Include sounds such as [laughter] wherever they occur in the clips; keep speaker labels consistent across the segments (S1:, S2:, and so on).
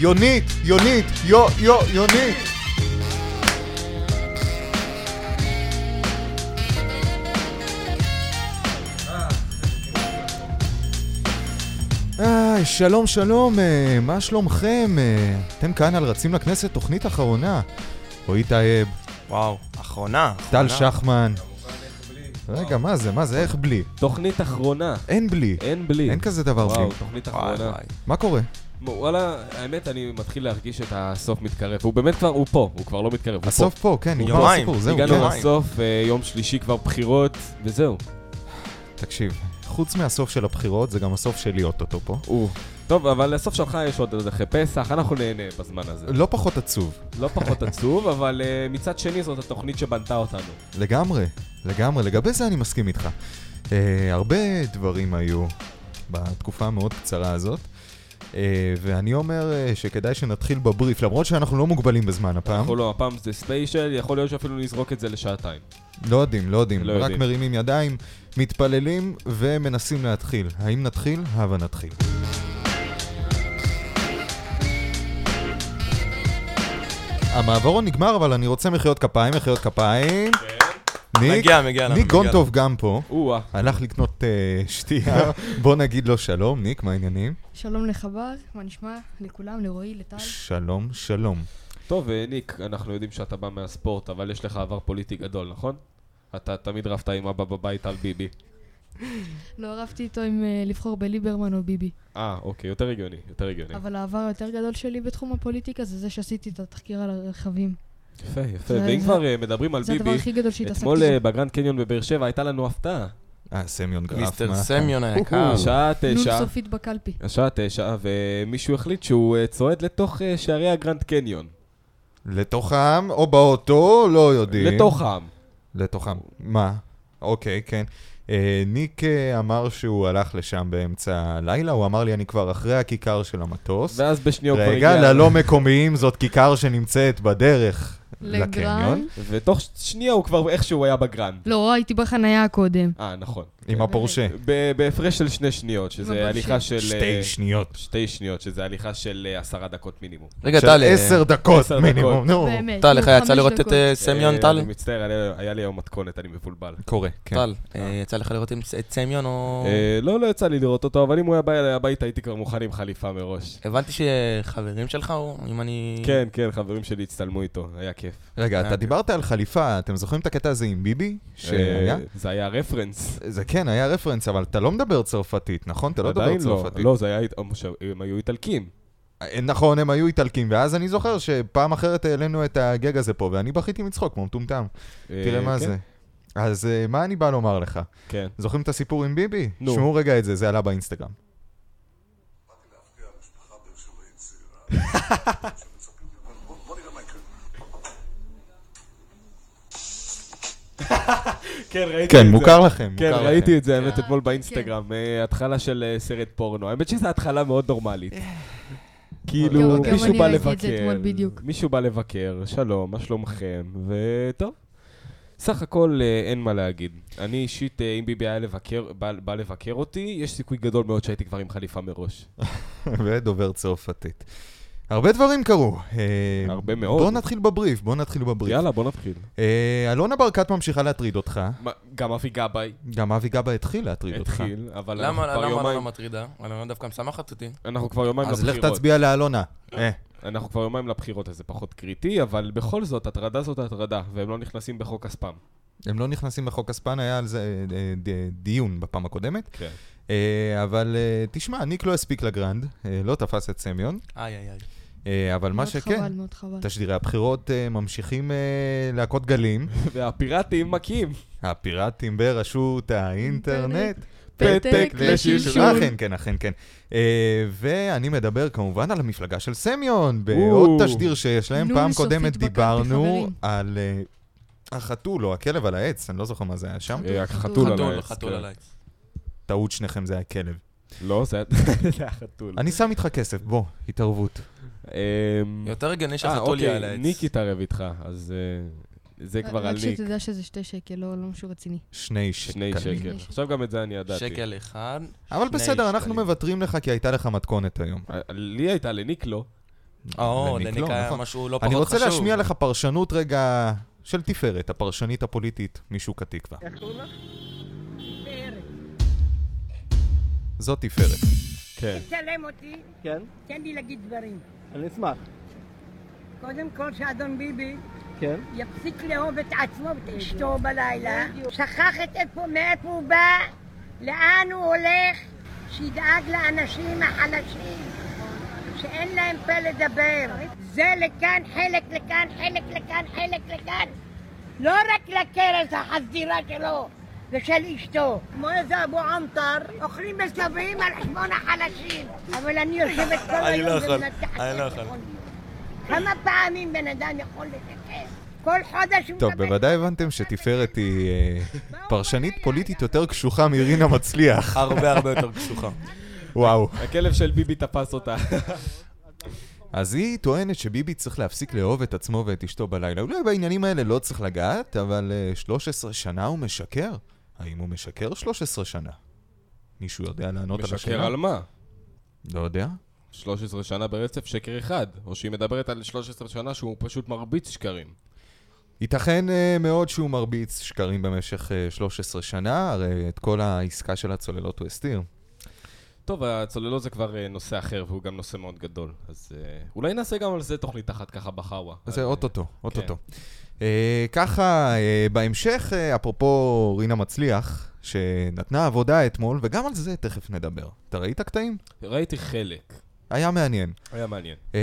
S1: יונית, יונית, יו, יו, יונית. היי, שלום, שלום, אה, מה שלומכם? אה, אתם כאן על רצים לכנסת, תוכנית אחרונה. רועי טייב,
S2: וואו, אחרונה.
S1: טל
S2: אחרונה.
S1: שחמן. רגע, מה זה? מה זה? איך בלי?
S3: תוכנית אחרונה.
S1: אין בלי.
S3: אין בלי.
S1: אין כזה דבר
S3: וואו,
S1: בלי.
S3: תוכנית
S2: וואי,
S3: אחרונה.
S2: וואי.
S1: מה קורה?
S3: וואלה, האמת, אני מתחיל להרגיש את הסוף מתקרב. הוא באמת כבר, הוא פה, הוא כבר לא מתקרב, הוא פה.
S1: הסוף פה, כן, נגמר
S2: יומיים.
S1: הסיפור, זהו,
S3: הגענו
S1: כן.
S2: יומיים.
S3: לסוף, אה, יום שלישי כבר בחירות, וזהו.
S1: תקשיב, חוץ מהסוף של הבחירות, זה גם הסוף שלי אוטוטו פה.
S3: או. טוב, אבל הסוף שלך יש עוד עוד אחרי פסח, אנחנו נהנה בזמן הזה.
S1: לא פחות עצוב,
S3: לא פחות עצוב, אבל אה, מצד שני זאת התוכנית שבנתה אותנו.
S1: לגמרי, לגמרי, לגבי זה אני מסכים איתך. אה, הרבה דברים היו בתקופה המאוד קצרה הזאת, אה, ואני אומר אה, שכדאי שנתחיל בבריף, למרות שאנחנו לא מוגבלים בזמן הפעם.
S3: אנחנו לא, הפעם זה ספיישל, יכול להיות שאפילו נזרוק את זה לשעתיים.
S1: לא יודעים, לא יודעים,
S3: לא
S1: רק
S3: יודעים.
S1: מרימים ידיים, מתפללים ומנסים להתחיל. האם נתחיל? הבה נתחיל. המעברון נגמר, אבל אני רוצה מחיאות כפיים, מחיאות כפיים. ניק,
S2: מגיע, מגיע כן. לנו.
S1: ניק
S2: מגיע
S1: גונטוב גם פה.
S3: או-אה.
S1: הלך לקנות אה, שתייה,
S2: כן.
S1: בוא נגיד לו שלום, ניק, מה העניינים?
S4: שלום לחבר, מה נשמע? לכולם, לרועי, לטל.
S1: שלום, שלום.
S3: טוב, אה, ניק, אנחנו יודעים שאתה בא מהספורט, אבל יש לך עבר פוליטי גדול, נכון? אתה תמיד רבת עם אבא בבית על ביבי.
S4: לא ערבתי איתו עם אה, לבחור בליברמן או ביבי.
S3: אה, אוקיי, יותר הגיוני, יותר הגיוני.
S4: אבל העבר היותר גדול שלי בתחום הפוליטיקה זה זה שעשיתי את התחקיר על הרכבים.
S3: יפה, יפה.
S4: זה-
S3: ואם
S4: זה-
S3: כבר אה, מדברים על
S4: זה הדבר
S3: ביבי,
S4: הכי גדול שהתעסקתי
S3: אתמול אה, בגרנד קניון בבאר שבע הייתה לנו הפתעה.
S1: אה, סמיון גרף.
S2: מיסטר
S1: מה?
S2: סמיון אה,
S3: אוקיי.
S1: כן.
S2: היקר.
S3: השעה
S4: נון
S3: תשע.
S4: סופית בקלפי.
S3: השעה תשע, ומישהו החליט שהוא אה, צועד לתוך אה, שערי הגרנד קניון.
S1: לתוך העם או באוטו, לא יודעים.
S3: לתוך העם.
S1: לתוכם. מה? אוקיי, כן. אה, ניק אה, אמר שהוא הלך לשם באמצע הלילה, הוא אמר לי, אני כבר אחרי הכיכר של המטוס.
S3: ואז בשנייה הוא כבר
S1: רגע,
S3: הגיע...
S1: ללא מקומיים זאת כיכר שנמצאת בדרך לקניון.
S3: ותוך שנייה הוא כבר איכשהו היה בגרנד.
S4: לא, הייתי בחנייה קודם.
S3: אה, נכון.
S1: עם הפורשה.
S3: ב- בהפרש של שני שניות, שזה
S4: ממש.
S3: הליכה של...
S1: שתי
S3: אה,
S1: שניות.
S3: שתי שניות, שזה הליכה של אה, עשרה דקות מינימום.
S2: רגע,
S1: של
S2: טל, אה,
S1: עשר דקות
S3: עשר
S1: מינימום,
S3: דקות.
S1: נו.
S4: באמת.
S2: טל,
S4: נו,
S2: לך יצא
S4: חמש
S2: לראות את
S4: דקות.
S2: אה, סמיון,
S3: אה,
S2: טל?
S3: אני מצטער, היה- היה לי היום מתכונת, אני מבולבל.
S1: קורה, כן.
S2: טל, אה, יצא לך לראות עם ס- את סמיון או...
S3: אה, לא, לא יצא לי לראות אותו, אבל אם הוא היה בא אליי הביתה, הייתי כבר מוכן עם חליפה מראש.
S2: הבנתי שחברים שלך, או אם אני...
S3: כן, כן, חברים שלי הצטלמו איתו, היה כיף.
S1: רגע, אתה
S2: אה.
S1: דיברת על חליפה, אתם זוכרים את הקטע הזה עם ביבי? שהיה?
S3: אה, זה היה רפרנס.
S1: זה כן, היה רפרנס, אבל אתה לא מדבר צרפתית, נכון? אתה לא מדבר
S3: עדיין לא,
S1: צרפתית.
S3: לא, זה היה, הם ש- הם היו איטלקים.
S1: אה, נכון, הם היו איטלקים, ואז אני זוכר שפעם אחרת העלינו את הגג הזה פה, ואני בכיתי מצחוק כמו מטומטם.
S3: אה,
S1: תראה מה
S3: כן,
S1: זה. אז אה, מה אני בא לומר לך?
S3: כן.
S1: זוכרים את הסיפור עם ביבי?
S3: נו.
S1: שמעו רגע את זה, זה עלה באינסטגרם.
S3: כן, ראיתי את זה.
S1: כן, מוכר לכם.
S3: כן,
S1: מוכר
S3: ראיתי
S1: לכם.
S3: את זה, האמת, אתמול באינסטגרם. אה, התחלה של אה, סרט פורנו. האמת שזו התחלה מאוד נורמלית.
S4: גם-
S3: כאילו,
S4: גם
S3: מישהו
S4: אני
S3: בא
S4: ראיתי את זה
S3: לבקר.
S4: אתמול בדיוק.
S3: מישהו בא לבקר, שלום, מה שלומכם? וטוב. סך הכל אה, אין מה להגיד. אני אישית, אה, אם ביבי היה לבקר, בא, בא לבקר אותי, יש סיכוי גדול מאוד שהייתי כבר עם חליפה מראש.
S1: [laughs] ודובר צרפתית. הרבה דברים קרו. אה,
S3: הרבה מאוד.
S1: בוא נתחיל בבריף, בוא נתחיל בבריף.
S3: יאללה, בוא נתחיל.
S1: אה, אלונה ברקת ממשיכה להטריד אותך.
S3: מה, גם אבי גבאי
S1: גם אבי גבא התחיל להטריד אותך.
S3: התחיל, אבל אנחנו
S2: למה
S3: כבר
S2: למה אלונה
S3: יומיים,
S2: מטרידה? אלונה דווקא משמחת אותי.
S3: אנחנו כבר יומיים
S1: אז לך
S3: לבחירות.
S1: תצביע לאלונה. אה,
S3: אנחנו כבר יומיים לבחירות, אז זה פחות קריטי, אבל בכל זאת, הטרדה זאת הטרדה, והם לא נכנסים בחוק הספאם.
S1: הם לא נכנסים לחוק הספן, היה על זה אה, אה, ד- דיון בפעם הקודמת.
S3: כן.
S1: אה, אבל אה, תשמע, ניק לא הספיק לגרנד, אה, לא תפס את סמיון,
S2: איי, איי, איי.
S1: אה, אבל מה
S4: מאוד
S1: שכן,
S4: חבל, מאוד חבל.
S1: תשדירי הבחירות אה, ממשיכים אה, להכות גלים.
S3: והפיראטים מכים.
S1: הפיראטים ברשות האינטרנט.
S3: פתק לשלשול.
S1: אה, אכן, כן, אכן, כן. אה, ואני מדבר כמובן על המפלגה של סמיון, בעוד
S3: או.
S1: תשדיר שיש להם.
S4: נו,
S1: פעם
S4: סופית
S1: קודמת
S4: בקלפי,
S1: דיברנו
S4: חברים.
S1: על אה, החתול או הכלב על העץ, אני לא זוכר מה זה היה שם.
S3: אה,
S4: חתול.
S3: חתול על
S2: חתול,
S3: העץ.
S2: חתול
S3: כן.
S2: על העץ.
S1: טעות שניכם זה היה כלב.
S3: לא, זה [laughs] היה- זה היה חתול.
S1: אני שם איתך כסף, בוא, התערבות.
S3: אמ,
S2: יותר הגיוני
S3: אה,
S2: שהחתול יהיה על
S3: אוקיי,
S2: העץ.
S3: ניק יתערב איתך, אז אה, זה כבר על
S4: רק
S3: ניק.
S4: שתדע שזה שתי שקל, לא לא משהו רציני.
S1: שני שקלים.
S3: שני שקל. עכשיו גם את זה אני ידעתי.
S2: שקל אחד.
S1: אבל
S2: שני
S1: בסדר, אנחנו
S2: שקלים.
S1: מוותרים לך כי הייתה לך מתכונת היום.
S3: אה, לי הייתה, לניק לא.
S2: או,
S1: לניק
S2: לניק
S1: לא,
S2: היה
S1: נכון.
S2: משהו לא פחות
S1: אני
S2: חשוב.
S1: רוצה להשמיע לך פרשנות רגע של תפארת, הפרשנית הפוליטית משוק התקווה.
S5: פאר,
S1: זאת תפארת.
S3: כן.
S5: תצלם אותי,
S6: כן,
S5: תן לי להגיד דברים.
S6: אני אשמח.
S5: קודם כל שאדון ביבי
S6: כן.
S5: יפסיק לאהוב את עצמו ואת אשתו בלילה, שכח את איפה, מאיפה הוא בא, לאן הוא הולך, שידאג לאנשים החלשים, שאין להם פה לדבר. זה לכאן, חלק לכאן, חלק לכאן, חלק לכאן. לא רק לקרס החזירה שלו ושל אשתו. כמו איזה אבו עמטר, אוכלים מסביב על חשבון החלשים. אבל אני יושבת כל
S2: אני לא
S5: היום
S2: יכול,
S5: ומנתחת
S2: אני לא
S5: איך
S2: יכול.
S5: יכול להיות. כמה פעמים בן אדם יכול לתקן? כל חודש הוא
S1: טוב,
S5: מקבל-
S1: בוודאי הבנתם שתפארת היא אה, פרשנית פוליטית יותר קשוחה מרינה מצליח.
S2: הרבה הרבה יותר קשוחה.
S1: וואו.
S3: הכלב של ביבי תפס אותה.
S1: אז היא טוענת שביבי צריך להפסיק לאהוב את עצמו ואת אשתו בלילה. אולי בעניינים האלה לא צריך לגעת, אבל אה, 13 שנה הוא משקר? האם הוא משקר 13 שנה? מישהו יודע לענות על
S3: משקר
S1: השאלה?
S3: על מה?
S1: לא יודע.
S3: 13 שנה ברצף שקר אחד, או שהיא מדברת על 13 שנה שהוא פשוט מרביץ שקרים.
S1: ייתכן אה, מאוד שהוא מרביץ שקרים במשך אה, 13 שנה, הרי את כל העסקה של הצוללות הוא הסתיר.
S3: טוב, הצוללות זה כבר אה, נושא אחר, והוא גם נושא מאוד גדול. אז אה, אולי נעשה גם על זה תוכנית אחת ככה בחאווה.
S1: זה
S3: על-
S1: אוטוטו, אוטוטו. אה, ככה, אה, בהמשך, אה, אפרופו רינה מצליח, שנתנה עבודה אתמול, וגם על זה תכף נדבר. אתה ראית קטעים?
S3: ראיתי חלק.
S1: היה מעניין.
S3: היה מעניין.
S1: אה,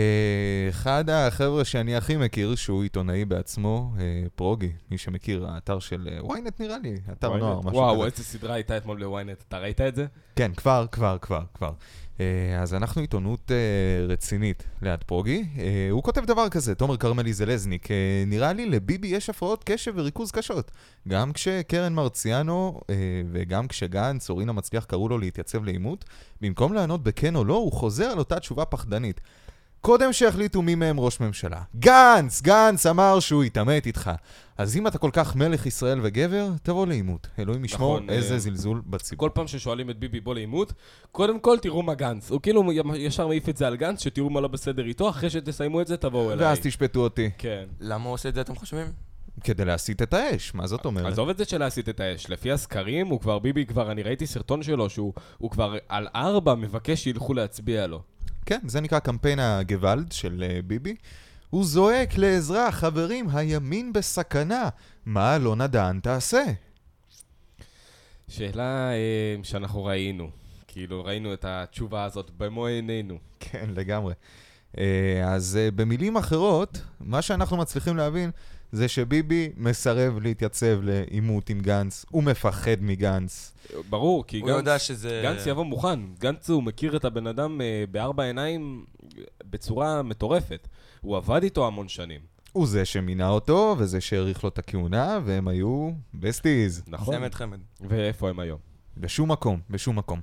S1: אחד החבר'ה שאני הכי מכיר, שהוא עיתונאי בעצמו, אה, פרוגי, מי שמכיר, האתר של אה, ynet נראה לי, אתר
S3: ynet.
S1: נוער, משהו כזה.
S3: וואו, איזה סדרה הייתה אתמול בוויינט. אתה ראית את זה?
S1: כן, כבר, כבר, כבר, כבר. אה, אז אנחנו עיתונות אה, רצינית ליד פרוגי. אה, הוא כותב דבר כזה, תומר כרמלי זלזניק, אה, נראה לי לביבי יש הפרעות קשב וריכוז קשות. גם כשקרן מרציאנו אה, וגם כשגנץ או רינה מצליח קראו לו להתייצב לעימות, במקום לענות בכן או לא, הוא חוזר על אותה תשובה פחדנית. קודם שיחליטו מי מהם ראש ממשלה. גנץ! גנץ אמר שהוא יתעמת איתך. אז אם אתה כל כך מלך ישראל וגבר, תבוא לעימות. אלוהים ישמור,
S3: נכון,
S1: איזה
S3: אה,
S1: זלזול בציבור.
S3: כל פעם ששואלים את ביבי בוא לעימות, קודם כל תראו מה גנץ. הוא כאילו ישר מעיף את זה על גנץ, שתראו מה לא בסדר איתו, אחרי שתסיימו את זה תבואו אליי.
S1: ואז תשפטו אותי.
S3: כן.
S2: למה הוא עושה את זה, אתם חושבים?
S1: כדי להסיט את האש, מה זאת אומרת?
S3: עזוב את זה שלהסיט את האש, לפי הסקרים הוא כבר, ביבי כבר, אני ראיתי סרטון שלו שהוא הוא כבר על ארבע מבקש שילכו להצביע לו.
S1: כן, זה נקרא קמפיין הגוואלד של אה, ביבי. הוא זועק לעזרה, חברים, הימין בסכנה. מה אלונה דהן תעשה?
S3: שאלה אה, שאנחנו ראינו, כאילו ראינו את התשובה הזאת במו עינינו.
S1: כן, לגמרי. אה, אז אה, במילים אחרות, מה שאנחנו מצליחים להבין זה שביבי מסרב להתייצב לעימות עם גנץ, הוא מפחד מגנץ.
S3: ברור, כי
S2: הוא לא יודע
S3: גנץ,
S2: שזה...
S3: גנץ יבוא מוכן, גנץ הוא מכיר את הבן אדם אה, בארבע עיניים אה, בצורה מטורפת. הוא עבד איתו המון שנים.
S1: הוא זה שמינה אותו, וזה שהאריך לו את הכהונה, והם היו בסטיז.
S3: נכון.
S2: צמד חמד.
S3: ואיפה הם היום?
S1: בשום מקום, בשום מקום.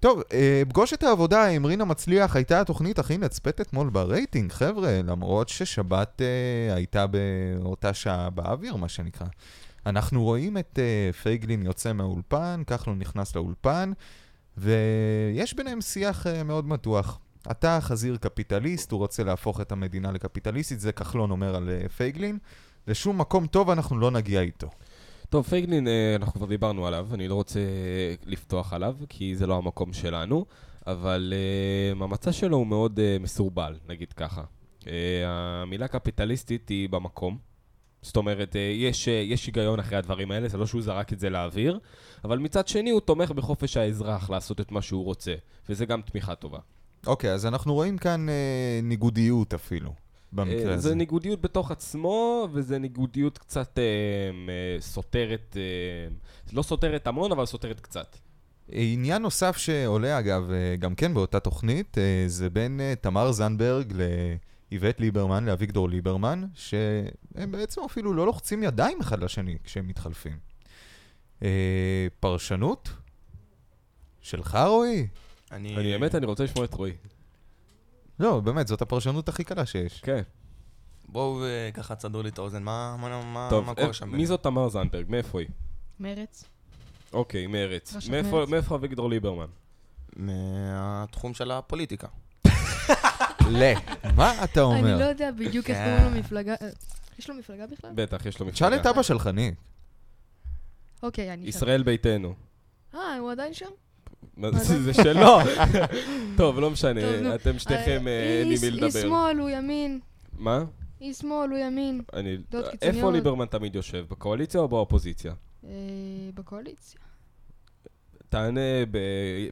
S1: טוב, אה, פגוש את העבודה עם רינה מצליח הייתה התוכנית הכי נצפית אתמול ברייטינג, חבר'ה, למרות ששבת אה, הייתה באותה שעה באוויר, מה שנקרא. אנחנו רואים את אה, פייגלין יוצא מהאולפן, כחלון נכנס לאולפן, ויש ביניהם שיח אה, מאוד מתוח. אתה חזיר קפיטליסט, הוא רוצה להפוך את המדינה לקפיטליסטית, זה כחלון אומר על אה, פייגלין. לשום מקום טוב אנחנו לא נגיע איתו.
S3: טוב, פייגלין, אה, אנחנו כבר דיברנו עליו, אני לא רוצה אה, לפתוח עליו, כי זה לא המקום שלנו, אבל אה, המצע שלו הוא מאוד אה, מסורבל, נגיד ככה. אה, המילה קפיטליסטית היא במקום. זאת אומרת, אה, יש, אה, יש היגיון אחרי הדברים האלה, זה לא שהוא זרק את זה לאוויר, אבל מצד שני הוא תומך בחופש האזרח לעשות את מה שהוא רוצה, וזה גם תמיכה טובה.
S1: אוקיי, אז אנחנו רואים כאן אה, ניגודיות אפילו, במקרה
S3: אה,
S1: הזה.
S3: זה ניגודיות בתוך עצמו, וזה ניגודיות קצת אה, אה, סותרת, אה, לא סותרת המון, אבל סותרת קצת.
S1: אה, עניין נוסף שעולה, אגב, אה, גם כן באותה תוכנית, אה, זה בין אה, תמר זנדברג לאיווט ליברמן, לאביגדור ליברמן, שהם בעצם אפילו לא לוחצים ידיים אחד לשני כשהם מתחלפים. אה, פרשנות? שלך, רועי? אה.
S2: אני...
S3: אני באמת, אני רוצה לשמוע את רועי.
S1: לא, באמת, זאת הפרשנות הכי קלה שיש.
S3: כן.
S2: אה, בואו אה, ככה תסדרו לי את האוזן, מה מה- מה-
S3: טוב,
S2: מה
S3: אה,
S2: קורה שם?
S3: מי זאת תמר זנדברג? מאיפה היא?
S4: מרץ.
S3: אוקיי, מארץ.
S4: ראשת
S3: מאיפה-
S4: מרצ.
S3: מאיפה אביגדור ליברמן?
S2: מהתחום של הפוליטיקה.
S1: מעולה. מה אתה
S4: אני לא
S1: אומר?
S4: יודע בדיוק איך
S2: כן.
S4: קוראים לו מפלגה. אה, יש לו מפלגה בכלל?
S3: בטח, יש לו מפלגה.
S1: תשאל את אבא שלך, ניק.
S4: אוקיי, אני אשאל.
S3: ישראל ביתנו.
S4: אה, הוא עדיין שם?
S3: מה
S4: מה
S3: זה
S4: זה?
S3: זה
S4: [laughs]
S3: שלו. טוב, לא משנה,
S4: טוב, נו.
S3: אתם שתיכם, אה,
S4: אה,
S3: אין לי
S4: היא-
S3: מי
S4: היא
S3: לדבר.
S4: שמאל, הוא ימין.
S3: מה?
S4: היא שמאל, הוא ימין.
S3: אני... אה,
S4: דעות
S3: איפה
S4: קיצוניות.
S3: ליברמן תמיד יושב? בקואליציה או באופוזיציה?
S4: אה, בקואליציה.
S3: תענה ב-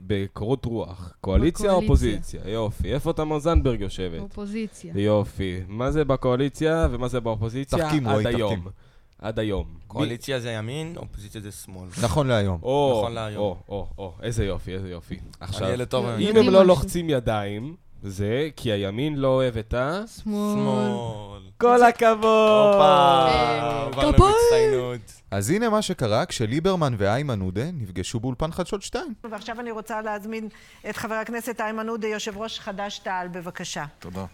S3: בקורות רוח. קואליציה או
S4: בקואליציה.
S3: אופוזיציה? יופי. איפה תמר זנדברג יושבת?
S4: אופוזיציה.
S3: אה, יופי. מה זה בקואליציה ומה זה באופוזיציה?
S1: תחכים,
S3: עד
S1: רועי,
S3: היום.
S1: תחכים.
S3: עד היום.
S2: קואליציה זה ימין, אופוזיציה זה שמאל.
S1: נכון להיום.
S3: מי- או,
S2: נכון להיום.
S3: או, או, או, איזה יופי, איזה יופי.
S2: עכשיו,
S3: עכשיו,
S2: הילד טוב.
S4: לא,
S2: היום.
S3: אם
S4: יודעים
S3: הם לא
S4: משהו.
S3: לוחצים ידיים, זה כי הימין לא אוהב את ה...
S4: שמאל.
S2: שמאל.
S3: כל הכבוד!
S2: הופה,
S4: אה,
S2: עברנו
S4: כפיים.
S2: בהצטיינות.
S1: אז הנה מה שקרה כשליברמן ואיימן עודה נפגשו באולפן חדשות 2.
S6: ועכשיו אני רוצה להזמין את חבר הכנסת איימן עודה, יושב ראש חד"ש-תע"ל, בבקשה.
S7: תודה.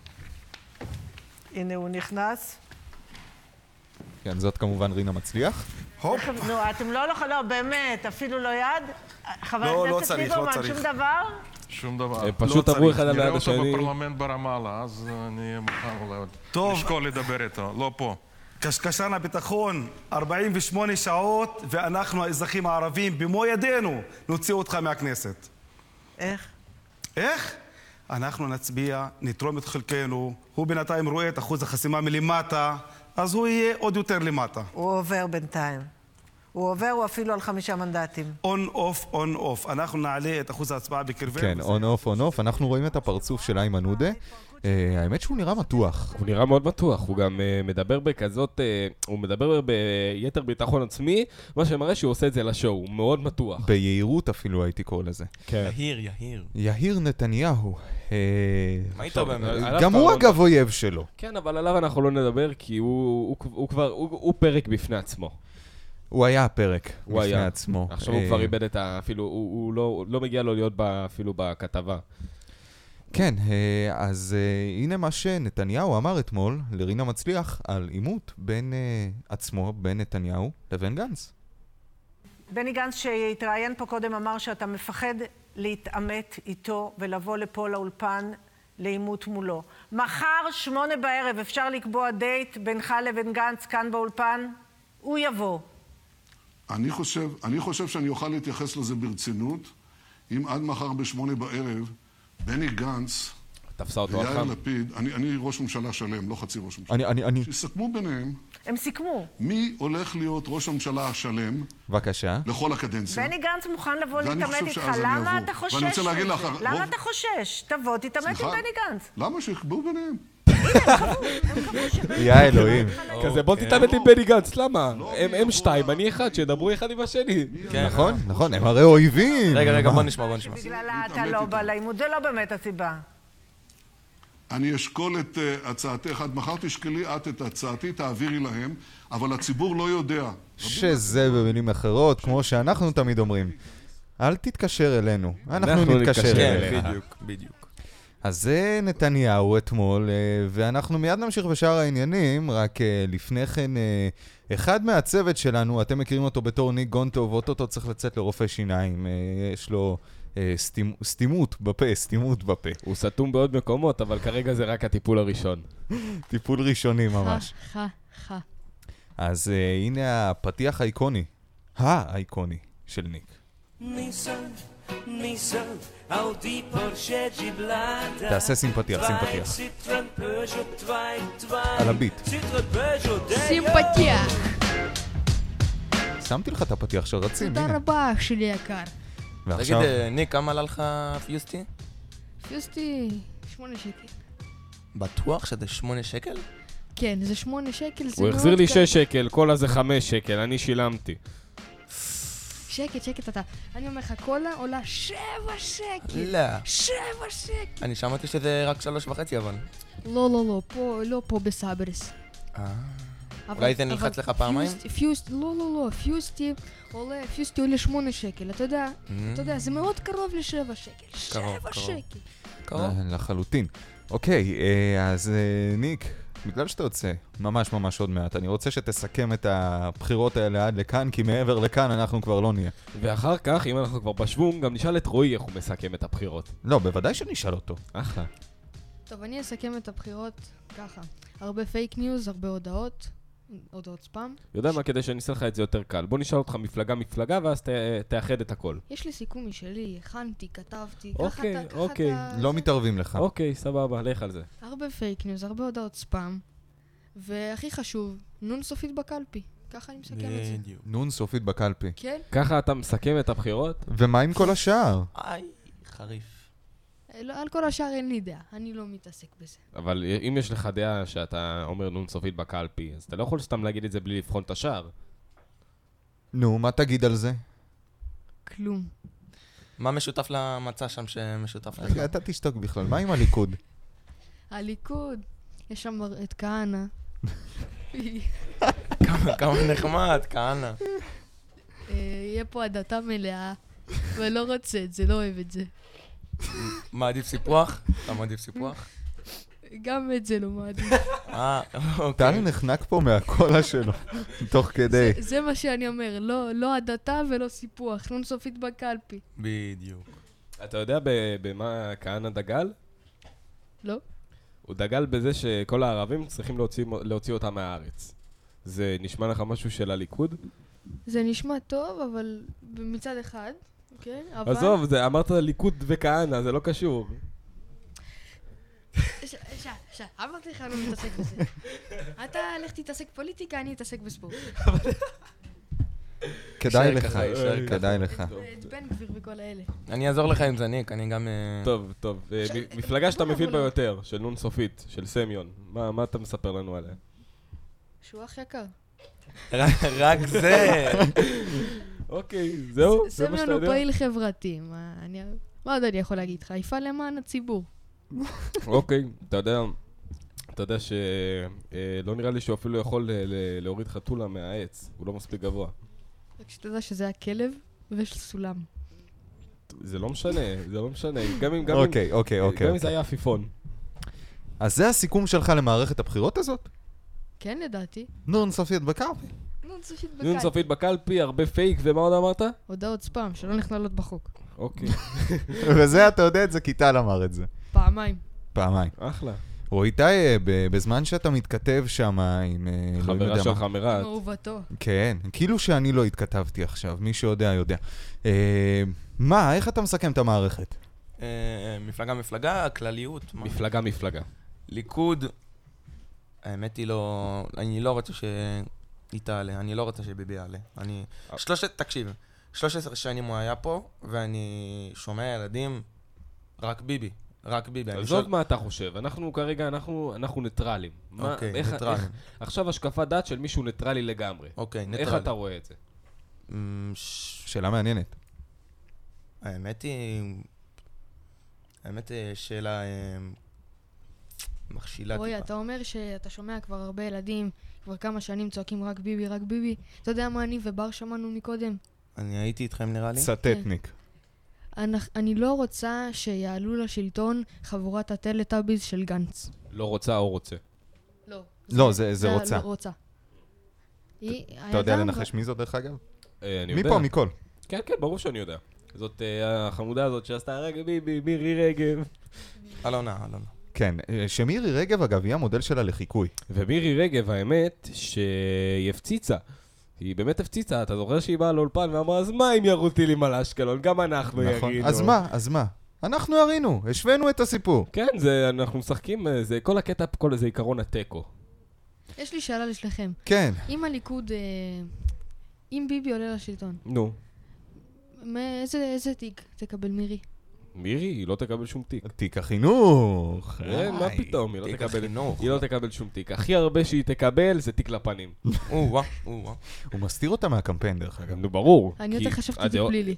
S6: הנה הוא נכנס.
S1: כן, זאת כמובן רינה מצליח.
S7: הופ,
S6: איך- נו, אתם לא, לא, לא, באמת, אפילו לא יד.
S7: לא,
S6: חבר
S7: לא
S6: הכנסת
S7: צריך, לא
S6: ליברמן,
S7: צריך.
S6: שום דבר?
S7: שום דבר.
S3: הם פשוט עברו אחד על
S8: נראה
S3: יד
S8: אותו
S3: השני.
S8: בפרלמנט ברמאללה, אז אני אהיה מוכן אולי עוד
S7: טוב.
S8: לשקול לדבר איתו, לא פה.
S7: קשקשן הביטחון, 48 שעות, ואנחנו האזרחים הערבים במו ידינו נוציא אותך מהכנסת.
S6: איך?
S7: איך? אנחנו נצביע, נתרום את חלקנו, הוא בינתיים רואה את אחוז החסימה מלמטה, אז הוא יהיה עוד יותר למטה.
S6: הוא עובר בינתיים. הוא עובר, הוא אפילו על חמישה מנדטים.
S7: און אוף, און אוף. אנחנו נעלה את אחוז ההצבעה בקרבנו.
S1: כן, און אוף, און אוף. אנחנו רואים את הפרצוף של איימן עודה. אה, האמת שהוא נראה מתוח.
S3: הוא נראה מאוד בטוח, הוא גם אה, מדבר בכזאת, אה, הוא מדבר ביתר ביטחון עצמי, מה שמראה שהוא עושה את זה לשואו, הוא מאוד בטוח.
S1: ביהירות אפילו הייתי קורא לזה.
S3: כן.
S2: יהיר, יהיר.
S1: יהיר נתניהו. אה,
S2: מה איתו באמת?
S3: עליו
S1: גם
S3: כבר
S1: הוא
S3: לא-
S1: אגב אויב שלו.
S3: כן, אבל עליו אנחנו לא נדבר, כי הוא, הוא, הוא כבר, הוא, הוא פרק בפני עצמו.
S1: הוא היה הפרק
S3: הוא
S1: בפני
S3: היה.
S1: עצמו.
S3: עכשיו הוא
S1: אה,
S3: כבר איבד את ה... אפילו, הוא, הוא לא, הוא לא מגיע לו להיות ב, אפילו בכתבה.
S1: כן, אה, אז אה, הנה מה שנתניהו אמר אתמול לרינה מצליח על עימות בין אה, עצמו, בין נתניהו לבין גנץ.
S6: בני גנץ שהתראיין פה קודם אמר שאתה מפחד להתעמת איתו ולבוא לפה לאולפן לעימות מולו. מחר, שמונה בערב, אפשר לקבוע דייט בינך לבין גנץ כאן באולפן? הוא יבוא.
S9: אני חושב, אני חושב שאני אוכל להתייחס לזה ברצינות אם עד מחר בשמונה בערב בני גנץ
S3: תפסה אותו על
S9: ויאיר
S3: חם.
S9: לפיד, אני, אני ראש ממשלה שלם, לא חצי ראש ממשלה,
S1: אני, אני, אני...
S9: שיסכמו ביניהם
S6: הם סיכמו.
S9: מי הולך להיות ראש הממשלה השלם
S1: בבקשה.
S9: לכל הקדנציה.
S6: בני גנץ מוכן לבוא
S9: ואני
S6: להתעמת
S9: חושב
S6: איתך.
S9: שאז אני
S6: למה
S9: אבוא.
S6: אתה חושש?
S9: ואני רוצה להגיד לך,
S6: מזה? למה
S9: רוב-
S6: אתה חושש? תבוא, תתעמת עם
S9: סליחה?
S6: בני גנץ.
S9: למה שיקבעו ביניהם?
S1: יא אלוהים.
S3: כזה, בוא תתעמת עם בני גנץ, למה? הם- הם שתיים, אני אחד, שידברו אחד עם השני.
S2: כן.
S1: נכון, נכון, הם הרי אויבים.
S2: רגע, רגע,
S1: מה?
S2: בוא נשמע, בוא נשמע.
S3: כן,
S6: בגללה אתה
S9: להתעמת
S6: לא
S9: איתו.
S6: בא לעימות, זה לא באמת הסיבה.
S9: אני אשקול את uh, הצעתך, עד מחר תשקלי את את הצעתי, תעבירי להם, אבל הציבור לא יודע.
S1: שזה במילים אחרות, כמו שאנחנו תמיד אומרים. אל תתקשר אלינו, אנחנו
S3: אנחנו
S1: נתקשר
S3: נתקשר
S1: אליך.
S2: כן, בדיוק, בדיוק.
S1: אז זה נתניהו אתמול, אה, ואנחנו מיד נמשיך בשאר העניינים, רק אה, לפני כן, אה, אחד מהצוות שלנו, אתם מכירים אותו בתור ניק גונטוב, אוטוטו צריך לצאת לרופא שיניים, אה, יש לו אה, סתימ- סתימות בפה, סתימות בפה.
S3: הוא סתום בעוד מקומות, אבל כרגע זה רק הטיפול הראשון.
S1: טיפול ראשוני ממש.
S4: חה, חה.
S1: אז אה, הנה הפתיח האיקוני, האיקוני של ניק.
S10: Nissan, Nissan, Audi, Porsche, Jeep, Lada.
S1: תעשה סימפתיח, סימפתיח.
S10: Citroën, Peugeot, Twine, Twine.
S1: על הביט.
S10: Citroën, Peugeot, Dayon.
S4: סימפתיה.
S1: שמתי לך את הפתיח של רצים,
S3: [laughs]
S4: תודה
S1: הנה.
S4: רבה, אח שלי יקר.
S2: תגיד,
S1: ועכשיו,
S2: אה, ניק, כמה עלה לך פיוסטי?
S4: פיוסטי, שמונה שקל.
S2: בטוח שזה שמונה שקל?
S4: כן, זה שמונה שקל, זה
S3: הוא
S4: מאוד...
S3: החזיר לי
S4: קל.
S3: 6 שקל, כל הזה 5 שקל, אני שילמתי.
S4: שקט, שקט אתה. אני אומר לך, קולה עולה שבע שקל.
S2: לא.
S4: שבע שקל.
S2: אני שמעתי שזה רק שלוש וחצי, אבל...
S4: לא, לא, לא, פה, לא פה בסברס. אבל-
S2: אה. אולי זה
S4: אבל
S2: נלחץ לך פעמיים?
S4: פיוסט- פיוסט, לא, לא, לא, פיוסטי עולה, פיוסטי עולה שמונה שקל, אתה יודע, אתה יודע, זה מאוד קרוב לשבע שקל.
S2: Mm. קרוב,
S4: שבע
S2: קרוב.
S4: שקל.
S2: קרוב.
S1: אה, לחלוטין. אוקיי, אה, אז אה, ניק, בגלל שאתה יוצא ממש ממש עוד מעט, אני רוצה שתסכם את הבחירות האלה עד לכאן, כי מעבר לכאן אנחנו כבר לא נהיה.
S3: ואחר כך, אם אנחנו כבר בשוונג, גם נשאל את רועי איך הוא מסכם את הבחירות.
S1: לא, בוודאי שנשאל אותו.
S3: אחלה.
S4: טוב, אני אסכם את הבחירות ככה. הרבה פייק ניוז, הרבה הודעות, הודעות ספאם.
S3: יודע מה, כדי שאני אעשה לך את זה יותר קל. בוא נשאל אותך מפלגה-מפלגה, ואז ת- תאחד את הכל.
S4: יש לי סיכום משלי, הכנתי, כתבתי, ככה
S3: אוקיי,
S4: אתה... ככה
S3: אוקיי.
S4: אתה-
S2: לא-
S1: מתערבים לך.
S3: אוקיי, סבבה, לך על זה.
S4: הרבה פייק ניוז, הרבה הודעות ספאם, והכי חשוב, נון סופית בקלפי. ככה אני מסכם את זה.
S1: נון סופית בקלפי.
S4: כן?
S3: ככה אתה מסכם את הבחירות?
S1: ומה עם כל השאר?
S2: איי, חריף.
S4: אה, לא, על כל השאר אין לי דעה, אני לא מתעסק בזה.
S3: אבל אם יש לך דעה שאתה אומר נון סופית בקלפי, אז אתה לא יכול סתם להגיד את זה בלי לבחון את השאר.
S1: נו, מה תגיד על זה?
S4: כלום.
S2: מה משותף למצע שם שמשותף לך?
S3: אה,
S1: רגע, אתה תשתוק בכלל, מה עם
S3: [laughs]
S1: הליכוד?
S4: הליכוד, יש שם את כהנא. [laughs]
S2: כמה- כמה נחמד, כהנא.
S4: אה, יהיה פה הדתה מלאה, ולא רוצה את זה, לא אוהב את זה.
S2: מה עדיף סיפוח? אתה מעדיף סיפוח?
S4: גם את זה לא מעדיף.
S2: אה, אוקיי.
S1: טל נחנק פה מהקולה שלו, [laughs] תוך כדי.
S4: זה מה שאני אומר, לא- לא הדתה ולא סיפוח, נון סופית בקלפי.
S2: בדיוק.
S3: אתה יודע ב- במה כהנא דגל?
S4: לא.
S3: הוא דגל בזה שכל הערבים צריכים להוציא, להוציא אותם מהארץ. זה נשמע לך משהו של הליכוד?
S4: זה נשמע טוב, אבל מצד אחד, כן? אבל...
S3: עזוב, זה, אמרת ליכוד וכהנא, זה לא קשור.
S4: ש- ש- ש- אמרתי לך, אני לא מתעסק בזה. אתה, לך תתעסק פוליטיקה, אני אתעסק בספורט.
S1: כדאי
S2: יישאר
S1: לך, אה,
S2: ככה, יישאר ככה.
S1: כדאי לך.
S4: את בן גביר וכל האלה.
S2: אני אעזור לך עם זניק, אני גם... אה,
S3: טוב, טוב. אה, מ- מפלגה שאתה מבין בה יותר, של נון סופית, של סמיון. מה, מה אתה מספר לנו עליה?
S4: שהוא אח יקר.
S2: [laughs] רק- רק זה.
S3: אוקיי,
S1: לא,
S3: זהו? זה מה
S4: סמיון
S3: שאתה
S4: הוא
S3: יודע?
S4: פעיל חברתי, מה אני... מה עוד אני יכול להגיד לך? יפעל למען הציבור.
S3: אוקיי, אתה יודע, אתה יודע שלא נראה לי שהוא אפילו יכול אה, ל- להוריד חתולה מהעץ, הוא לא מספיק גבוה.
S4: רק שתדע שזה היה כלב ויש סולם.
S3: זה לא משנה, זה לא משנה. גם אם, גם אם,
S1: אוקיי, אוקיי, אוקיי.
S3: גם אם זה היה עפיפון.
S1: אז זה הסיכום שלך למערכת הבחירות הזאת?
S4: כן, לדעתי.
S1: נון סופית
S3: [laughs]
S1: בקלפי.
S4: נון סופית
S3: נון
S4: בקלפי.
S3: סופית בקלפי, הרבה פייק, ומה עוד אמרת?
S4: הודעות ספאם שלא נכללות בחוק.
S1: [laughs]
S3: אוקיי,
S1: וזה, אתה יודע את זה, כי טל אמר את זה.
S4: פעמיים.
S1: פעמיים.
S3: אחלה.
S1: רועי טייב, אה, בזמן שאתה מתכתב שם עם... אה, אלוהים
S3: חברה
S1: יודע
S3: שלך
S1: מה-
S3: מרהט.
S4: אהובתו.
S1: כן, כאילו שאני לא התכתבתי עכשיו, מי שיודע יודע. אה, מה, איך אתה מסכם את המערכת?
S2: אה, מפלגה מפלגה, כלליות. מה?
S3: מפלגה מפלגה.
S2: ליכוד, האמת היא לא... אני לא רוצה שהיא תעלה, אני לא רוצה שביבי יעלה. אני... שלושת... תקשיב, 13 שנים הוא היה פה, ואני שומע ילדים, רק ביבי, רק ביבי. אני
S3: עזוב
S2: שואל-
S3: מה אתה חושב, אנחנו כרגע, אנחנו אנחנו ניטרלים. מה-
S2: אוקיי,
S3: איך-
S2: ניטרלים.
S3: איך- עכשיו השקפת דת של מישהו ניטרלי לגמרי.
S2: אוקיי,
S3: איך
S2: ניטרלי.
S3: אתה רואה את זה?
S2: אמ, ש-
S1: שאלה מעניינת.
S2: האמת היא... האמת אה, שאלה אמ, מכשילה
S4: רועי,
S2: טיפה.
S4: אתה אומר שאתה שומע כבר הרבה ילדים, כבר כמה שנים צועקים רק ביבי, רק ביבי. אתה יודע מה אני ובר שמענו מקודם?
S2: אני הייתי איתכם נראה לי.
S1: סטטניק.
S4: אנ- אני לא רוצה שיעלו לשלטון חבורת הטלטאביז של גנץ.
S3: לא רוצה או רוצה.
S4: לא.
S1: לא, זה- זה רוצה.
S4: לא רוצה. היא-
S1: אתה יודע
S4: האדם
S1: לנחש מי זאת, דרך אגב?
S3: אה, אני
S1: מי
S3: יודע.
S1: פה? מכל.
S3: כן, כן, ברור שאני יודע. זאת אה, החמודה הזאת שעשתה רגע ביבי, מירי רגב.
S2: אלונה, אלונה.
S1: כן, אה, שמירי רגב, אגב, היא המודל שלה לחיקוי.
S3: ומירי רגב, האמת, שהיא הפציצה. היא באמת הפציצה, אתה זוכר שהיא באה לאולפן ואמרה, אז מה אם ירו טילים על אשקלון? גם אנחנו
S1: נכון.
S3: ירינו.
S1: אז מה, אז מה? אנחנו הרינו, השווינו את הסיפור.
S3: כן, זה, אנחנו משחקים, אה, זה כל הקטע, כל איזה עיקרון התיקו.
S4: ח- יש לי שאלה לשלכם.
S1: כן.
S4: אם הליכוד... אה, אם ביבי עולה לשלטון,
S3: נו.
S4: מאיזה איזה תיק תקבל מירי?
S3: מירי, היא לא תקבל שום תיק.
S1: תיק החינוך.
S3: אה, מה
S1: וואי.
S3: פתאום, היא לא
S2: תיק
S3: תקבל...
S2: החינוך.
S3: היא לא תקבל שום תיק. הכי הרבה שהיא תקבל זה תיק לפנים.
S2: או-אה, או-אה.
S1: הוא מסתיר אותה מהקמפיין, דרך אגב.
S3: נו, ברור.
S4: אני
S3: כי אה,
S4: יותר חשבתי
S3: הדעות-
S4: בפלילי.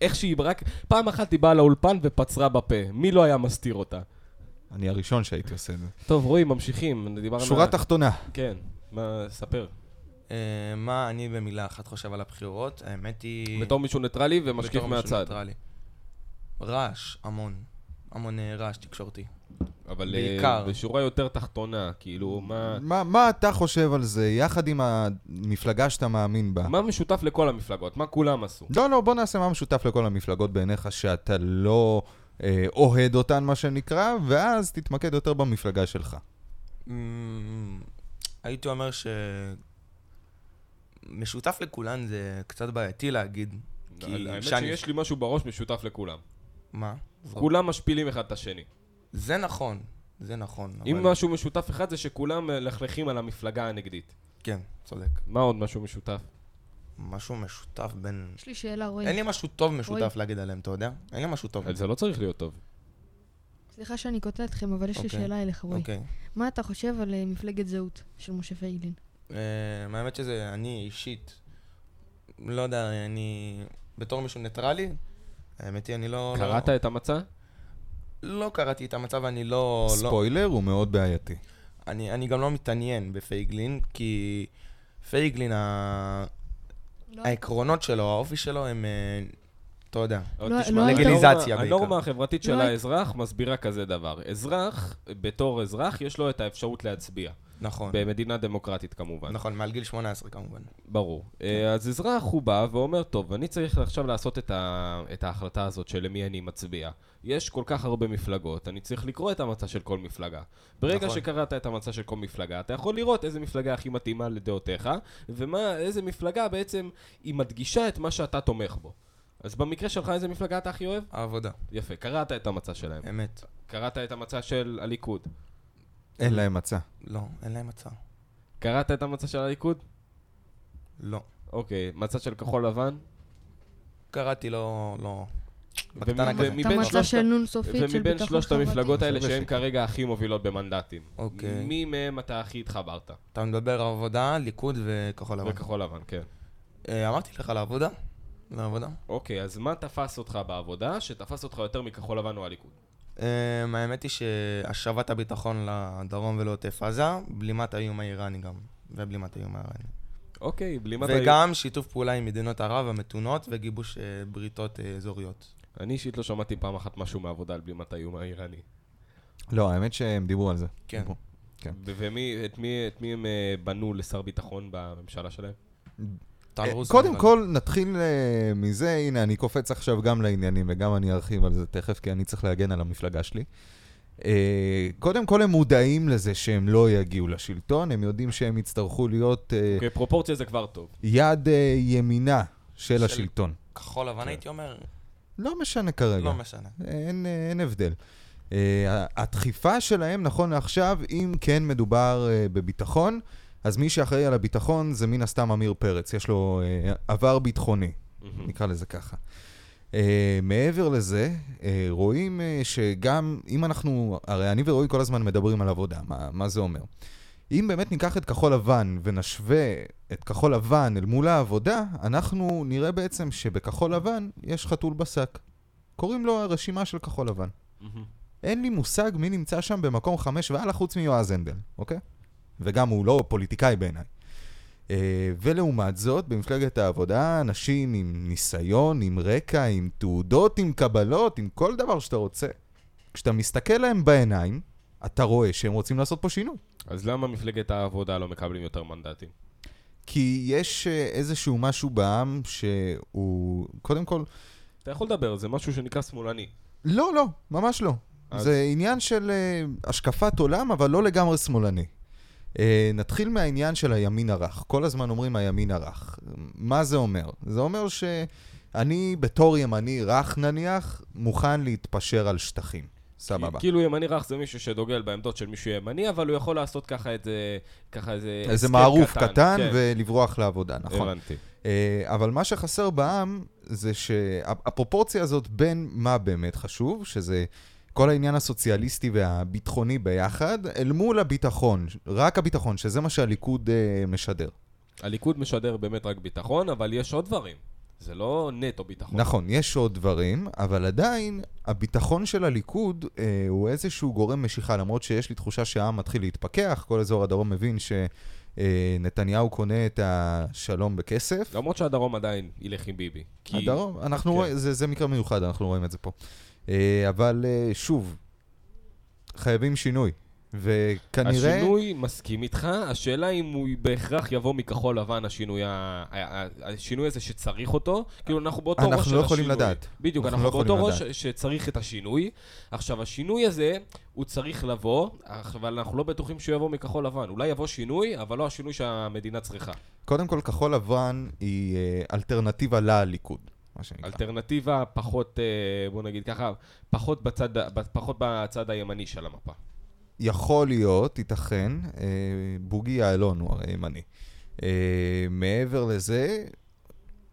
S3: איך שהיא רק... פעם אחת היא באה לאולפן ופצרה בפה. מי לא היה מסתיר אותה?
S1: אני הראשון שהייתי עושה את זה.
S3: טוב, רועי, ממשיכים. דיברנו...
S1: שורה
S3: על-
S1: תחתונה.
S3: כן, מה, ספר.
S2: אה, מה אני במילה אחת חושב על הבחירות? האמת היא...
S3: בתור מישהו ניטרלי
S2: בתור
S3: ומשקיף
S2: מישהו
S3: מהצד.
S2: ניטרלי. רעש, המון. המון אה, רעש תקשורתי.
S3: אבל אה,
S2: בעיקר.
S3: בשורה יותר תחתונה, כאילו, מה...
S1: מה, מה אתה חושב על זה, יחד עם המפלגה שאתה מאמין
S2: אה.
S1: בה?
S3: מה משותף לכל המפלגות? מה כולם עשו?
S1: לא, לא, בוא נעשה מה משותף לכל המפלגות בעיניך, שאתה לא אה, אוהד אותן, מה שנקרא, ואז תתמקד יותר במפלגה שלך.
S2: אמ, הייתי אומר ש... משותף לכולן זה קצת בעייתי להגיד. כי
S3: לא, האמת
S2: שאני-
S3: שיש לי משהו בראש משותף לכולם.
S2: מה?
S3: כולם משפילים אחד את השני.
S2: זה נכון, זה נכון.
S3: אם
S2: אבל-
S3: משהו משותף אחד זה שכולם מלכלכים על המפלגה הנגדית.
S2: כן, צודק.
S3: מה עוד משהו משותף?
S2: משהו משותף בין...
S4: יש לי שאלה, רועי.
S2: אין לי משהו טוב משותף
S4: רועי,
S2: להגיד עליהם, אתה יודע? אין לי משהו טוב.
S3: זה לא צריך להיות טוב.
S4: סליחה שאני קוטע אתכם, אבל יש לי
S2: אוקיי.
S4: שאלה אליך, רועי.
S2: אוקיי.
S4: מה אתה חושב על אה, מפלגת זהות של משה פייגלין?
S2: אמ, האמת שזה אני אישית, לא יודע, אני... בתור מישהו ניטרלי, האמת היא, אני לא...
S3: קראת
S2: לא,
S3: את המצע?
S2: לא קראתי את המצב, אני לא... לא-
S1: ספוילר הוא מאוד בעייתי.
S2: אני, אני גם לא מתעניין בפייגלין, כי פייגלין, ה...
S4: לא.
S2: העקרונות שלו, האופי שלו הם, אה, אתה יודע,
S3: אבל
S2: לא,
S3: תשמע,
S2: לא, לגליזציה
S3: הנורמה-
S2: בעיקר.
S3: הנורמה החברתית של
S4: לא-
S3: האזרח מסבירה כזה דבר. אזרח, בתור אזרח, יש לו את האפשרות להצביע.
S2: נכון,
S3: במדינה דמוקרטית כמובן.
S2: נכון, כן. מעל גיל 18 כמובן.
S3: ברור. אה, אז אזרח הוא בא ואומר, טוב, אני צריך עכשיו לעשות את, ה... את ההחלטה הזאת של למי אני מצביע. יש כל כך הרבה מפלגות, אני צריך לקרוא את המצע של כל מפלגה. ברגע
S2: נכון.
S3: שקראת את המצע של כל מפלגה, אתה יכול לראות איזה מפלגה הכי מתאימה לדעותיך, ואיזה מפלגה בעצם היא מדגישה את מה שאתה תומך בו. אז במקרה שלך איזה מפלגה אתה הכי אוהב?
S2: העבודה,
S3: יפה, קראת את המצע שלהם.
S2: אמת.
S3: קראת את המצע של הליכוד.
S1: אין להם מצע.
S2: לא, אין להם הצעה.
S3: קראת את המצע של הליכוד?
S2: לא.
S3: אוקיי, מצע של כחול לבן?
S2: קראתי לא, לא.
S3: ומ-
S2: בקטנה כזה.
S3: ומבין
S4: את המצע
S3: שלושת-
S4: של נון סופית של
S3: ומבין
S4: ביטחון
S3: שלושת
S4: חברתי.
S3: המפלגות האלה
S1: זה
S3: שהן
S1: בשקט.
S3: כרגע הכי מובילות במנדטים.
S2: אוקיי.
S3: מי מהם אתה הכי התחברת?
S2: אתה מדבר עבודה, ליכוד וכחול לבן.
S3: בכחול לבן, כן.
S2: אה, אמרתי לך לעבודה? לעבודה.
S3: אוקיי, אז מה תפס אותך בעבודה שתפס אותך יותר מכחול לבן או הליכוד?
S2: אמ, האמת היא שהשבת הביטחון לדרום ולעוטף עזה, בלימת האיום האיראני גם, ובלימת האיום האיראני.
S3: אוקיי, בלימת היו-
S2: וגם שיתוף פעולה עם מדינות ערב המתונות וגיבוש אה, בריתות אה, אזוריות.
S3: אני אישית לא שמעתי פעם אחת משהו מעבודה על בלימת האיום האיראני.
S1: לא, האמת שהם דיברו על זה.
S2: כן.
S1: דיברו. כן.
S3: ו- ומי, את מי, את מי הם אה, בנו לשר ביטחון בממשלה שלהם?
S2: טל
S1: אה,
S2: רוסו,
S1: קודם
S2: נראה
S1: כל, נתחיל אה, מזה, הנה, אני קופץ עכשיו גם לעניינים וגם אני ארחיב על זה תכף, כי אני צריך להגן על המפלגה שלי. אה, קודם כל, הם מודעים לזה שהם לא יגיעו לשלטון, הם יודעים שהם יצטרכו להיות אה,
S3: אוקיי, פרופורציה זה כבר טוב.
S1: יד אה, ימינה של השלטון.
S2: לי. כחול
S1: כן.
S2: לבן הייתי אומר,
S1: לא משנה כרגע.
S2: לא משנה.
S1: אין, אה, אין הבדל. Uh, הדחיפה שלהם, נכון לעכשיו, אם כן מדובר uh, בביטחון, אז מי שאחראי על הביטחון זה מן הסתם עמיר פרץ, יש לו uh, עבר ביטחוני, נקרא לזה ככה. Uh, מעבר לזה, uh, רואים uh, שגם אם אנחנו, הרי אני ורועי כל הזמן מדברים על עבודה, מה, מה זה אומר? אם באמת ניקח את כחול לבן ונשווה את כחול לבן אל מול העבודה, אנחנו נראה בעצם שבכחול לבן יש חתול בשק. קוראים לו הרשימה של כחול לבן. אין לי מושג מי נמצא שם במקום חמש והלאה חוץ מיועז הנדל, אוקיי? וגם הוא לא פוליטיקאי בעיניי. אה, ולעומת זאת, במפלגת העבודה, אנשים עם ניסיון, עם רקע, עם תעודות, עם קבלות, עם כל דבר שאתה רוצה, כשאתה מסתכל להם בעיניים, אתה רואה שהם רוצים לעשות פה שינוי.
S3: אז למה מפלגת העבודה לא מקבלים יותר מנדטים?
S1: כי יש אה, איזשהו משהו בעם שהוא... קודם כל...
S3: אתה יכול לדבר, זה משהו שנקרא שמאלני.
S1: לא, לא, ממש לא.
S3: אז-
S1: זה עניין של אה, השקפת עולם, אבל לא לגמרי שמאלני. אה, נתחיל מהעניין של הימין הרך. כל הזמן אומרים הימין הרך. מה זה אומר? זה אומר שאני בתור ימני רך נניח, מוכן להתפשר על שטחים. סבבה.
S3: כאילו ימני רך זה מישהו שדוגל בעמדות של מישהו ימני, אבל הוא יכול לעשות ככה איזה... ככה איזה...
S1: איזה
S3: הסכם
S1: מערוף קטן
S3: כן.
S1: ולברוח לעבודה, נכון.
S3: הבנתי.
S1: אה, אבל מה שחסר בעם זה שהפרופורציה הזאת בין מה באמת חשוב, שזה כל העניין הסוציאליסטי והביטחוני ביחד, אל מול הביטחון, רק הביטחון, שזה מה שהליכוד אה, משדר.
S3: הליכוד משדר באמת רק ביטחון, אבל יש עוד דברים. זה לא נטו ביטחון.
S1: נכון, יש עוד דברים, אבל עדיין הביטחון של הליכוד אה, הוא איזשהו גורם משיכה, למרות שיש לי תחושה שהעם מתחיל להתפכח, כל אזור הדרום מבין ש... אה, נתניהו קונה את השלום בכסף.
S3: למרות שהדרום עדיין ילך עם ביבי. כי
S1: הדרום, אנחנו
S3: כן.
S1: רואים, זה, זה מקרה מיוחד, אנחנו רואים את זה פה. אה, אבל אה, שוב, חייבים שינוי. וכנראה...
S3: השינוי מסכים איתך, השאלה אם הוא בהכרח יבוא מכחול לבן, השינוי, ה... ה- ה- השינוי הזה שצריך אותו, כאילו אנחנו באותו
S1: אנחנו
S3: ראש של
S1: לא
S3: השינוי.
S1: יכולים לדעת.
S3: בדיוק,
S1: אנחנו
S3: אנחנו,
S1: לא יכולים
S3: באותו ראש
S1: לדעת.
S3: שצריך את השינוי. עכשיו, השינוי הזה, הוא צריך לבוא, אך- אבל אנחנו לא בטוחים שהוא יבוא מכחול לבן. אולי יבוא שינוי, אבל לא השינוי שהמדינה צריכה.
S1: קודם כל, כחול לבן היא אה, אלטרנטיבה לליכוד, מה שנקרא.
S3: אלטרנטיבה פחות, אה, בוא נגיד ככה, פחות בצד, ה- פחות בצד הימני של המפה.
S1: יכול להיות, ייתכן, אה, בוגי יעלון הוא הרי ימני. אה, מעבר לזה,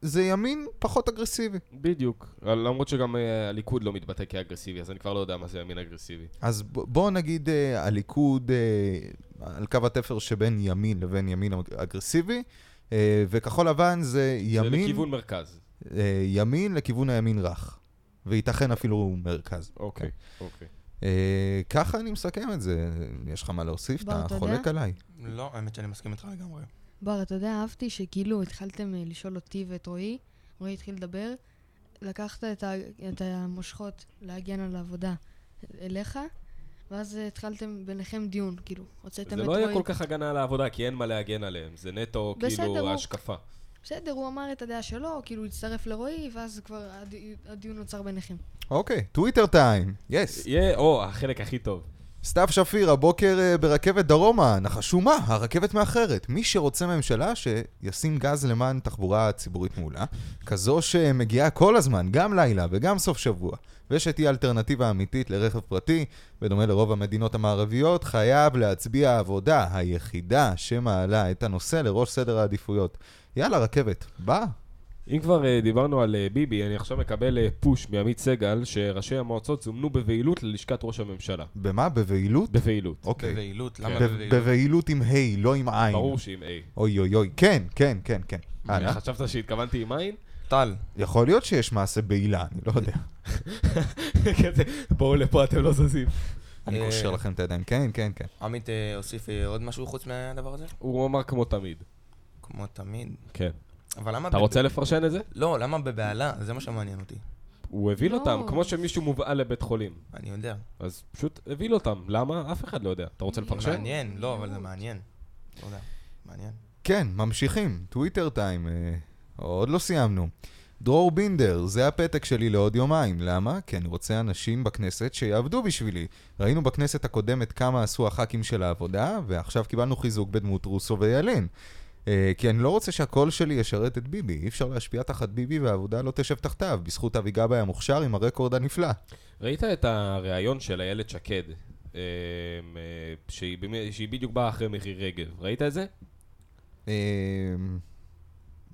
S1: זה ימין פחות אגרסיבי.
S3: בדיוק. למרות שגם אה, הליכוד לא מתבטא כאגרסיבי, אז אני כבר לא יודע מה זה ימין אגרסיבי.
S1: אז ב- בואו נגיד אה, הליכוד אה, על קו התפר שבין ימין לבין ימין אגרסיבי, אה, וכחול לבן זה ימין...
S3: זה לכיוון מרכז.
S1: אה, ימין לכיוון הימין רך, וייתכן אפילו מרכז.
S3: אוקיי,
S1: כן.
S3: אוקיי.
S1: אה, ככה אני מסכם את זה, יש לך מה להוסיף?
S4: בר,
S1: אתה
S4: אתה יודע?
S1: חולק עליי.
S2: לא, האמת שאני מסכים איתך לגמרי.
S4: בר, אתה יודע, אהבתי שכאילו התחלתם אה, לשאול אותי ואת רועי, רועי התחיל לדבר, לקחת את, ה... את המושכות להגן על העבודה אליך, ואז אה, התחלתם ביניכם דיון, כאילו, הוצאתם
S3: זה
S4: את רועי.
S3: לא יהיה כל כך הגנה על העבודה, כי אין מה להגן עליהם. זה נטו,
S4: בסדר, אוקיי.
S3: כאילו,
S4: הוא-
S3: השקפה.
S4: בסדר, הוא אמר את הדעה שלו, כאילו, הוא הצטרף לרועי, ואז כבר הדי... הדיון נוצר ביניכם.
S1: אוקיי, טוויטר טיים, יס.
S3: יהיה, או, החלק הכי טוב.
S1: סתיו שפיר, הבוקר אה, ברכבת דרומה, נחשו מה, הרכבת מאחרת. מי שרוצה ממשלה, שישים גז למען תחבורה ציבורית מעולה, כזו שמגיעה כל הזמן, גם לילה וגם סוף שבוע, ושתהיה אלטרנטיבה אמיתית לרכב פרטי, בדומה לרוב המדינות המערביות, חייב להצביע עבודה, היחידה שמעלה את הנושא לראש סדר העדיפויות. יאללה, רכבת, באה.
S3: אם כבר אה, דיברנו על אה, ביבי, אני עכשיו מקבל אה, פוש מעמית סגל, שראשי המועצות זומנו בבהילות ללשכת ראש הממשלה.
S1: במה? בבהילות?
S3: בבהילות.
S1: אוקיי.
S2: בבהילות, למה
S1: ב-
S2: בבהילות?
S1: בבהילות עם ה', לא עם עין.
S3: ברור שעם A.
S1: אוי אוי אוי, כן, כן, כן, כן. הלאה.
S3: חשבת שהתכוונתי עם עין?
S2: טל.
S1: יכול להיות שיש מעשה בעילה, אני לא יודע.
S3: כזה, בואו לפה, אתם לא זזים.
S1: אני
S2: אה,
S1: קושר לכם את הידיים, כן, כן, כן.
S2: עמית אה, הוסיף אה, עוד משהו חוץ מהדבר הזה?
S3: הוא אמר כמו תמיד.
S2: כמו תמיד.
S3: כן.
S2: אבל למה...
S3: אתה
S2: בב-
S3: רוצה לפרשן את זה?
S2: לא, למה בבהלה? זה מה שמעניין אותי.
S3: הוא הבין
S4: לא.
S3: אותם, כמו שמישהו מובהל לבית חולים.
S2: אני יודע.
S3: אז פשוט הבין אותם. למה? אף אחד לא יודע. אתה רוצה לפרשן?
S2: מעניין, לא, אבל זה מעניין. לא יודע, מעניין.
S1: כן, ממשיכים, טוויטר טיים, אה, עוד לא סיימנו. דרור בינדר, זה הפתק שלי לעוד יומיים. למה? כי אני רוצה אנשים בכנסת שיעבדו בשבילי. ראינו בכנסת הקודמת כמה עשו הח"כים של העבודה, ועכשיו קיבלנו חיזוק בדמות רוסו וילין. אה, כי אני לא רוצה שהקול שלי ישרת את ביבי. אי אפשר להשפיע תחת ביבי והעבודה לא תשב תחתיו, בזכות אבי גבאי המוכשר עם הרקורד הנפלא.
S3: ראית את הריאיון של איילת שקד, אמ, אה, שהיא במי- שהיא בדיוק באה אחרי מירי רגב. ראית את זה?
S1: אה,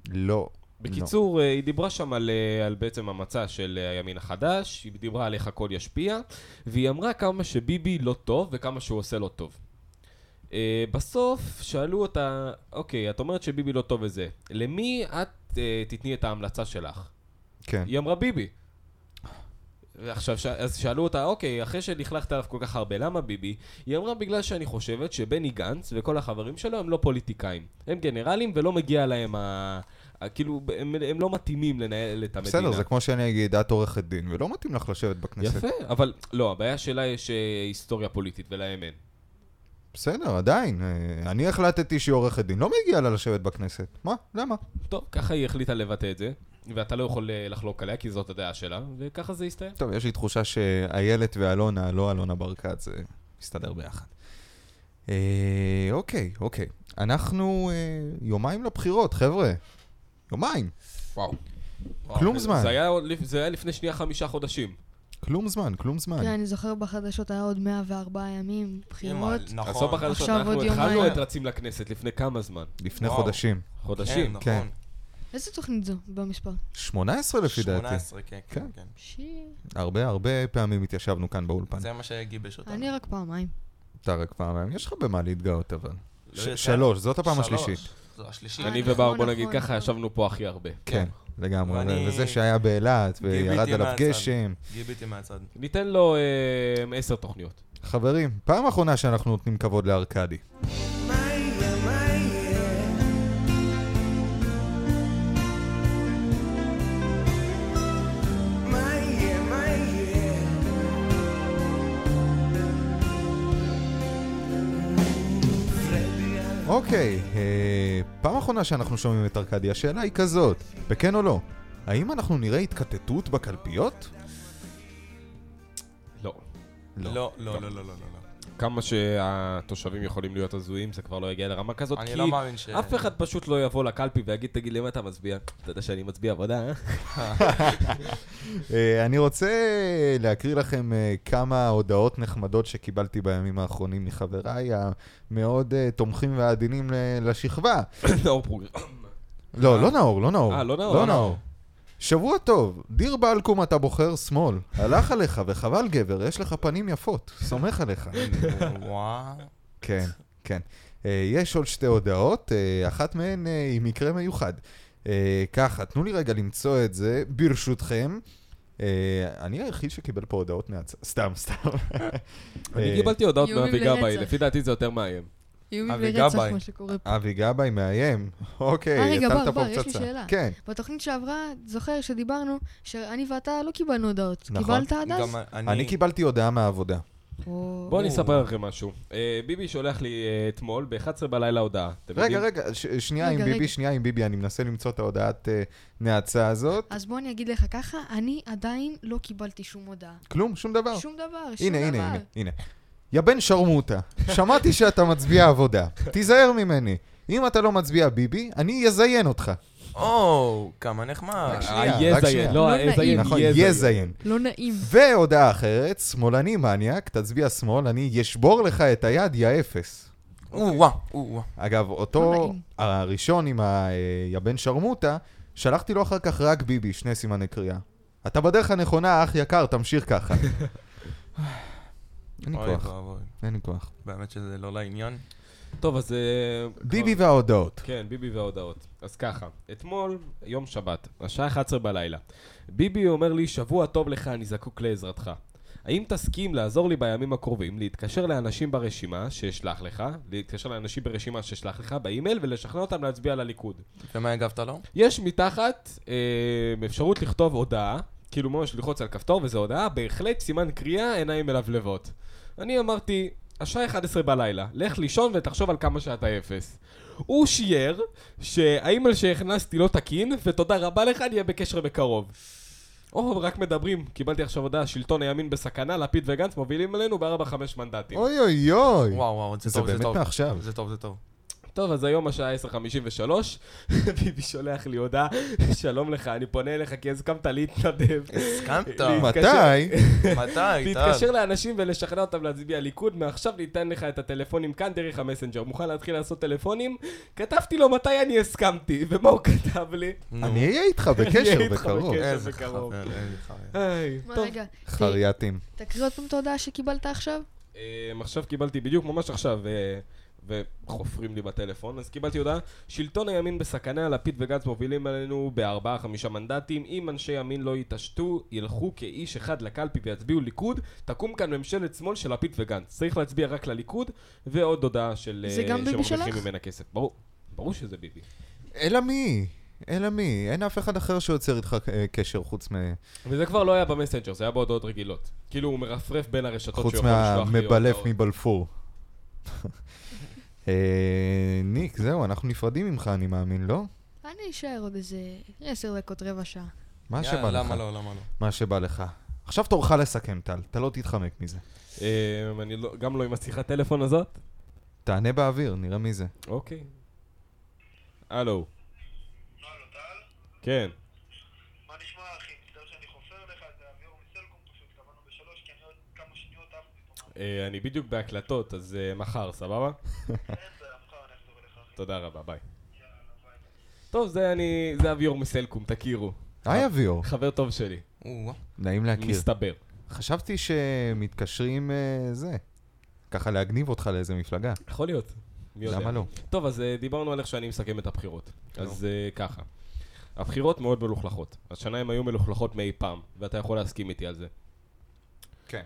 S1: לא.
S3: בקיצור, אה, היא דיברה שם על, אה, על בעצם המצע של אה, הימין החדש, היא דיברה על איך הכל ישפיע, והיא אמרה כמה שביבי לא טוב וכמה שהוא עושה לא טוב. אה, בסוף שאלו אותה, אוקיי, את אומרת שביבי לא טוב וזה, למי את אה, תתני את ההמלצה שלך?
S1: כן.
S3: היא אמרה ביבי. ועכשיו, ש... אז שאלו אותה, אוקיי, אחרי שלכלכת עליו כל כך הרבה, למה ביבי? היא אמרה, בגלל שאני חושבת שבני גנץ וכל החברים שלו הם לא פוליטיקאים. הם גנרלים ולא מגיע להם ה... ה- כאילו, הם, הם לא מתאימים לנהל את המדינה.
S1: בסדר, זה כמו שאני אגיד, את עורכת דין, ולא מתאים לך לשבת בכנסת.
S3: יפה, אבל לא, הבעיה שלה יש אה, היסטוריה פוליטית ולהם אין.
S1: בסדר, עדיין. אה, אני החלטתי שהיא עורכת דין, לא מגיע לה לשבת בכנסת. מה? למה?
S3: טוב, ככה היא החליטה לבטא את זה, ואתה לא יכול אה, לחלוק עליה, כי זאת הדעה שלה, וככה זה הסתיים.
S1: טוב, יש לי תחושה שאיילת ואלונה, לא אלונה ברקת, זה מסתדר ביחד. אה, אוקיי, אוקיי. אנחנו אה, יומיים לבחירות, חבר'ה. יומיים.
S3: וואו.
S1: כלום זמן.
S3: זה היה, עוד לפ- זה היה לפני שנייה חמישה חודשים.
S1: כלום זמן, כלום זמן.
S4: כן, אני זוכר בחדשות היה עוד 104 ימים, בחירות.
S2: נכון.
S3: עשו בחדשות,
S4: עכשיו
S3: אנחנו
S4: עוד
S3: התחלנו
S4: יומיים.
S3: את רצים לכנסת לפני כמה זמן?
S1: לפני
S2: וואו.
S1: חודשים.
S3: חודשים.
S2: כן,
S1: כן.
S2: נכון.
S4: איזה תוכנית זו במספר?
S1: 18 לפי דעתי.
S2: 18, כן, כן,
S1: כן.
S2: כן.
S4: שי...
S1: הרבה הרבה פעמים התיישבנו כאן באולפן.
S2: זה מה שגיבש אותנו.
S4: אני רק פעמיים.
S1: אתה רק פעמיים, יש לך במה להתגאות אבל.
S2: לא
S1: ש-
S2: יצא.
S1: שלוש, זאת הפעם
S2: שלוש.
S1: השלישית.
S2: זו השלישית.
S3: אני
S4: נכון,
S3: ובר, בוא נגיד
S4: נכון,
S3: ככה,
S4: נכון.
S3: ישבנו פה הכי הרבה.
S1: כן, לגמרי.
S2: ואני-
S1: ו- וזה שהיה באילת, וירד
S2: גיביתי
S1: עליו
S2: מהצד.
S1: גשם.
S2: גיביתי מהצד.
S3: ניתן לו אה, עשר תוכניות.
S1: חברים, פעם אחרונה שאנחנו נותנים כבוד לארקדי. אוקיי, אה, פעם אחרונה שאנחנו שומעים את ארקדי, השאלה היא כזאת, בכן או לא, האם אנחנו נראה התקטטות בקלפיות?
S3: לא.
S2: לא, לא, לא, לא, לא, לא. לא.
S3: כמה שהתושבים יכולים להיות הזויים, זה כבר לא יגיע לרמה כזאת,
S2: אני
S3: כי
S2: לא מאמין ש-
S3: אף אחד פשוט לא יבוא לקלפי ויגיד, תגיד, למה אתה מצביע? אתה יודע שאני מצביע עבודה, [coughs] אה?
S1: אה, אני רוצה להקריא לכם אה, כמה הודעות נחמדות שקיבלתי בימים האחרונים מחבריי המאוד אה, תומכים ועדינים ל- לשכבה.
S3: נאור פרוגר.
S1: לא, לא נאור, לא נאור.
S3: אה, לא נאור,
S1: לא
S3: לא
S1: נאור.
S3: נאור.
S1: שבוע טוב, דיר בלקום אתה בוחר שמאל. הלך עליך, וחבל גבר, יש לך פנים יפות, סומך עליך.
S2: לא. וואו.
S1: כן, כן. אה, יש עוד שתי הודעות, אה, אחת מהן אה, היא מקרה מיוחד. אה, ככה, תנו לי רגע למצוא את זה, ברשותכם. אה, אני היחיד שקיבל פה הודעות מהצד, סתם, סתם.
S3: [coughs] אני
S1: אה,
S3: קיבלתי הודעות
S4: איומים
S3: מאבי גבאי,
S4: לרצח.
S3: לפי דעתי זה יותר מאיים.
S4: איומים
S2: אבי
S4: לרצח,
S2: גבאי.
S4: מה שקורה פה.
S1: אבי גבאי מאיים,
S4: אה,
S1: אוקיי,
S4: רגע,
S1: הטלת
S4: בר,
S1: פה
S4: בר, יש לי
S1: פצצה.
S4: שאלה.
S1: כן,
S4: בתוכנית שעברה, זוכר שדיברנו, שאני ואתה לא קיבלנו הודעות.
S1: נכון.
S4: קיבלת עד אז?
S2: גם
S1: אני קיבלתי הודעה מהעבודה.
S4: או-
S3: בואו אני אספר לכם משהו. אה, ביבי שולח לי אה, אתמול ב-11 בלילה הודעה. אתם
S1: רגע,
S3: יודעים?
S1: רגע, ש- שנייה
S4: רגע,
S1: עם ביבי,
S4: רגע.
S1: שנייה עם ביבי, אני מנסה למצוא את ההודעת אה, נאצה הזאת.
S4: אז בוא אני אגיד לך ככה, אני עדיין לא קיבלתי שום הודעה.
S1: כלום, שום דבר.
S4: שום דבר, שום
S1: הנה,
S4: דבר.
S1: הנה, הנה, הנה. יא בן שרמוטה, שמעתי שאתה מצביע עבודה. תיזהר ממני. אם אתה לא מצביע ביבי, אני אזיין אותך.
S2: או, כמה נחמד.
S1: שנייה,
S3: אה,
S1: רק שנייה.
S3: יזיין, לא,
S4: לא
S3: יזיין,
S4: נעים.
S2: כן,
S1: נכון,
S3: יזיין.
S1: יזיין.
S4: לא נעים.
S1: והודעה אחרת, שמאלני מניאק, תצביע שמאל, אני אשבור לך את היד, יא אפס.
S2: או, וואו, או, וואו.
S1: אגב,
S4: לא
S1: אותו
S4: נעים.
S1: הראשון עם היבן שרמוטה, שלחתי לו אחר כך רק ביבי, שני סימני קריאה. אתה בדרך הנכונה, אח יקר, תמשיך
S2: [laughs]
S1: ככה. אין לי
S2: אוי לא.
S1: כוח,
S2: ואבוי.
S1: אין לי כוח.
S2: באמת שזה לא לעניין.
S3: טוב, אז... אה,
S1: ביבי וההודעות.
S3: כן, ביבי וההודעות. אז ככה, אתמול, יום שבת, השעה 11 בלילה. ביבי אומר לי, שבוע טוב לך, אני זקוק לעזרתך. האם תסכים לעזור לי בימים הקרובים להתקשר לאנשים ברשימה שאשלח לך, להתקשר לאנשים ברשימה שאשלח לך באימייל ולשכנע אותם להצביע לליכוד?
S2: ומה הגבת לו?
S3: יש מתחת אה, אפשרות לכתוב הודעה, כאילו ממש ללחוץ על כפתור, וזו הודעה, בהחלט סימן קריאה, עיניים מלבלבות. אני אמרתי, השעה 11 בלילה, לך לישון ותחשוב על כמה שאתה אפס. הוא שייר שהאימייל שהכנסתי לא תקין, ותודה רבה לך, נהיה בקשר בקרוב. או, רק מדברים, קיבלתי עכשיו הודעה, שלטון הימין בסכנה, לפיד וגנץ מובילים עלינו בארבע חמש מנדטים.
S1: אוי אוי אוי.
S2: וואו, וואו, זה
S1: אוקיי. זה
S2: טוב, זה
S1: באמת
S2: טוב.
S1: מעכשיו.
S2: זה טוב, זה
S3: [laughs]
S2: טוב.
S3: טוב, אז היום השעה 10:53, [laughs] ביבי שולח לי הודעה, [laughs] שלום לך, אני פונה אליך כי הסכמת להתנדב.
S2: הסכמת.
S3: להתקשר-
S1: מתי?
S2: מתי? טל?
S3: להתקשר לאנשים ולשכנע אותם להצביע ליכוד, מעכשיו ניתן לך את הטלפונים כאן דרך המסנג'ר. מוכן להתחיל לעשות טלפונים? כתבתי לו מתי אני הסכמתי, ומה הוא כתב לי?
S2: נו.
S1: אני אהיה איתך
S3: אני
S1: בקשר
S3: אהיה איתך
S1: בקרוב. אה,
S3: בקשר.
S2: איזה
S3: בקרוב.
S2: חבר, איזה חבר.
S3: היי,
S4: מה,
S3: טוב.
S4: רגע, ת-
S1: חרייתים.
S4: תקריא עוד פעם את ההודעה שקיבלת עכשיו?
S3: אמ, עכשיו קיבלתי, בדיוק ממש עכשיו, אה, וחופרים לי בטלפון, אז קיבלתי הודעה, שלטון הימין בסכנה, לפיד וגנץ מובילים עלינו בארבעה חמישה מנדטים, אם אנשי ימין לא יתעשתו, ילכו כאיש אחד לקלפי ויצביעו ליכוד, תקום כאן ממשלת שמאל של לפיד וגנץ. צריך להצביע רק לליכוד, ועוד הודעה של...
S4: זה
S3: אה,
S4: גם ביבי
S3: שמרוויחים
S4: שלך?
S3: ממנה כסף. ברור, ברור שזה ביבי.
S1: אלא מי? אלא מי? אין אף אחד אחר שיוצר איתך אה, קשר חוץ מ-
S3: וזה כבר לא היה במסנג'ר, זה היה בהודעות רגילות. כאילו הוא מרפרף בין הרשתות
S1: חוץ
S3: שהוא יכול לשלוח לי
S1: מהמבלף
S3: הודעות.
S1: מבלפור. [laughs] אה, ניק, זהו, אנחנו נפרדים ממך, אני מאמין, לא?
S4: אני אשאר עוד איזה עשר דקות, רבע שעה.
S1: מה
S2: יאללה,
S1: שבא לך.
S2: למה לא, למה לא?
S1: מה שבא לך. עכשיו תורך לסכם, טל, אתה לא תתחמק מזה.
S3: אמ, אני לא- גם לא עם השיחת טלפון הזאת.
S1: תענה באוויר, נראה מי זה.
S3: אוקיי. הלו. כן.
S11: מה נשמע אחי? מצטער שאני חופר לך, זה אביאור מסלקום פשוט, קבענו בשלוש כי אני עוד כמה שניות עף מפה.
S3: אה, אני בדיוק בהקלטות, אז אה, מחר, סבבה?
S11: [laughs] אין בעיה, מחר אני אחזור אליך.
S3: תודה רבה, ביי. טוב, זה אני... זה אביור מסלקום, תכירו.
S1: היי אביאור,
S3: חבר טוב שלי.
S2: או,
S1: נעים להכיר.
S3: מסתבר.
S1: חשבתי שמתקשרים אה, זה, ככה להגניב אותך לאיזה מפלגה.
S3: יכול להיות. מי יודע.
S1: למה לא?
S3: טוב, אז אה, דיברנו על איך שאני מסכם את הבחירות. אז אה, ככה. הבחירות מאוד מלוכלכות. השנה הן היו מלוכלכות מאי פעם, ואתה יכול להסכים איתי על זה.
S1: כן.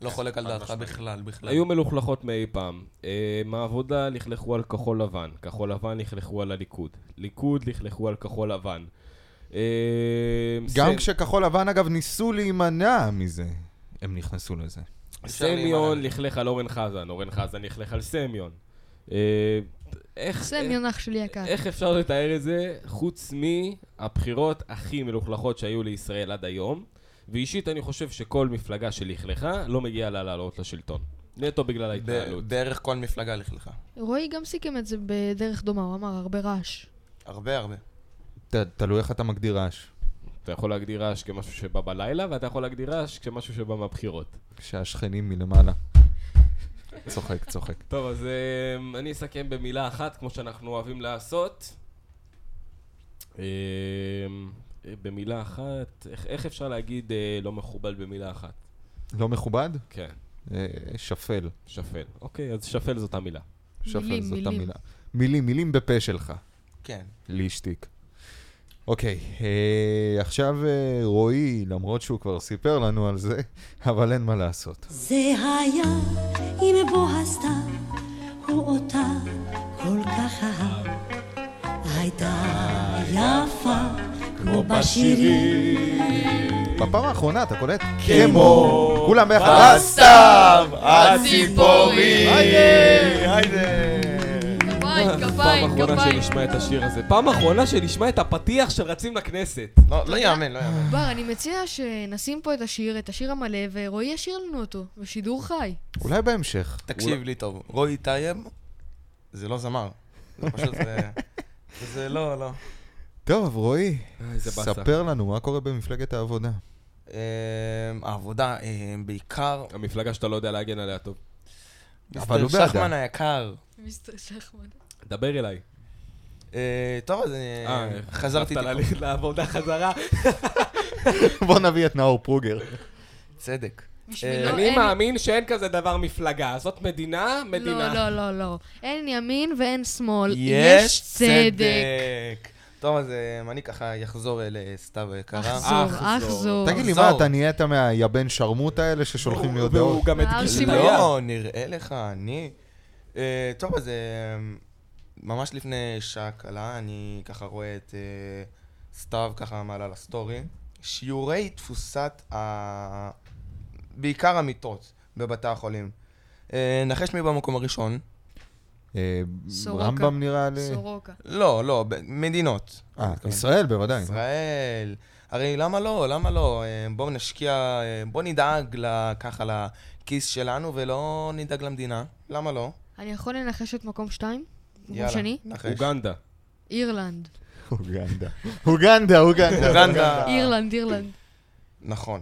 S2: לא חולק על דעתך בכלל, בכלל.
S3: היו מלוכלכות מאי פעם. אה, מהעבודה לכלכו על כחול לבן, כחול לבן לכלכו על הליכוד, ליכוד לכלכו על כחול לבן. אה,
S1: גם
S3: סן-
S1: כשכחול לבן, אגב, ניסו להימנע מזה, הם נכנסו לזה.
S2: אפשר להימנע.
S3: סמיון לכלך על אורן חזן, אורן חזן לכלך על סמיון. אה, איך...
S4: זה
S3: איך-
S4: מיונח שלי יקר.
S3: איך אפשר לתאר את זה חוץ מהבחירות הכי מלוכלכות שהיו לישראל עד היום? ואישית אני חושב שכל מפלגה שלכלכה לא מגיעה לה לעלות לשלטון. נטו בגלל ההתנהלות.
S2: בערך כל מפלגה לכלכה.
S4: רועי גם סיכם את זה בדרך דומה, הוא אמר הרבה רעש.
S2: הרבה הרבה.
S1: ת- תלוי איך אתה מגדיר רעש.
S3: אתה יכול להגדיר רעש כמשהו שבא בלילה, ואתה יכול להגדיר רעש כמשהו שבא מהבחירות.
S1: כשהשכנים מלמעלה. צוחק, צוחק.
S3: טוב, אז אמ, אני אסכם במילה אחת, כמו שאנחנו אוהבים לעשות. אמ, אה, במילה אחת, איך- איך אפשר להגיד אה, לא מכובד במילה אחת?
S1: לא מכובד?
S3: כן.
S1: אה, שפל.
S3: שפל. אוקיי, אז שפל זאת המילה.
S1: שפל
S3: מילים,
S1: זאת
S3: מילים.
S1: המילה. מילים, מילים בפה שלך.
S2: כן.
S1: להשתיק. אוקיי, אה, עכשיו אה, רועי, למרות שהוא כבר סיפר לנו על זה, [laughs] אבל אין מה לעשות.
S12: זה היה עם בוא הסתיו, הוא אותה כל כך אהב. הייתה יפה כמו בשירים.
S1: בפעם האחרונה, אתה קולט?
S12: כמו
S1: כולם ביחד.
S12: בסתיו,
S3: הציפורים.
S1: היידה, היידה.
S4: כפיים,
S3: פעם
S4: כפיים,
S3: אחרונה
S4: כפיים.
S3: שנשמע את השיר הזה. פעם אחרונה שנשמע את הפתיח של רצים לכנסת.
S2: לא יאמן, לא יאמן.
S4: בר, אני מציע שנשים פה את השיר, את השיר המלא, ורועי ישיר לנו אותו, בשידור חי.
S1: אולי בהמשך.
S3: לא-
S2: תקשיב לי טוב, רועי טייב זה לא זמר. זה פשוט... זה- זה לא, לא.
S1: טוב, רועי,
S2: איזה באסה.
S1: ספר לנו מה קורה במפלגת העבודה.
S2: אמ, העבודה אמ, בעיקר...
S3: המפלגה שאתה לא יודע להגן עליה טוב.
S1: אבל הוא
S2: מיסטר
S1: בעדה.
S2: שחמן היקר.
S4: מיסטר שחמן.
S3: דבר אליי.
S2: אה, טוב, אז אני חזרתי
S3: הלכת
S2: טיפה.
S3: לה- לעבודה [laughs]
S4: [laughs]
S3: חזרה.
S1: [laughs]
S4: לא,
S1: בוא נביא את נאור פרוגר.
S2: צדק.
S4: בשבילו
S3: אה, אני
S4: אין-
S3: מאמין שאין כזה דבר מפלגה. זאת מדינה, מדינה.
S4: לא, לא, לא, לא. אין ימין ואין שמאל,
S2: יש
S4: יש צדק.
S2: צדק. טוב, אז אמ, אני ככה אחזור אה, לסתיו יקרה.
S4: אחזור, אחזור.
S1: תגיד לי, מה, אתה נהיית מהיבן שרמוט האלה ששולחים לי הודעות?
S3: והוא
S4: אה,
S3: גם הדגיש
S4: אוקיי.
S3: את היד.
S2: לא, נראה לך, אני... אה, טוב, אז אה, ממש לפני שעה קלה, אני ככה רואה את אה, סתיו ככה מעלה לסטורי. שיעורי תפוסת ה... בעיקר המיטות בבתי החולים. אה, נחש מי במקום הראשון?
S1: סורוקה. אה, רמב"ם נראה לי.
S4: סורוקה.
S2: לא, לא, ב- מדינות.
S1: אה, ישראל בוודאי.
S2: ישראל. הרי למה לא? למה לא? אה, בואו נשקיע, אה, בואו נדאג ל- ככה לכיס שלנו ולא נדאג למדינה. למה לא?
S4: אני יכול לנחש את מקום שתיים? מקום
S2: יאללה, אה.
S4: שני?
S2: נחש.
S3: אוגנדה.
S4: אירלנד.
S1: אוגנדה. [laughs] אוגנדה, אוגנדה.
S2: אוגנדה.
S4: אירלנד, אירלנד.
S2: נכון.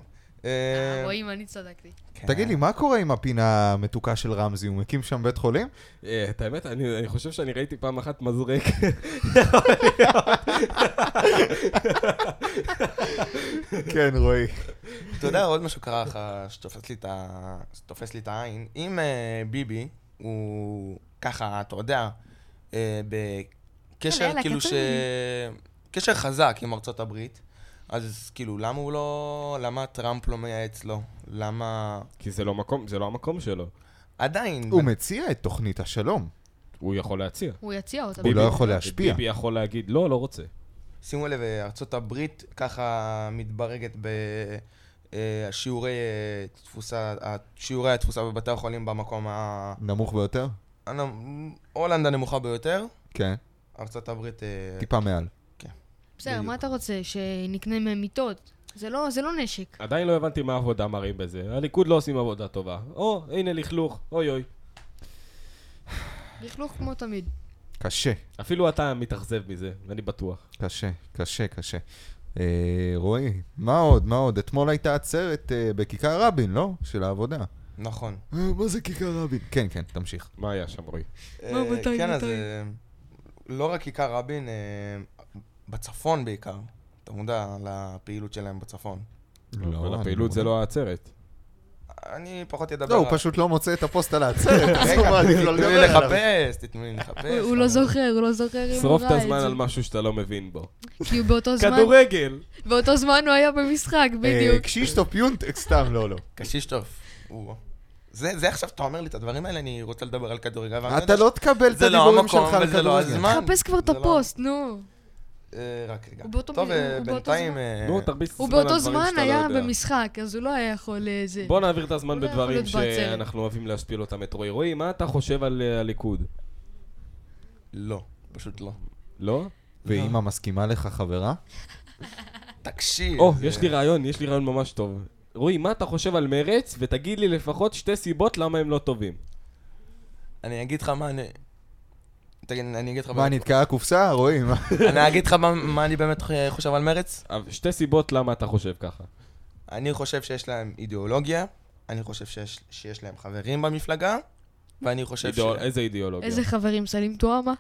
S4: רואים, אני צדקתי.
S1: כן. תגיד לי, מה קורה עם הפינה המתוקה של רמזי? הוא מקים שם בית חולים?
S3: אה, את האמת, אני אני חושב שאני ראיתי פעם אחת מזרק.
S1: [laughs]
S3: [laughs]
S1: כן, רועי.
S2: אתה יודע, עוד משהו קרה לך שתופס לי את ה- שתופס לי את העין. אם אה, ביבי הוא ככה, אתה יודע, אה, בקשר
S10: יאללה,
S2: כאילו ש...
S10: כתוב.
S2: קשר חזק עם ארצות הברית, אז כאילו, למה הוא לא... למה טראמפ לא מייעץ לו? למה...
S3: כי זה לא מקום, זה לא המקום שלו.
S2: עדיין.
S1: הוא מציע את תוכנית השלום.
S3: הוא יכול להציע.
S4: הוא יציע אותה.
S1: הוא לא יכול להשפיע.
S3: ביבי יכול להגיד, לא, לא רוצה.
S2: שימו לב, אה, ארצות הברית ככה מתברגת בשיעורי אה, תפוסה, ה- שיעורי התפוסה בבתי החולים במקום ה...
S1: נמוך ביותר?
S2: הנ- הולנד הנמוכה ביותר,
S1: כן.
S2: ארצות הברית... אה,
S1: טיפה מעל.
S4: בסדר, מה אתה רוצה? שנקנה מהם מיטות? זה לא זה לא נשק.
S3: עדיין לא הבנתי מה העבודה מראים בזה. הליכוד לא עושים עבודה טובה. או, הנה לכלוך, אוי אוי.
S4: לכלוך כמו תמיד.
S1: קשה.
S3: אפילו אתה מתאכזב מזה, אני בטוח.
S1: קשה, קשה, קשה. אה, רועי, מה עוד? מה עוד? אתמול הייתה עצרת אה, בכיכר רבין, לא? של העבודה.
S2: נכון.
S1: אה, מה זה כיכר רבין? כן, כן, תמשיך.
S3: מה היה שם, רועי?
S2: אה, כן, אז אה, לא רק כיכר רבין, אה, בצפון בעיקר. אתה מודע לפעילות שלהם בצפון.
S3: לא,
S1: אני
S3: אבל הפעילות זה לא העצרת.
S2: אני פחות אדבר
S1: לא, הוא
S2: על-
S1: פשוט לא מוצא את הפוסט על [laughs] העצרת, אז
S2: רגע,
S1: הוא מעדיף לא
S2: תנו
S1: לדבר
S2: לי
S1: עליו.
S2: לחפש, תתנו לי לחפש.
S4: הוא- הוא לא זוכר, הוא לא זוכר אם הוא
S3: שרוף את
S4: ראה
S3: הזמן על
S4: זה.
S3: משהו שאתה לא מבין בו.
S4: כי הוא באותו זמן...
S3: כדורגל!
S4: באותו זמן הוא היה במשחק, בדיוק.
S1: קשישטוף יונט, סתם, לא, לא.
S2: קשישטוף. הוא- זה זה עכשיו שאתה אומר לי את הדברים האלה, אני רוצה לדבר על כדורגל. ואני
S1: אתה
S2: יודע
S1: לא
S2: ש-
S1: תקבל את
S2: זה לא
S1: הדיבורים
S2: המקום
S1: שלך על
S2: וזה לא
S1: כדורגל.
S2: הזמן.
S4: חפש כבר את הפוסט, נו.
S2: אה, רק רגע.
S4: הוא באותו
S2: טוב,
S4: מ-
S2: אה,
S4: הוא באותו
S2: בינתיים...
S4: זמן.
S2: אה,
S3: נו, תרביץ את
S4: הוא
S3: הזמן על
S4: באותו
S3: דברים
S4: זמן
S3: שאתה לא
S4: היה
S3: יודע.
S4: במשחק, אז הוא לא היה יכול אה, זה.
S3: בוא נעביר את הזמן
S4: הוא לא יכול
S3: בדברים
S4: להיות בעצרת.
S3: שאנחנו אוהבים להשפיל אותם את רועי. רועי, מה אתה חושב על אה, הליכוד?
S2: לא, פשוט לא.
S3: לא?
S1: ואימא מסכימה לך חברה?
S2: תקשיב.
S3: או,
S2: אה, זה-
S3: יש לי רעיון, יש לי רעיון ממש טוב. רועי, מה אתה חושב על מרץ, ותגיד לי לפחות שתי סיבות למה הם לא טובים.
S2: אני אגיד לך מה אני... תגיד, אני אגיד לך...
S1: מה, נתקעה הקופסה? רואים.
S2: אני אגיד לך מה- מה אני באמת חו- חושב על מרץ?
S3: אה, שתי סיבות למה אתה חושב ככה.
S2: אני חושב שיש להם אידיאולוגיה, אני חושב שיש- שיש להם חברים במפלגה, ואני חושב ש...
S3: אידאול- איזה אידיאולוגיה?
S4: איזה חברים, סלים טועמה?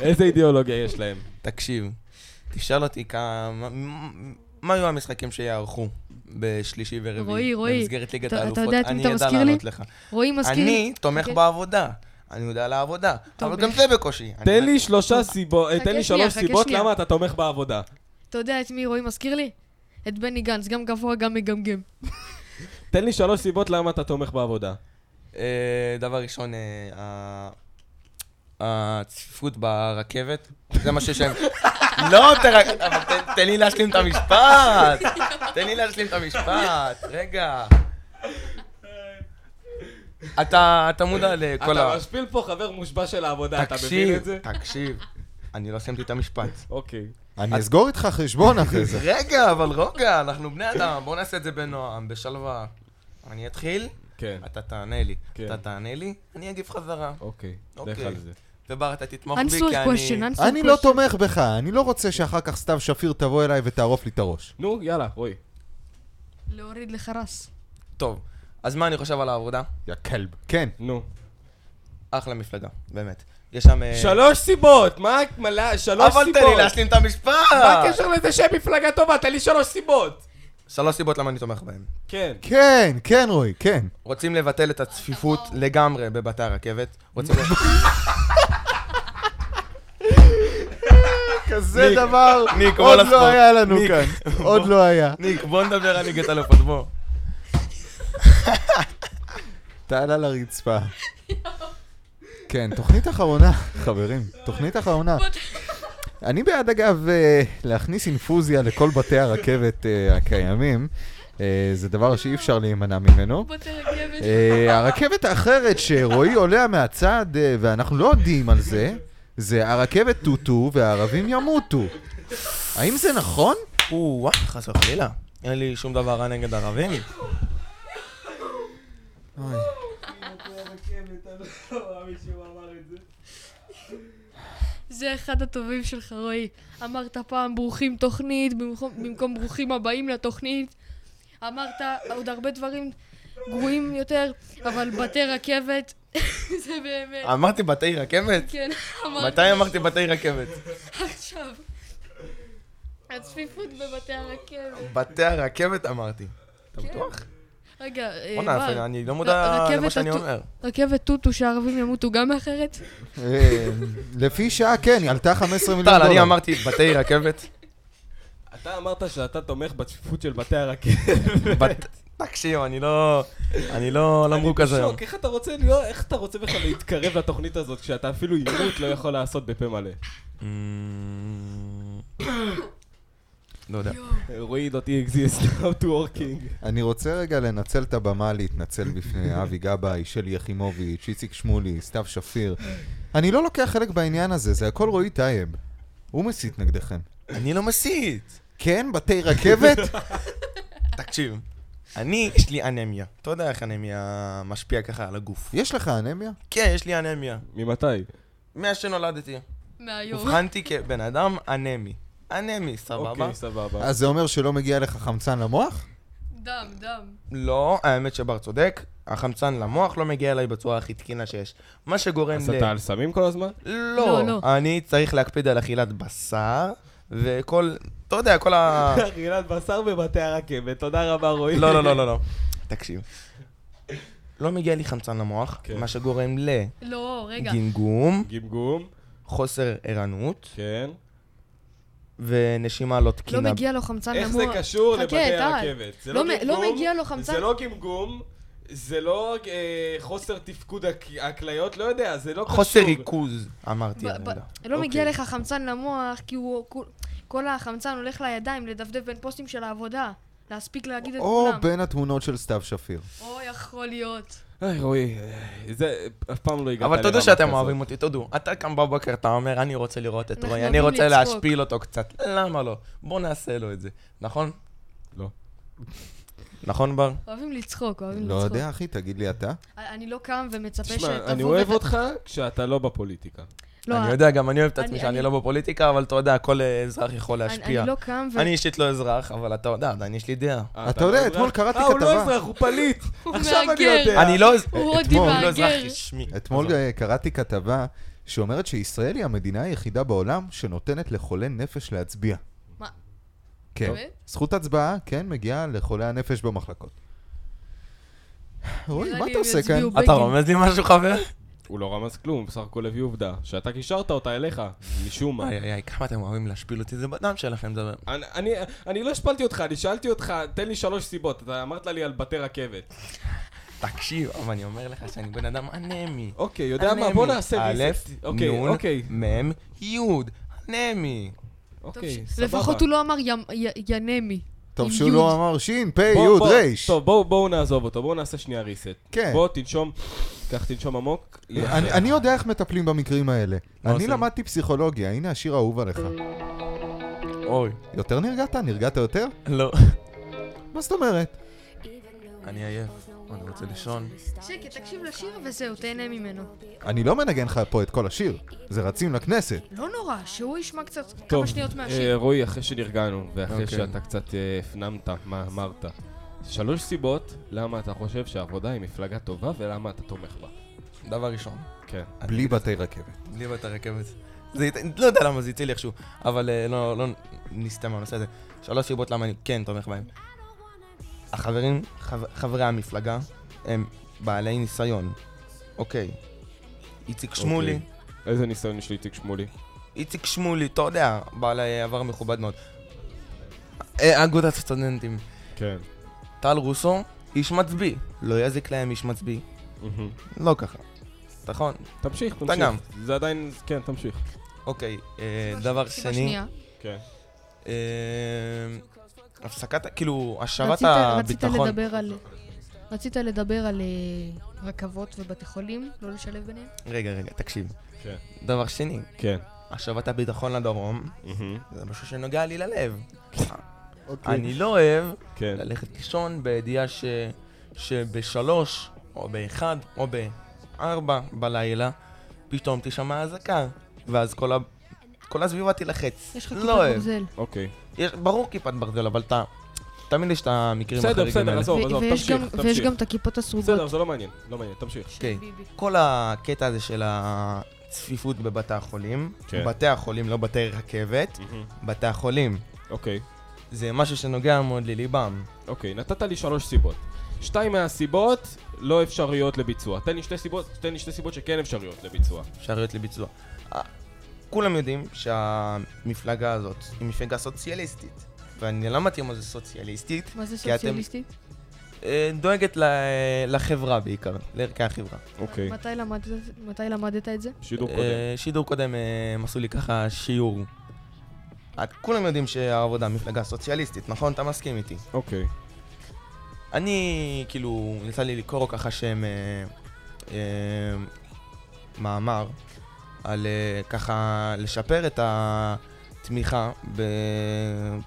S3: איזה אידיאולוגיה יש להם?
S2: תקשיב, תשאל אותי כמה... מה היו המשחקים שיערכו בשלישי ורביעי?
S4: רועי, רועי,
S2: במסגרת ליגת
S4: אתה- אתה
S2: האלופות.
S4: יודע את מי אתה
S2: אני
S4: מזכיר
S2: אדע
S4: לי?
S2: לענות לך.
S4: רועי מזכיר לי-
S2: אני תומך
S4: אוקיי.
S2: בעבודה. אני יודע על העבודה.
S4: טוב,
S2: אבל גם
S4: אה.
S2: זה בקושי. אני-
S3: תן לי שלושה סיבות, אה,
S4: חכה
S3: תן לי
S4: שנייה,
S3: שלוש
S4: חכה
S3: סיבות
S4: שנייה.
S3: למה אתה תומך בעבודה.
S4: אתה יודע את מי רועי מזכיר לי? את בני גנץ, גם גבוה, גם מגמגם.
S3: תן לי שלוש סיבות למה אתה תומך בעבודה.
S2: אה, דבר ראשון, אה, ה- הצפיפות ברכבת, זה מה
S4: [laughs]
S2: שיש להם. לא, תרק- אבל תן- תן לי להשלים את המשפט. תן לי להשלים את המשפט, רגע. אתה אתה מודע לכל
S3: אתה
S2: ה...
S3: משפיל פה חבר מושבע של העבודה, אתה מבין
S2: תקשיב,
S3: את זה?
S2: תקשיב. אני לא סיימתי את המשפט.
S3: אוקיי.
S1: אני אסגור איתך חשבון אחרי [laughs] זה.
S2: רגע, אבל רוגע, אנחנו בני אדם, בואו נעשה את זה בנועם, בשלווה. אני אתחיל?
S3: כן.
S2: אתה תענה לי.
S3: כן.
S2: אתה תענה לי, אני אגיב חזרה.
S3: אוקיי,
S2: אוקיי.
S3: לך על זה.
S2: ובר, אתה תתמוך בי,
S4: Answer
S2: לא, כי
S4: question,
S2: אני...
S4: answer
S1: אני לא
S4: question.
S1: תומך בך, אני לא רוצה שאחר כך סתיו שפיר תבוא אליי ותערוף לי את הראש.
S3: נו, יאללה, רועי.
S4: להוריד לך רס.
S2: טוב, אז מה אני חושב על העבודה?
S1: יא כלב. כן.
S3: נו.
S2: אחלה מפלגה, באמת. יש שם... אה,
S3: שלוש סיבות, מה מלא, שלוש
S2: אבל
S3: סיבות.
S2: תן לי להשלים את המשפט!
S3: מה הקשר לזה שהם מפלגה טובה? תן לי שלוש סיבות.
S2: שלוש סיבות למה אני תומך בהם.
S3: כן.
S1: כן, כן, רועי, כן.
S2: רוצים לבטל את הצפיפות לגמרי בבתי הרכבת.
S3: [laughs]
S2: רוצים...
S1: כזה
S2: ניק,
S1: דבר [laughs]
S2: ניק, בוא
S1: עוד
S2: לספורט.
S1: לא היה לנו
S2: ניק,
S1: כאן.
S2: בוא.
S1: [laughs] עוד לא היה.
S2: ניק, בוא נדבר על ליגת אלופות, בוא.
S1: תעלה לרצפה. [laughs] כן, תוכנית אחרונה, חברים, תוכנית אחרונה. אני בעד, אגב, אה, להכניס אינפוזיה לכל בתי הרכבת אה, הקיימים. אה, זה דבר שאי אפשר להימנע ממנו.
S4: בתי רכבת.
S1: אה, הרכבת האחרת שרועי עולה מהצד, אה, ואנחנו לא יודעים על זה, זה הרכבת טוטו והערבים ימותו. האם זה נכון?
S2: או, וואי, חס וחלילה. אין לי שום דבר רע נגד ערבים.
S1: אוי.
S4: זה אחד הטובים שלך, רועי. אמרת פעם ברוכים תוכנית, במקום- במקום ברוכים הבאים לתוכנית. אמרת עוד הרבה דברים גרועים יותר, אבל בתי רכבת, [laughs] זה באמת.
S2: אמרתי בתי רכבת?
S4: כן, אמרת.
S2: מתי אמרתי בתי רכבת?
S4: עכשיו. הצפיפות בבתי הרכבת.
S2: בתי הרכבת אמרתי. אתה
S4: כן.
S2: בטוח?
S4: רגע, אה,
S2: בואנה,
S4: בר,
S2: אפילו אני לא מודע
S4: רכבת
S2: למה שאני
S4: הטו-
S2: אומר.
S4: רכבת טוטו שהערבים ימותו גם מאחרת?
S1: אה, לפי שעה, כן, היא עלתה 15 מיליון
S2: טל,
S1: דולר.
S2: אני אמרתי בתי רכבת.
S3: אתה אמרת שאתה תומך בצפיפות של בתי הרכבת.
S2: בת- תקשיב, אני לא... אני לא לא מרוכז היום.
S3: שוק, איך אתה רוצה להיות, איך אתה רוצה בכלל להתקרב לתוכנית הזאת כשאתה אפילו עימות לא יכול לעשות בפה מלא?
S2: Mm. לא יודע.
S3: רועי דוט exist, how to working.
S1: אני רוצה רגע לנצל את הבמה להתנצל בפני אבי גבאי, שלי יחימוביץ', איציק שמולי, סתיו שפיר. אני לא לוקח חלק בעניין הזה, זה הכל רועי טייב. הוא מסית נגדכם.
S2: אני לא מסית.
S1: כן, בתי [laughs] רכבת?
S2: תקשיב, אני, יש לי אנמיה. אתה יודע איך אנמיה משפיע ככה על הגוף.
S1: יש לך אנמיה?
S2: כן, יש לי אנמיה.
S3: ממתי?
S2: מאז שנולדתי.
S4: מהיום.
S2: אובחנתי כבן אדם אנמי. אנמי, סבבה?
S3: אוקיי, סבבה.
S1: אז זה אומר שלא מגיע לך חמצן למוח?
S4: דם, דם.
S2: לא, האמת שבר צודק. החמצן למוח לא מגיע אליי בצורה הכי תקינה שיש. מה שגורם
S3: אז
S2: ל...
S3: אתה על סמים כל הזמן?
S4: לא,
S2: לא,
S4: לא.
S2: אני צריך להקפיד על אכילת בשר, וכל, אתה יודע, כל ה... [laughs]
S3: אכילת אה, בשר בבתי הרכבת, תודה רבה רועי.
S2: לא, לא, לא, לא, לא. תקשיב. לא מגיע לי חמצן למוח, מה שגורם
S4: לא, כן. רגע.
S2: לגמגום,
S3: גמגום,
S2: חוסר ערנות
S3: כן.
S2: ונשימה לא
S4: לא
S2: תקינה.
S4: מגיע לו חמצן
S3: איך
S4: למוח.
S3: זה קשור
S4: חכה,
S3: לבתי
S4: טל.
S3: הרכבת? זה
S4: לא מ- לא
S3: גמגום,
S4: מגיע לו חמצן?
S3: זה לא גמגום, זה לא אה, חוסר תפקוד הכ- הכליות, לא יודע, זה לא קשור.
S2: חוסר ריכוז, אמרתי, אני
S4: ב-
S2: יודע.
S4: ב- לא מגיע
S3: אוקיי.
S4: לך חמצן למוח, כי הוא... כול- כל החמצן הולך לידיים, לדפדף בין פוסטים של העבודה. להספיק להגיד את
S1: או
S4: כולם.
S1: בין התמונות של סתיו שפיר.
S4: או יכול להיות.
S3: היי, רועי, אה, זה אף פעם לא הגעת
S2: אבל תודו
S3: לרמה
S2: שאתם
S3: כזאת.
S2: אוהבים אותי, תודו. אתה קם בבוקר, אתה אומר, אני רוצה לראות את
S4: אנחנו
S2: רועי, אני
S4: אוהבים
S2: רוצה
S4: לצחוק.
S2: להשפיל אותו קצת. למה לא? בוא נעשה לו את זה, נכון?
S3: לא.
S2: נכון, בר?
S4: אוהבים לצחוק, אוהבים
S1: לא
S4: לצחוק.
S1: יודע, אחי, תגיד לי אתה.
S4: אני לא קם ומצפה שתבוא...
S3: תשמע, אני
S4: ות-
S3: אוהב אותך כשאתה לא בפוליטיקה.
S4: לא,
S2: אני יודע, גם אני אוהב את
S4: אני-
S2: עצמי
S4: אני-
S2: שאני לא בפוליטיקה, אבל אתה יודע, כל אה, אזרח יכול להשפיע.
S4: אני לא קם ו-
S2: אני אישית לא אזרח, אבל אתה יודע, עדיין יש לי דעה.
S1: אתה יודע, אתמול קראתי כתבה.
S3: פליט!
S4: הוא מהגר.
S2: אני לא...
S4: הוא הודי
S1: אתמול,
S2: לא
S4: מהגר.
S2: אזרח רשמי.
S1: אתמול אה, קראתי כתבה שאומרת שישראל היא המדינה היחידה בעולם שנותנת לחולה נפש להצביע.
S4: מה?
S1: כן.
S4: באמת?
S1: זכות הצבעה, כן, מגיעה לחולי הנפש במחלקות. רועי,
S4: נראה
S1: מה
S4: לי
S1: אתה
S4: הם
S1: עושה כאן?
S4: יצביעו
S2: אתה
S4: בגין.
S2: רומז לי משהו, חבר?
S3: [laughs] הוא לא רמז כלום, הוא בסך הכל הביא עובדה. שאתה קישרת אותה אליך, משום מה.
S2: איי, איי, איי, כמה אתם אוהבים להשפיל אותי, זה בדם שלכם, זה...
S3: אני- אני- אני לא השפלתי אותך, אני שאלתי אותך, תן לי שלוש סיבות. אתה אמרת לי על בתי רכבת.
S2: תקשיב, אבל אני אומר לך שאני בן אדם אנמי.
S3: אוקיי, יודע מה? בוא נעשה
S2: א',
S3: ריסט. אוקיי,
S2: נון,
S3: אוקיי.
S2: מ', י', אנמי.
S4: טוב,
S3: אוקיי,
S4: ש-
S3: סבבה.
S4: לפחות הוא לא אמר ים- י- ינמי.
S1: טוב
S4: עם
S1: שהוא
S4: יוד.
S1: לא אמר שין, פ',
S3: בוא-
S1: י',
S3: בוא-
S1: ר'.
S3: טוב, בואו בואו נעזוב אותו, בואו נעשה שנייה ריסט.
S1: כן.
S3: בוא, תנשום, קח תנשום עמוק. יפה.
S1: אני אני יודע איך מטפלים במקרים האלה.
S3: מה
S1: אני
S3: עושים?
S1: למדתי פסיכולוגיה, הנה השיר האהוב עליך.
S2: אוי,
S1: יותר נרגעת? נרגעת יותר?
S2: לא.
S1: מה זאת אומרת?
S2: אני עייף, אני רוצה לישון.
S4: שקט, תקשיב לשיר וזהו, תהנה ממנו.
S1: אני לא מנגן לך פה את כל השיר, זה רצים לכנסת.
S4: לא נורא, שהוא ישמע קצת
S3: טוב,
S4: כמה שניות
S3: אה,
S4: מהשיר.
S3: רועי, אחרי שנרגענו, ואחרי
S2: אוקיי.
S3: שאתה קצת אה, הפנמת מה אמרת, שלוש סיבות למה אתה חושב שהעבודה היא מפלגה טובה ולמה אתה תומך בה.
S2: דבר ראשון,
S3: כן.
S1: בלי בתי רכבת.
S2: בלי בת הרכבת. זה, ית- לא יודע למה זה יצא לי איכשהו, אבל אה, לא, לא נסתם מהנושא הזה. שלוש סיבות למה אני כן תומך בהם. החברים, חב, חברי המפלגה, הם בעלי ניסיון. אוקיי. איציק שמולי,
S3: אוקיי. איזה ניסיון יש לאיציק שמולי?
S2: איציק שמולי, אתה יודע, בעל אה, עבר מכובד מאוד. אה, אגודת הסטודנטים.
S3: כן.
S2: טל רוסו, איש מצביא. לא יזיק להם איש מצביא. לא ככה. נכון?
S3: תמשיך, תמשיך.
S2: גם.
S3: זה עדיין, כן, תמשיך.
S2: אוקיי, אה,
S4: סיבה-
S2: דבר
S4: סיבה
S2: שני,
S4: שנייה.
S3: כן.
S2: אה, הפסקת, כאילו, השבת
S4: רצית-
S2: הביטחון.
S4: רצית לדבר על... רצית לדבר על אה, רכבות ובתי חולים, לא לשלב ביניהם?
S2: רגע, רגע, תקשיב.
S3: כן.
S2: דבר שני,
S3: כן.
S2: השבת הביטחון לדרום,
S3: מהמם.
S2: זה משהו שנוגע לי ללב.
S1: אוקיי.
S2: אני לא אוהב
S3: כן.
S2: ללכת לישון בידיעה ש... שבשלוש, או באחד, או בארבע בלילה, פתאום תשמע אזעקה, ואז כל ה... כל הסביבה תילחץ.
S4: יש לך
S2: לא
S4: כיפת
S2: אוהב.
S4: ברזל.
S3: אוקיי.
S2: יש, ברור כיפת ברזל, אבל אתה... תמיד יש את המקרים
S3: בסדר,
S2: החריגים
S3: בסדר,
S2: האלה.
S3: עזוב,
S4: ו-
S3: עזוב,
S4: ויש
S3: תמשיך,
S4: גם- ויש
S3: תמשיך.
S4: גם את הכיפות הסרוגות.
S3: בסדר, זה לא מעניין, לא מעניין, תמשיך.
S4: של
S2: אוקיי.
S4: ביבי.
S2: כל הקטע הזה של הצפיפות בבתי החולים,
S3: כן.
S2: בתי החולים, לא בתי רכבת, בתי החולים,
S3: אוקיי.
S2: זה משהו שנוגע מאוד לליבם.
S3: אוקיי, נתת לי שלוש סיבות. שתיים מהסיבות לא אפשריות לביצוע. תן לי שתי סיבות, תן לי שתי סיבות שכן אפשריות לביצוע.
S2: אפשרויות לביצוע. אה, כולם יודעים שהמפלגה הזאת היא מפלגה סוציאליסטית. ואני למדתי מה זה סוציאליסטית,
S4: מה זה
S2: כי אתם-
S4: סוציאליסטי?
S2: אה, דואגת ל- לחברה בעיקר, לערכי החברה.
S3: אוקיי.
S4: מתי למדת- מתי למדת את זה?
S3: שידור
S2: אה,
S3: קודם.
S2: שידור קודם אה, הם עשו לי ככה שיעור. את- כולם יודעים שהעבודה מפלגה סוציאליסטית, נכון? אתה מסכים איתי.
S3: אוקיי.
S2: אני, כאילו, יצא לי לקרוא ככה שם אה, אה, מאמר על אה, ככה לשפר את התמיכה ב...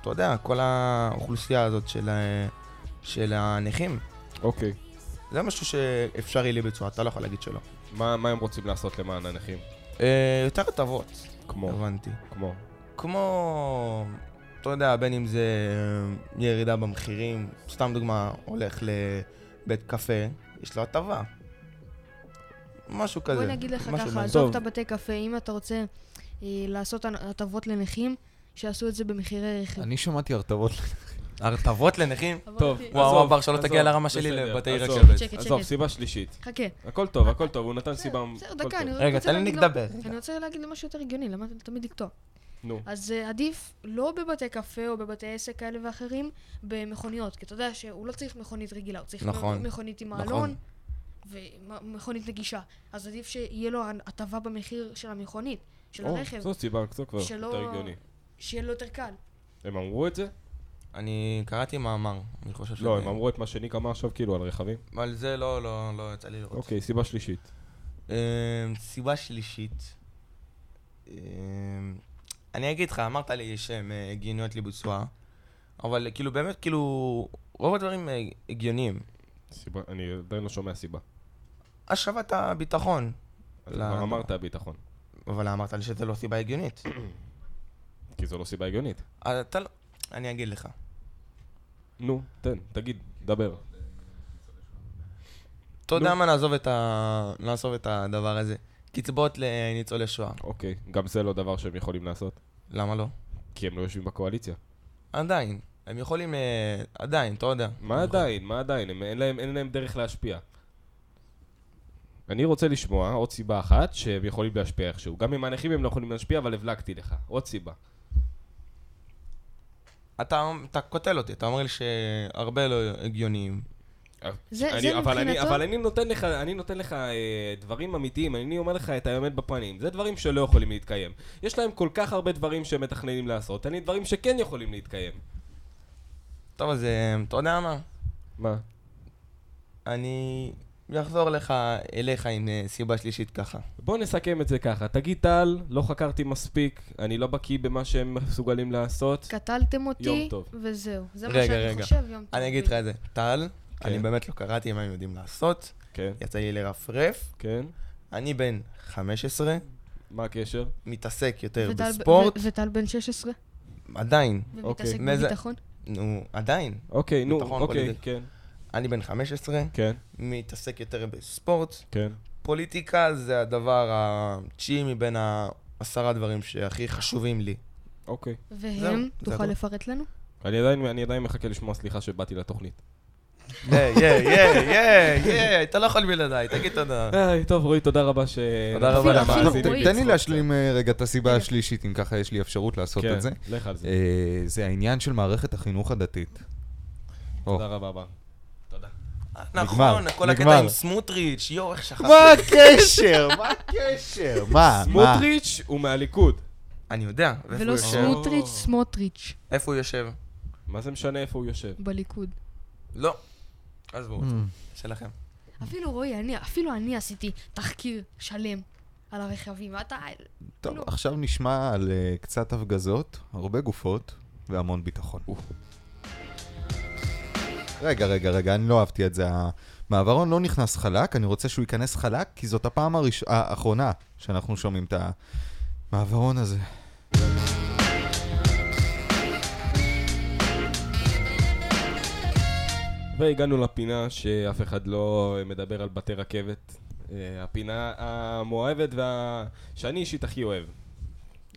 S2: אתה יודע, כל האוכלוסייה הזאת של, ה- של הנכים.
S3: אוקיי.
S2: זה משהו שאפשרי לביצוע, אתה לא יכול להגיד שלא.
S3: מה מה הם רוצים לעשות למען הנכים?
S2: אה, יותר הטבות,
S3: כמו,
S2: הבנתי.
S3: כמו.
S2: כמו, אתה יודע, בין אם זה אה, ירידה במחירים, סתם דוגמה, הולך לבית קפה, יש לו הטבה. משהו כזה.
S4: בוא נגיד לך
S2: משהו
S4: ככה,
S2: מעניין.
S4: עזוב
S3: טוב.
S4: את הבתי קפה, אם אתה רוצה אה, לעשות הטבות לנכים, שיעשו את זה במחירי רכב.
S1: אני שמעתי הרטבות.
S2: הרטבות לנכים?
S4: אבל
S3: טוב,
S4: אוקיי,
S2: וואו,
S3: עזוב,
S2: עבר, שלא תגיע
S3: עזוב,
S2: לרמה שלי
S3: בסדר,
S2: לבתי
S3: עזוב.
S2: רכבת.
S4: שקט,
S3: עזוב,
S4: שקט.
S3: סיבה שלישית.
S4: חכה.
S3: הכל טוב, הכל טוב, הוא נתן סיבה...
S4: בסדר,
S3: הכל
S4: דקה,
S3: טוב.
S4: אני
S2: רגע,
S4: רוצה
S2: תן לי
S4: להגיד גם-
S2: לדבר.
S4: אני רוצה להגיד משהו יותר הגיוני, למה אתה תמיד לקטוע?
S3: נו,
S4: אז אה, עדיף לא בבתי קפה או בבתי עסק כאלה ואחרים, במכוניות, כי אתה יודע שהוא לא צריך מכונית רגילה, הוא צריך
S2: נכון.
S4: מכונית עם
S2: נכון.
S4: מעלון ומכונית נגישה. אז עדיף שיהיה לו הטבה במחיר של המכונית, של
S3: או,
S4: הרכב,
S3: זו סיבה, זו כבר
S4: שלא-
S3: יותר הגיוני.
S4: שיהיה לו יותר קל.
S3: הם אמרו את זה?
S2: אני קראתי מאמר, אני חושב
S3: לא, הם אמרו את מה שניק אמר עכשיו כאילו על רכבים.
S4: אוקיי.
S2: אבל זה לא, לא, לא יצא לי לראות.
S3: אוקיי, סיבה שלישית.
S2: אמ, סיבה שלישית, אמ, אני אגיד לך, אמרת לי שהם אה, הגיוניות לביצוע, אבל כאילו באמת, כאילו, רוב הדברים אה, הגיוניים.
S3: סיבה, אני עדיין לא שומע סיבה.
S2: השבת הביטחון.
S3: אז כבר
S2: ל-
S3: אמרת הביטחון.
S2: אבל אמרת לי שזה לא סיבה הגיונית.
S3: כי זו לא סיבה הגיונית.
S2: אז אתה לא... אני אגיד לך.
S3: נו, תן, תגיד, דבר.
S2: אתה יודע מה, נעזוב את, ה... נעזוב את הדבר הזה. קצבאות לניצולי שואה.
S3: אוקיי, גם זה לא דבר שהם יכולים לעשות.
S2: למה לא?
S3: כי הם לא יושבים בקואליציה.
S2: עדיין. הם יכולים... אה, עדיין, אתה יודע.
S3: מה עדיין? מה עדיין? הם- אין להם- אין להם דרך להשפיע. אני רוצה לשמוע עוד סיבה אחת שהם יכולים להשפיע איכשהו. גם עם הנכים הם לא יכולים להשפיע, אבל הבלגתי לך. עוד סיבה.
S2: אתה, אתה קוטל אותי, אתה אומר לי שהרבה לא הגיוניים.
S3: זה- אה, אני- זה אבל אני- מבחינתו- אבל אני נותן לך, אני נותן לך אה, דברים אמיתיים, אני אומר לך את האמת בפנים. זה דברים שלא יכולים להתקיים. יש להם כל כך הרבה דברים שהם מתכננים לעשות, אני דברים שכן יכולים להתקיים.
S2: טוב, אז אה, אתה יודע מה?
S3: מה?
S2: אני אחזור לך, אליך עם אה, סיבה שלישית ככה.
S3: בוא נסכם את זה ככה. תגיד טל, לא חקרתי מספיק, אני לא בקיא במה שהם מסוגלים לעשות.
S4: קטלתם
S3: יום
S4: אותי,
S3: טוב.
S4: וזהו. זה מה
S2: רגע,
S4: שאני
S2: רגע.
S4: חושב, יום טוב.
S2: אני אגיד לך את זה. טל, אני באמת לא קראתי מה הם יודעים לעשות.
S3: כן.
S2: יצא לי לרפרף.
S3: כן.
S2: אני בן 15.
S3: מה הקשר?
S2: מתעסק יותר
S4: וטל ב-
S2: בספורט.
S4: ו- וטל בן 16?
S2: עדיין.
S4: ומתעסק
S2: אוקיי. מזה-
S4: בביטחון?
S2: נו, עדיין.
S3: אוקיי, נו,
S2: ביטחון,
S3: אוקיי,
S2: פוליטי.
S3: כן.
S2: אני בן 15.
S3: כן.
S2: מתעסק יותר בספורט.
S3: כן.
S2: פוליטיקה זה הדבר התשיעי מבין העשרה דברים שהכי חשובים [laughs] לי.
S3: אוקיי.
S2: זהו,
S4: והם,
S2: זה
S4: תוכל
S2: הכל.
S4: לפרט לנו?
S3: אני עדיין, אני עדיין מחכה לשמוע סליחה שבאתי לתוכנית.
S2: היי, היי, היי, היי, היי, אתה לא יכול בלעדיי, תגיד תודה.
S1: אה.
S3: היי, אה, טוב, רועי, תודה רבה ש...
S2: תודה רבה אפילו- למאזינים. אפילו רועי.
S1: לא, תן
S3: כן.
S1: לי להשלים אה, רגע את הסיבה השלישית, אם ככה יש לי אפשרות לעשות
S3: כן,
S1: את זה.
S3: לך על זה.
S1: אה, זה העניין של מערכת החינוך הדתית.
S3: תודה רבה, בר. תודה.
S2: נכון,
S1: נגמר,
S2: כל הקטע
S1: נגמר.
S2: עם סמוטריץ', יואו, איך שכחתי.
S1: מה הקשר? מה הקשר? מה? מה?
S3: סמוטריץ' הוא מהליכוד.
S2: אני יודע. ואיפה
S4: ולא
S2: הוא יושב?
S4: סמוטריץ', סמוטריץ',
S2: איפה הוא יושב?
S3: מה זה משנה איפה הוא יושב?
S4: בליכוד.
S2: לא. עזבו אותו. שלכם.
S4: אפילו רועי, אני, אפילו אני עשיתי תחקיר שלם על הרכבים, ואתה...
S1: טוב, עכשיו נשמע על אה, קצת הפגזות, הרבה גופות והמון ביטחון. רגע, רגע, רגע, אני לא אהבתי את זה. המעברון לא נכנס חלק, אני רוצה שהוא ייכנס חלק, כי זאת הפעם הראש- האחרונה שאנחנו שומעים את המעברון הזה.
S3: והגענו לפינה שאף אחד לא מדבר על בתי רכבת. אה, הפינה המאוהבת וה... שאני אישית הכי אוהב.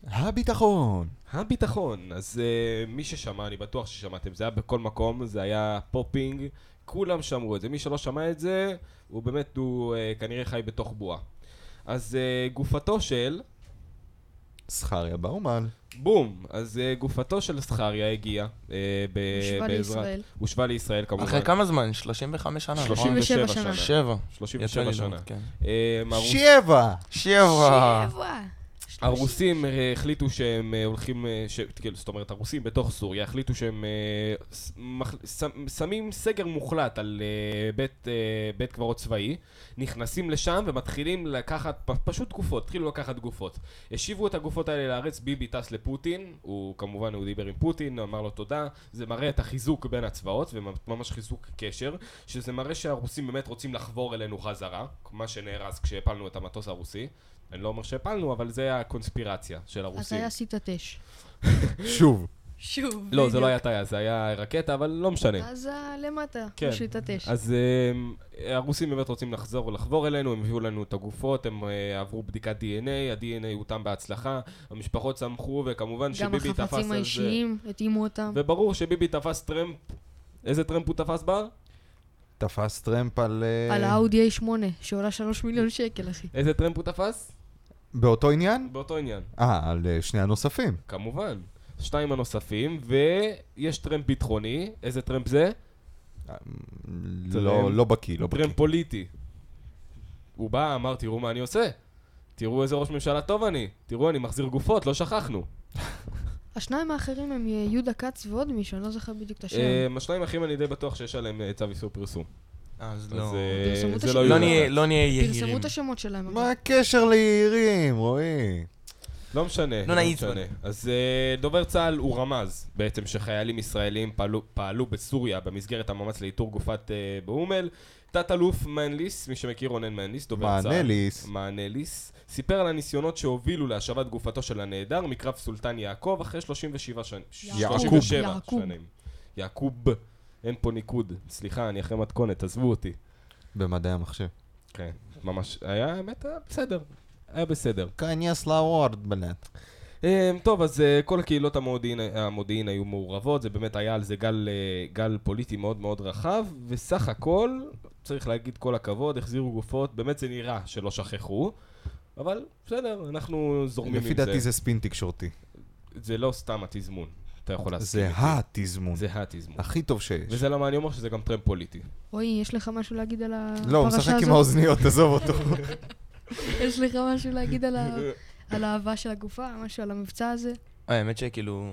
S1: הביטחון.
S3: הביטחון. אז uh, מי ששמע, אני בטוח ששמעתם, זה היה בכל מקום, זה היה פופינג, כולם שמעו את זה. מי שלא שמע את זה, הוא באמת, הוא uh, כנראה חי בתוך בועה. אז uh, גופתו של...
S1: זכריה באומן.
S3: בום! אז uh, גופתו של זכריה הגיעה uh, ב-
S4: הושבה
S3: בעזרת...
S4: לישראל.
S3: הושבה לישראל, כמובן.
S2: אחרי כמה זמן? 35 שנה. נכון?
S3: 37 שנה.
S2: שבע.
S3: 37
S2: יצא לי
S3: שנה.
S2: לראות, כן.
S3: אה, אמרו-
S1: שבע!
S2: שבע.
S4: שבע.
S3: הרוסים אה, החליטו שהם אה, הולכים, אה, ש... כאילו, זאת אומרת, הרוסים בתוך סוריה החליטו שהם אה, ס- מח... ש- שמים סגר מוחלט על אה, בית, אה, בית קברות צבאי, נכנסים לשם ומתחילים לקחת פ... פשוט גופות, התחילו לקחת גופות. השיבו את הגופות האלה לארץ, ביבי טס לפוטין, הוא כמובן, הוא דיבר עם פוטין, אמר לו תודה, זה מראה את החיזוק בין הצבאות, וממש חיזוק קשר, שזה מראה שהרוסים באמת רוצים לחבור אלינו חזרה, מה שנהרס כשהפלנו את המטוס הרוסי. אני לא אומר שהפלנו, אבל זה הקונספירציה של
S4: אתה
S3: הרוסים.
S4: עשית תש.
S1: שוב.
S4: שוב.
S3: לא, זה לא היה טייס, זה היה רקטה, אבל לא משנה.
S4: אז אה, למטה,
S3: כן.
S4: פשוט התש.
S3: אז אה, הרוסים באמת רוצים לחזור ולחבור אלינו, הם הביאו לנו את הגופות, הם אה, עברו בדיקת DNA, ה-DNA הותם בהצלחה, המשפחות שמחו, וכמובן
S4: גם
S3: שביבי תפס אה, על זה...
S4: החפצים האישיים, התאימו אותם.
S3: וברור שביבי תפס טרמפ, איזה טרמפ הוא תפס בר?
S1: תפס טרמפ על... אה,
S4: על האאודי A8, שעולה 3 מיליון שקל, אחי.
S3: איזה טרמפ הוא תפס?
S1: באותו עניין?
S3: באותו עניין.
S1: אה, על אה, שני הנוספים.
S3: כמובן. שתיים הנוספים, ויש טרמפ ביטחוני, איזה טרמפ זה?
S1: לא לא בקיא, לא בקיא.
S3: טרמפ פוליטי. הוא בא, אמר, תראו מה אני עושה. תראו איזה ראש ממשלה טוב אני. תראו, אני מחזיר גופות, לא שכחנו.
S4: השניים האחרים הם יהודה כץ ועוד מישהו, אני לא זוכר בדיוק את השם.
S3: אה, השניים האחים אני די בטוח שיש עליהם אה, צו איסור פרסום.
S2: אז
S3: אה,
S2: לא.
S4: פרסמו את
S3: זה
S4: השם.
S3: יהודה
S2: נהיה-
S3: כץ.
S2: לא נהיה
S4: פרסמו את השמות שלהם. אבל.
S1: מה הקשר ליהירים, רועי?
S3: לא משנה,
S2: לא
S3: לא,
S2: נעיץ
S3: משנה.
S2: בנו.
S3: אז אה, דובר צה"ל הוא רמז בעצם שחיילים ישראלים פעלו, פעלו בסוריה במסגרת המאמץ לאיתור גופת אה, באומל. תת-אלוף מנליס, מי שמכיר רונן מנליס, דובר צה"ל.
S1: מענליס.
S3: מענליס. סיפר על הניסיונות שהובילו להשבת גופתו של הנעדר מקרב סולטן יעקב אחרי 37 שנים.
S1: יעקוב.
S3: 37
S4: יעקוב.
S3: שנים. יעקוב. אין פה ניקוד. סליחה, אני אחרי מתכונת, עזבו אותי.
S1: במדעי המחשב.
S3: כן, ממש. היה, האמת, היה בסדר. היה בסדר.
S1: כנס לוורד, בלאט.
S3: אמ, טוב, אז אה, כל הקהילות המודיעין, המודיעין היו מעורבות, זה באמת היה על זה גל, אה, גל פוליטי מאוד מאוד רחב, וסך הכל, צריך להגיד כל הכבוד, החזירו גופות, באמת זה נראה שלא שכחו, אבל בסדר, אנחנו זורמים עם זה.
S1: לפי דעתי זה ספין תקשורתי.
S3: זה לא סתם התזמון, אתה יכול להסכים.
S1: זה
S3: איתי.
S1: התזמון.
S3: זה התזמון.
S1: הכי טוב שיש.
S3: וזה למה אני אומר שזה גם טרמפ פוליטי.
S4: רועי, יש לך משהו להגיד על הפרשה הזאת?
S1: לא, הוא משחק עם האוזניות, עזוב אותו.
S4: [laughs] יש לך משהו להגיד על
S1: [laughs]
S4: ה- על האהבה של הגופה, משהו על המבצע הזה?
S2: האמת שכאילו...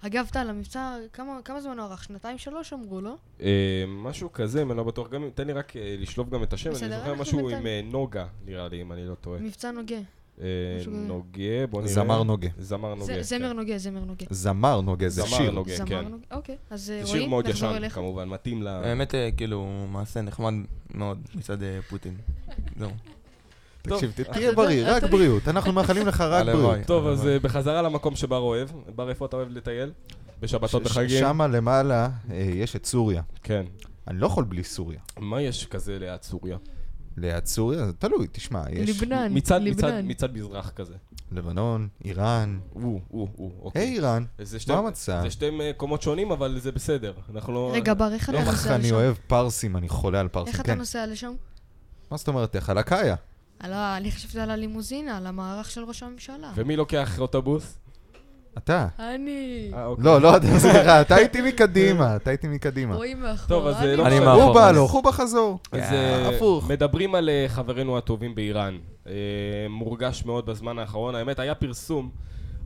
S4: אגב, טל, המבצע, כמה כמה זמן הוא ארך? שנתיים, שלוש אמרו, לא?
S3: אה, משהו כזה, אם אני לא בטוח, גם אם- תן לי רק אה, לשלוף גם את השם, אני
S4: בסדר,
S3: זוכר
S4: אנחנו
S3: משהו
S4: בינתיים-
S3: עם אה, נוגה, נראה לי, אם אני לא טועה.
S4: מבצע נוגה.
S3: אה,
S4: משהו כזה.
S3: נוגה, בוא נראה.
S1: זמר נוגה.
S3: זמר
S4: זה-
S3: נוגה. כן.
S4: זמר נוגה, זמר נוגה.
S1: זמר נוגה, זה
S3: זמר
S1: שיר.
S3: נוגה,
S4: זמר
S3: כן.
S4: נוגה, אוקיי. אז אה,
S3: זה
S4: רועי,
S3: שיר מאוד
S4: נחזור
S3: ישן,
S4: אליך.
S3: כמובן, מתאים ל...
S2: האמת, אה, כאילו, מעשה נחמד מאוד מצד אה, פוטין. לא. זהו.
S1: תקשיב,
S3: טוב,
S1: תהיה בריא, רק בריאות. אנחנו מאחלים לך רק
S2: הלוואי.
S1: בריאות.
S3: טוב, אז
S2: אבל-
S3: אה, בחזרה למקום שבר אוהב. בר, איפה אתה אוהב לטייל? בשבתות וחגים?
S1: שם למעלה אה, יש את סוריה.
S3: כן.
S1: אני לא יכול בלי סוריה.
S3: מה יש כזה ליד סוריה?
S1: ליד סוריה, זה תלוי, תשמע, יש
S4: ליבנן,
S3: מצד, מצד,
S4: ליבנן.
S3: מצד מזרח כזה.
S1: לבנון, איראן.
S3: או, או, או, אוקיי.
S1: היי איראן,
S3: זה שתי-
S1: מה המצב?
S3: זה שתי אה, קומות שונים, אבל זה בסדר. אנחנו לא...
S4: רגע, בר, איך אתה
S1: לא, איך
S4: נוסע
S1: אני
S4: לשם?
S1: אוהב פרסים, אני חולה על פרסים,
S4: איך אתה
S1: כן.
S4: נוסע לשם?
S1: מה זאת אומרת, איך? על הקאיה.
S4: על ה- אני חשבתי על הלימוזינה, על המערך של ראש הממשלה.
S3: ומי לוקח אוטובוס?
S1: אתה.
S4: אני.
S3: אה, אוקיי.
S1: לא, לא, אתה- [laughs] סליחה, אתה איתי מקדימה, אתה איתי מקדימה.
S4: רועי מאחור.
S3: טוב, אז, אה,
S4: אני
S3: לא
S4: מאחור.
S3: אני
S1: הוא בא הלוך, הוא בחזור.
S3: אז אה,
S1: הפוך.
S3: מדברים על אה, חברינו הטובים באיראן. אה, מורגש מאוד בזמן האחרון. האמת, היה פרסום.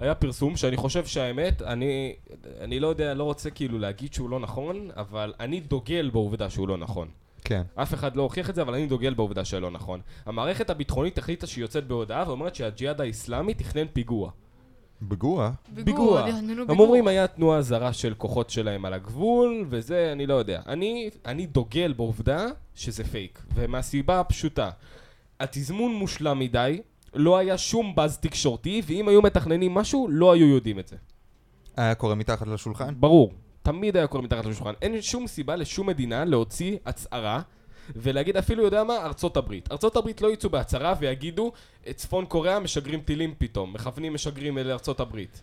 S3: היה פרסום שאני חושב שהאמת, אני, אני לא יודע, לא רוצה כאילו להגיד שהוא לא נכון, אבל אני דוגל בעובדה שהוא לא נכון.
S1: כן.
S3: אף אחד לא הוכיח את זה, אבל אני דוגל בעובדה שלא נכון. המערכת הביטחונית החליטה שהיא יוצאת בהודעה ואומרת שהג'יהאד האיסלאמי תכנן פיגוע.
S1: בגואה.
S4: פיגוע. נהנו
S3: הם
S4: פיגוע.
S3: אומרים היה תנועה זרה של כוחות שלהם על הגבול, וזה, אני לא יודע. אני, אני דוגל בעובדה שזה פייק, ומהסיבה הפשוטה. התזמון מושלם מדי, לא היה שום באז תקשורתי, ואם היו מתכננים משהו, לא היו יודעים את זה.
S1: היה קורה מתחת לשולחן?
S3: ברור. תמיד היה קורה מתחת לשולחן. אין שום סיבה לשום מדינה להוציא הצהרה ולהגיד אפילו, יודע מה, ארצות הברית. ארצות הברית לא יצאו בהצהרה ויגידו, "את צפון קוריאה משגרים טילים פתאום, מכוונים משגרים אל ארצות הברית.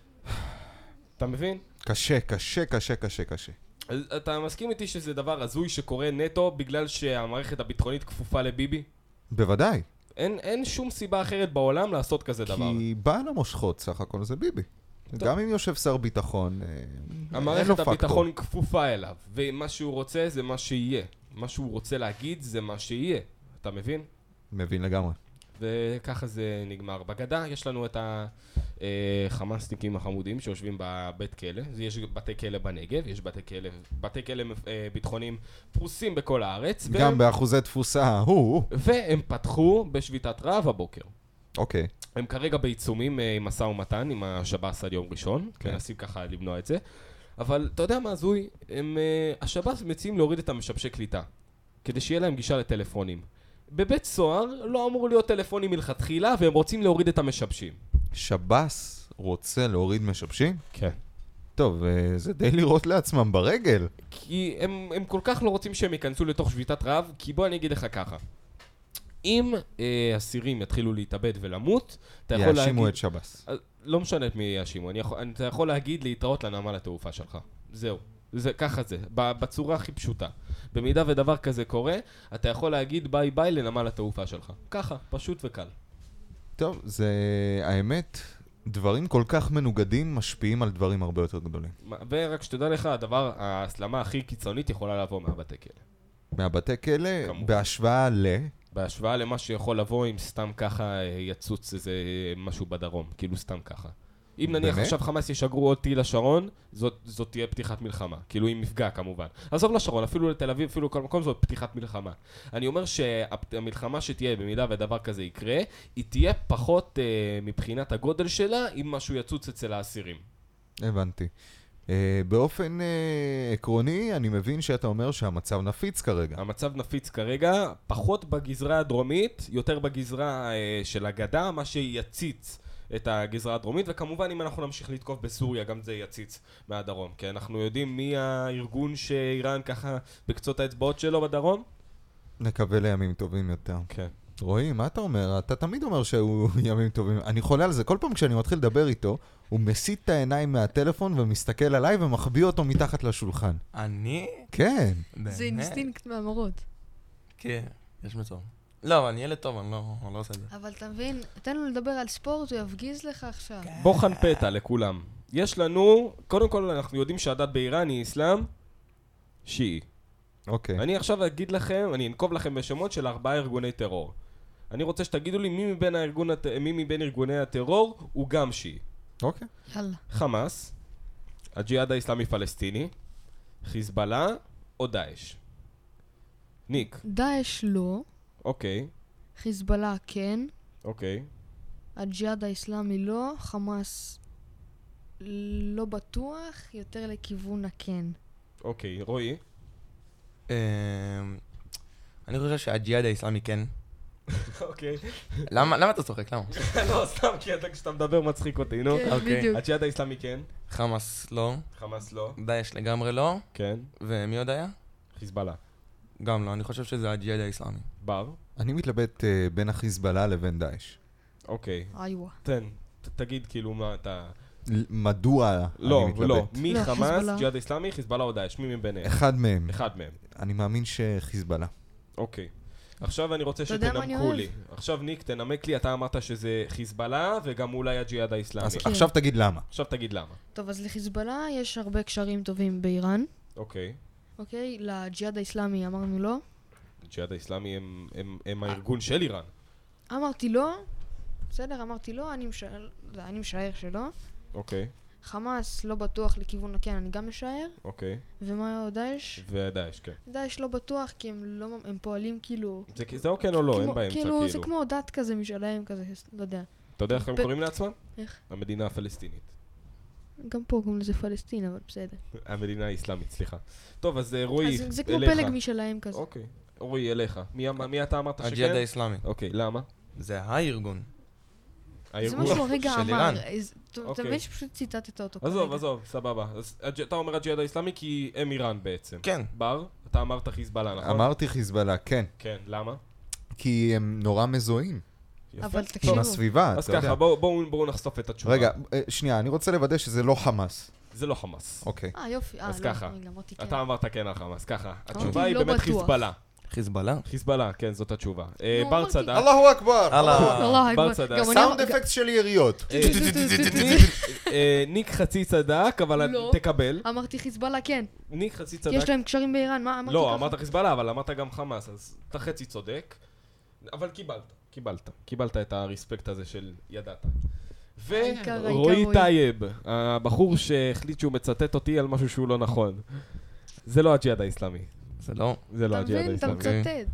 S3: אתה מבין?
S1: קשה, קשה, קשה, קשה, קשה.
S3: אז אתה מסכים איתי שזה דבר הזוי שקורה נטו בגלל שהמערכת הביטחונית כפופה לביבי?
S1: בוודאי.
S3: אין, אין שום סיבה אחרת בעולם לעשות כזה דבר.
S1: כי בעל המושכות, סך הכל זה ביבי. גם אם יושב שר ביטחון, אה, אין לו
S3: המערכת
S1: פקטור.
S3: הביטחון כפופה אליו, ומה שהוא רוצה זה מה שיהיה. מה שהוא רוצה להגיד זה מה שיהיה. אתה מבין?
S1: מבין לגמרי.
S3: וככה זה נגמר. בגדה יש לנו את החמאסניקים החמודים שיושבים בבית כלא. אז יש בתי כלא בנגב, יש בתי כלא, בתי כלא אה, ביטחוניים פרוסים בכל הארץ.
S1: גם
S3: והם-
S1: באחוזי תפוסה, הוא.
S3: והם פתחו בשביתת רעב הבוקר.
S1: אוקיי.
S3: הם כרגע בעיצומים אה, עם משא ומתן עם השב"ס עד יום ראשון,
S1: כן.
S3: כן. מנסים ככה למנוע את זה. אבל אתה יודע מה הזוי? הם, אה, השב"ס מציעים להוריד את המשבשי קליטה, כדי שיהיה להם גישה לטלפונים. בבית סוהר לא אמור להיות טלפונים מלכתחילה, והם רוצים להוריד את המשבשים.
S1: שב"ס רוצה להוריד משבשים?
S3: כן.
S1: טוב, אה, זה די לירות לעצמם ברגל.
S3: כי הם, הם כל כך לא רוצים שהם ייכנסו לתוך שביתת רעב, כי בוא אני אגיד לך ככה. אם אה, אסירים יתחילו להתאבד ולמות, אתה יכול להגיד...
S1: יאשימו את שב"ס.
S3: אז לא משנה את מי יאשימו, אני יכול, אני- אתה יכול להגיד להתראות לנמל התעופה שלך. זהו. זה, ככה זה, ב- בצורה הכי פשוטה. במידה ודבר כזה קורה, אתה יכול להגיד ביי ביי לנמל התעופה שלך. ככה, פשוט וקל.
S1: טוב, זה... האמת, דברים כל כך מנוגדים משפיעים על דברים הרבה יותר גדולים.
S3: מה- ורק שתדע לך, הדבר, ההסלמה הכי קיצונית יכולה לבוא מהבתי כלא.
S1: מהבתי כלא,
S3: כמובן.
S1: בהשוואה ל...
S3: בהשוואה למה שיכול לבוא אם סתם ככה אה, יצוץ איזה אה, משהו בדרום, כאילו סתם ככה. אם נניח
S1: באמת?
S3: עכשיו חמאס ישגרו עוד טיל לשרון, זאת, זאת תהיה פתיחת מלחמה. כאילו עם מפגע כמובן. עזוב לשרון, אפילו לתל אביב, אפילו כל מקום זאת פתיחת מלחמה. אני אומר שהמלחמה שתהיה, במידה ודבר כזה יקרה, היא תהיה פחות אה, מבחינת הגודל שלה, אם משהו יצוץ אצל האסירים.
S1: הבנתי. Uh, באופן uh, עקרוני, אני מבין שאתה אומר שהמצב נפיץ כרגע.
S3: המצב נפיץ כרגע, פחות בגזרה הדרומית, יותר בגזרה אה, של הגדה, מה שיציץ את הגזרה הדרומית, וכמובן אם אנחנו נמשיך לתקוף בסוריה, גם זה יציץ מהדרום, כי אנחנו יודעים מי הארגון שאיראן ככה בקצות האצבעות שלו בדרום.
S1: נקווה לימים טובים יותר.
S3: כן.
S1: רועי, מה אתה אומר? אתה תמיד אומר שהוא [laughs] ימים טובים. אני חולה על זה. כל פעם כשאני מתחיל לדבר איתו, הוא מסיט את העיניים מהטלפון ומסתכל עליי ומחביא אותו מתחת לשולחן.
S2: אני?
S1: כן.
S2: באמת?
S4: זה אינסטינקט מהמרות.
S2: כן, יש מצב. לא, אבל אני ילד טוב, אני לא אני לא עושה את זה.
S4: אבל אתה מבין, תן לו לדבר על ספורט, הוא יפגיז לך עכשיו.
S3: בוחן פתע לכולם. יש לנו, קודם כל אנחנו יודעים שהדת באיראן היא אסלאם שיעי.
S1: אוקיי.
S3: אני עכשיו אגיד לכם, אני אנקוב לכם בשמות של ארבעה ארגוני טרור. אני רוצה שתגידו לי מי מבין, הארגון, הט- מי מבין ארגוני הטרור הוא גם שיעי.
S1: אוקיי.
S4: יאללה.
S3: חמאס, הג'יהאד האיסלאמי פלסטיני, חיזבאללה או דאעש. ניק,
S4: דאעש לא,
S3: אוקיי,
S4: חיזבאללה כן,
S3: אוקיי.
S4: הג'יהאד האיסלאמי לא, חמאס לא בטוח, יותר לכיוון הכן.
S3: אוקיי, רועי.
S2: אמ, אני חושב שהג'יהאד האיסלאמי כן.
S3: [laughs] אוקיי. [laughs]
S2: למה למה אתה צוחק? למה?
S3: לא, סתם, כי אתה כשאתה מדבר מצחיק אותי, נו.
S2: כן, אוקיי. בדיוק.
S3: הג'יהאד האיסלאמי כן,
S2: חמאס לא.
S3: חמאס לא,
S2: דאעש לגמרי לא.
S3: כן,
S2: ומי עוד היה?
S3: חיזבאללה.
S2: גם לא, אני חושב שזה הג'יהאד האיסלאמי.
S3: בר,
S1: אני מתלבט אה, בין החיזבאללה לבין דאעש.
S3: אוקיי.
S4: איווה.
S3: תן, ת- תגיד כאילו מה אתה...
S1: ל- מדוע
S3: לא,
S1: אני מתלבט?
S3: לא. מי
S4: לא,
S3: חמאס,
S4: חיזבאללה.
S3: ג'יהאד איסלאמי, חיזבאללה או דאעש? מי מביניהם?
S1: אחד מהם.
S3: אחד מהם.
S1: אני מאמין שחיזבאללה.
S3: אוקיי. עכשיו אני רוצה
S4: אתה יודע מה אני
S3: שתנמקו
S4: אוהב?
S3: לי. עכשיו ניק, תנמק לי, אתה אמרת שזה חיזבאללה וגם אולי הג'יהאד האיסלאמי.
S1: אז עכשיו תגיד למה.
S3: עכשיו תגיד למה.
S4: טוב, אז לחיזבאללה יש הרבה קשרים טובים באיראן,
S3: אוקיי.
S4: אוקיי? לג'יהאד האיסלאמי אמרנו לא.
S3: הג'יהאד האיסלאמי הם- הם- הם הארגון של איראן.
S4: אמרתי לא, בסדר, אמרתי לא, אני משער, אני משער שלא.
S3: אוקיי,
S4: חמאס לא בטוח לכיוון הכן, אני גם משער.
S3: אוקיי.
S4: ומה עוד דאעש?
S3: ודאעש, כן.
S4: דאעש לא בטוח, כי הם לא, הם פועלים כאילו...
S3: זה זה או כן או לא,
S4: כמו-
S3: אין באמצע,
S4: כאילו, זה
S3: כאילו.
S4: כמו דת כזה משלהם כזה, לא יודע.
S3: אתה יודע איך הם
S4: ב-
S3: קוראים לעצמם?
S4: איך?
S3: המדינה הפלסטינית.
S4: גם פה קוראים לזה פלסטין, אבל בסדר.
S3: המדינה האסלאמית, סליחה. טוב, אז אה, רועי,
S4: אז
S3: אליך.
S4: זה כמו פלג משלהם כזה.
S3: אוקיי. רועי, אליך. מי אמר- מי אתה אמרת
S2: הג'יהאד
S3: שכן?
S2: האיסלאמי.
S3: אוקיי, למה?
S2: זה הארגון.
S4: זה
S3: הארגון.
S4: מה שהוא הרגע
S2: של
S4: אמר.
S2: איראן.
S4: אז- אתה- אתה
S3: אוקיי.
S4: מבין שפשוט ציטטת אותו כרגע.
S3: עזוב, עזוב, סבבה. אז הג'- אתה אומר הג'יהאד האיסלאמי כי הם איראן בעצם.
S2: כן.
S3: בר, אתה אמרת חיזבאללה, נכון?
S1: אמרתי חיזבאללה, כן.
S3: כן, למה?
S1: כי הם נורא מזוהים.
S3: יפה. לא,
S4: אבל
S3: טוב,
S4: תקשיבו.
S1: עם הסביבה,
S3: אז
S1: אתה יודע.
S3: ככה, בואו- בואו בואו נחשוף את התשובה.
S1: רגע, אה, שנייה, אני רוצה לוודא שזה לא חמאס.
S3: זה לא חמאס.
S1: אוקיי.
S4: אה, יופי. אה,
S3: אז
S4: לא,
S3: ככה.
S4: רגע, אמרתי כן.
S3: אתה אמרת כן על חמאס, ככה. התשובה
S4: לא
S3: היא באמת
S4: בטוח.
S3: חיזבאללה.
S2: חיזבאללה?
S3: חיזבאללה, כן, זאת התשובה. אה,
S4: נו,
S3: בר
S4: לא אמרתי.
S3: צדק.
S1: אללהו אכבר.
S2: אללה.
S4: לא,
S3: בר
S4: לא,
S3: צדק.
S4: גם אני...
S1: סאונד
S4: גם-
S1: אפקט של יריות.
S3: אה, אה, ניק חצי צדק, אבל
S4: לא.
S3: תקבל.
S4: אמרתי חיזבאללה, כן.
S3: ניק חצי
S4: כי יש
S3: צדק.
S4: להם קשרים באיראן, מה אמרתי ככה?
S3: לא, אמרת חיזבאללה, אבל אמרת גם חמאס, אז אתה חצי צודק. אבל קיבלת, קיבלת. קיבלת את הרספקט הזה של ידעת.
S4: העיקר, העיקר,
S3: ורועי
S4: רועי.
S3: טייב, הבחור שהחליט שהוא מצטט אותי על משהו שהוא לא נכון. זה לא הג'יהאד האיסלאמי.
S2: זה לא.
S3: זה לא
S4: אתה
S3: הג'יהאד
S4: מבין? אתה
S3: האיסלאמי.
S4: מצטט.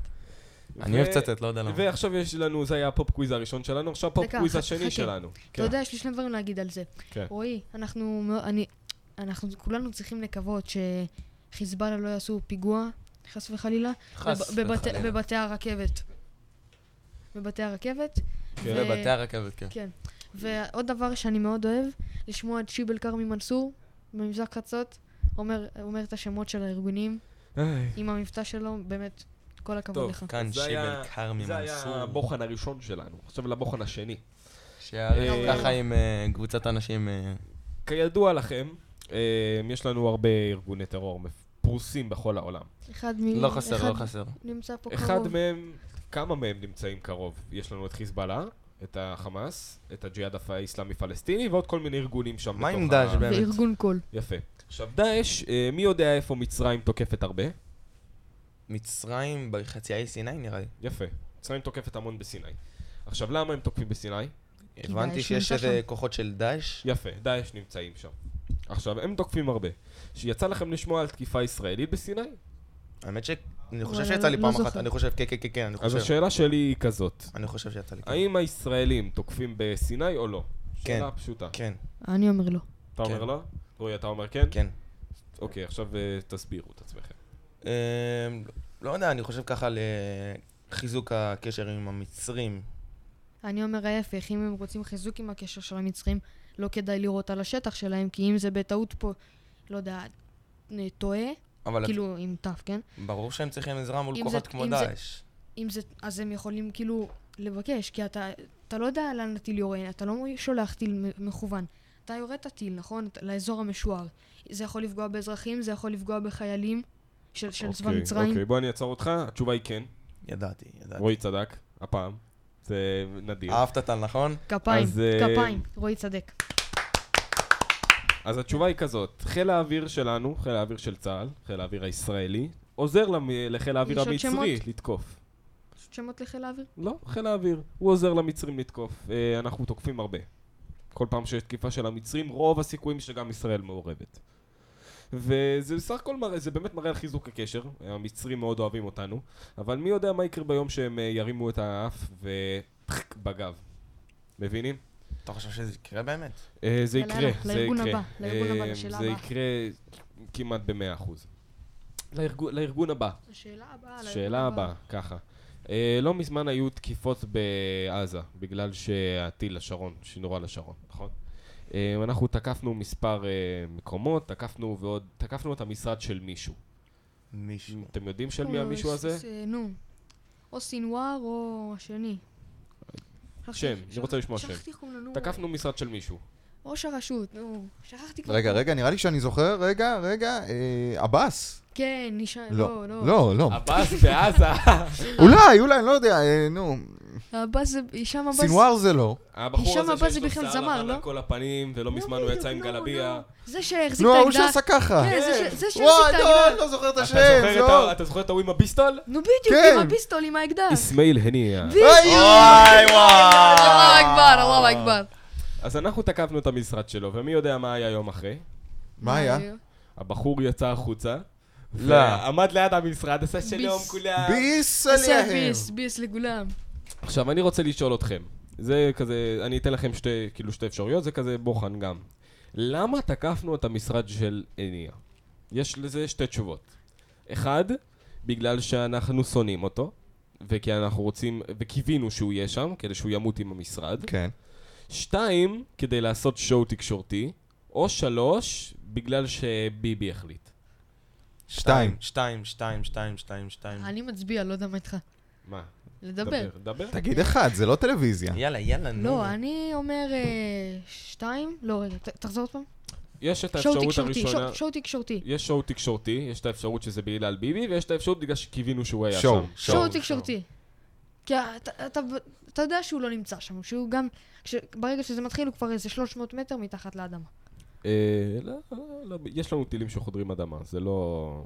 S2: אני אוהב לצטט, לא יודע למה.
S3: ועכשיו יש לנו, זה היה הפופ קוויז הראשון שלנו, עכשיו הפופ
S4: דקה,
S3: קוויז
S4: ח-
S3: השני
S4: חכה.
S3: שלנו.
S4: אתה
S2: כן.
S4: יודע, יש לי שני דברים להגיד על זה.
S3: כן.
S4: רועי, אנחנו... מאו- אני... אנחנו כולנו צריכים לקוות שחיזבאללה לא יעשו פיגוע, חס וחלילה,
S2: חס
S4: בב- בבת-
S2: וחלילה.
S4: בבתי הרכבת. בבתי הרכבת.
S3: כן.
S4: ו-
S2: בבתי הרכבת, כן.
S4: כן. ועוד דבר שאני מאוד אוהב, לשמוע את שיבל כרמי מנסור במבזק חצות, אומר, אומר את השמות של הארגונים,
S3: איי.
S4: עם המבטא שלו, באמת, כל הכבוד
S3: טוב,
S4: לך.
S2: כאן
S3: זה היה-
S2: שיבל כרמי
S3: זה היה
S2: מנסור.
S3: הבוחן הראשון שלנו, עכשיו לבוחן השני.
S2: שהרי
S3: אה,
S2: ככה עם אה, קבוצת אנשים... אה,
S3: כידוע לכם, אה, יש לנו הרבה ארגוני טרור פרוסים בכל העולם.
S4: אחד מ...
S2: לא חסר,
S4: אחד
S2: לא חסר.
S4: נמצא פה
S3: אחד
S4: קרוב.
S3: מהם, כמה מהם נמצאים קרוב? יש לנו את חיזבאללה, את החמאס, את הג'יהאד הפ- האיסלאמי פלסטיני ועוד כל מיני ארגונים שם.
S2: מה עם
S3: בתוך
S2: דאעש
S3: ה-
S2: באמת?
S4: וארגון קול.
S3: יפה. עכשיו, דאעש, אה, מי יודע איפה מצרים תוקפת הרבה?
S2: מצרים בחצי האי סיני נראה לי.
S3: יפה. מצרים תוקפת המון בסיני. עכשיו, למה הם תוקפים בסיני?
S2: הבנתי
S3: דאעש
S2: שיש
S3: נמצא
S2: איזה
S3: שם.
S2: כוחות של דאעש.
S3: יפה, דאעש נמצאים שם. עכשיו, הם תוקפים הרבה. שיצא לכם לשמוע על תקיפה ישראלית בסיני?
S2: האמת ש... אני חושב שיצא לי פעם אחת, אני חושב, כן, כן, כן, כן, אני
S3: אז
S2: חושב.
S3: השאלה שלי היא כזאת.
S2: אני חושב שיצא לי.
S3: האם הישראלים תוקפים בסיני או לא?
S2: כן.
S3: שאלה פשוטה.
S2: כן.
S4: אני אומר לא.
S3: אתה אומר
S2: כן.
S3: לא? רועי, אתה אומר כן?
S2: כן.
S3: אוקיי, עכשיו אה, תסבירו את עצמכם.
S2: אמ, לא יודע, אני חושב ככה לחיזוק הקשר עם המצרים.
S4: אני אומר ההפך, אם הם רוצים חיזוק עם הקשר של המצרים, לא כדאי לירות על השטח שלהם, כי אם זה בטעות פה, לא יודע, אה, טועה,
S2: אבל את-
S4: כאילו עם ת', כן?
S2: ברור שהם צריכים עזרה מול
S4: אם זה-
S2: כוחות כמו
S4: אם זה-
S2: דאעש.
S4: אם זה, אז הם יכולים כאילו לבקש, כי אתה, אתה לא יודע לאן הטיל יורה, אתה לא שולח טיל מ- מכוון. אתה יורה את הטיל, נכון? ת- לאזור המשוער. זה יכול לפגוע באזרחים, זה יכול לפגוע בחיילים של, של צבא
S3: אוקיי,
S4: מצרים.
S3: אוקיי, בוא אני אעצור אותך, התשובה היא כן.
S2: ידעתי, ידעתי.
S3: רועי צדק, הפעם. זה נדיר.
S2: אהבת טל, נכון?
S4: כפיים,
S3: אז, אה,
S4: כפיים, רועי צדק.
S3: אז התשובה היא כזאת, חיל האוויר שלנו, חיל האוויר של צה"ל, חיל האוויר הישראלי, עוזר למ- לחיל האוויר
S4: יש עוד
S3: המצרי
S4: שמות?
S3: לתקוף.
S4: פשוט שמות לחיל האוויר?
S3: לא, חיל האוויר. הוא עוזר למצרים לתקוף. אה, אנחנו תוקפים הרבה. כל פעם שיש תקיפה של המצרים, רוב הסיכויים שגם ישראל מעורבת. וזה בסך הכל מראה, זה באמת מראה על חיזוק הקשר. המצרים מאוד אוהבים אותנו, אבל מי יודע מה יקרה ביום שהם אה, ירימו את האף ופחק בגב. מבינים?
S2: אתה חושב שזה יקרה באמת?
S3: אה, זה
S2: יאללה,
S3: יקרה,
S2: יאללה,
S3: זה
S2: לארגון
S3: יקרה.
S2: הבא, לארגון הבא,
S3: אה,
S2: לשאלה
S3: זה
S2: הבאה.
S3: יקרה כמעט במאה אחוז. לארגו- לארגון הבא.
S4: השאלה הבאה,
S3: שאלה הבאה, ככה. אה, לא מזמן היו תקיפות בעזה, בגלל שהטיל לשרון, שנורה לשרון, נכון? אה, אנחנו תקפנו מספר אה, מקומות, תקפנו ועוד, תקפנו את המשרד של מישהו.
S2: מישהו.
S3: אתם יודעים של מי המישהו
S4: או,
S3: הזה?
S4: ס- ס- נו, או סינואר או השני.
S3: שם, אני רוצה לשמוע שם.
S4: שכחתי איך קוראים לו, נו.
S3: תקפנו משרד של מישהו.
S4: ראש הרשות, נו, שכחתי כבר.
S1: רגע, רגע, נראה לי שאני זוכר, רגע, רגע, אה, עבאס.
S4: כן, נשאר,
S1: לא,
S4: לא, לא.
S1: לא, לא.
S3: עבאס
S4: [laughs]
S3: בעזה.
S1: אולי, אולי, אני לא יודע, אה, נו.
S4: עבאס זה, הישאם עבאס.
S1: סינואר זה לא.
S3: הבחור
S4: הישאם
S3: הזה
S4: עבאס
S3: שיש
S4: זה
S3: לו
S4: בכלל
S3: שיער
S4: זמר,
S3: לבן
S4: לא?
S3: על כל הפנים, ולא מזמן הוא יצא עם גלביה.
S4: זה שהחזיק
S1: נו,
S4: את האקדח.
S1: ההוא שעשה ככה.
S4: כן, זה ש-
S1: כן.
S4: זה שהחזיק
S1: וואי,
S4: את האקדח.
S1: לא, אני לא זוכר את
S3: אתה
S1: השם,
S3: זוכר את
S1: לא.
S3: ה- אתה זוכר את ההוא עם הביסטול?
S4: נו, בדיוק,
S1: כן.
S4: עם הפיסטול, עם האקדח.
S3: אסמאעיל הנייה.
S4: בדיוק.
S3: וואי, וואי.
S4: אללה אכבר, אללה אכבר.
S3: אז אנחנו תקפנו את המשרד שלו, ומי יודע מה היה יום אחרי?
S1: מה היה?
S4: אה,
S3: הבחור יצא החוצה.
S1: לא.
S3: עמד ליד המשרד, עשה שלום
S4: ביס.
S3: כולם.
S4: עשה אה, ביס, ביס לכולם.
S3: עכשיו, אני רוצה לשאול אתכם. זה כזה, אני אתן לכם שתי, כאילו שתי אפשרויות, זה כזה בוחן גם. למה תקפנו את המשרד של הנייה? יש לזה שתי תשובות. אחד, בגלל שאנחנו שונאים אותו, וכי אנחנו רוצים, וקיווינו שהוא יהיה שם, כדי שהוא ימות עם המשרד.
S1: כן.
S3: שתיים, כדי לעשות שואו תקשורתי. או שלוש, בגלל שביבי החליט.
S1: שתיים.
S2: שתיים, שתיים, שתיים, שתיים, שתיים.
S4: אני מצביע, לא יודע מה איתך.
S3: מה?
S4: לדבר.
S3: דבר.
S1: תגיד אחד, זה לא טלוויזיה.
S2: יאללה, יאללה,
S4: לא, אני אומר אה, שתיים, לא, רגע, ת- תחזור עוד פעם.
S3: יש את
S4: שואו
S3: האפשרות
S4: תקשורתי,
S3: הראשונה...
S4: שואו- שואו תקשורתי.
S3: יש שואו תקשורתי, יש את האפשרות שזה בגלל ביבי, ויש את האפשרות בגלל שקיווינו שהוא היה
S1: שואו.
S3: שם.
S4: שואו תקשורתי. כי אתה- אתה- אתה יודע שהוא לא נמצא שם, שהוא גם, כש- ברגע שזה מתחיל הוא כבר איזה 300 מטר מתחת לאדמה.
S3: אה, לא, לא, לא, יש לנו טילים שחודרים אדמה, זה לא...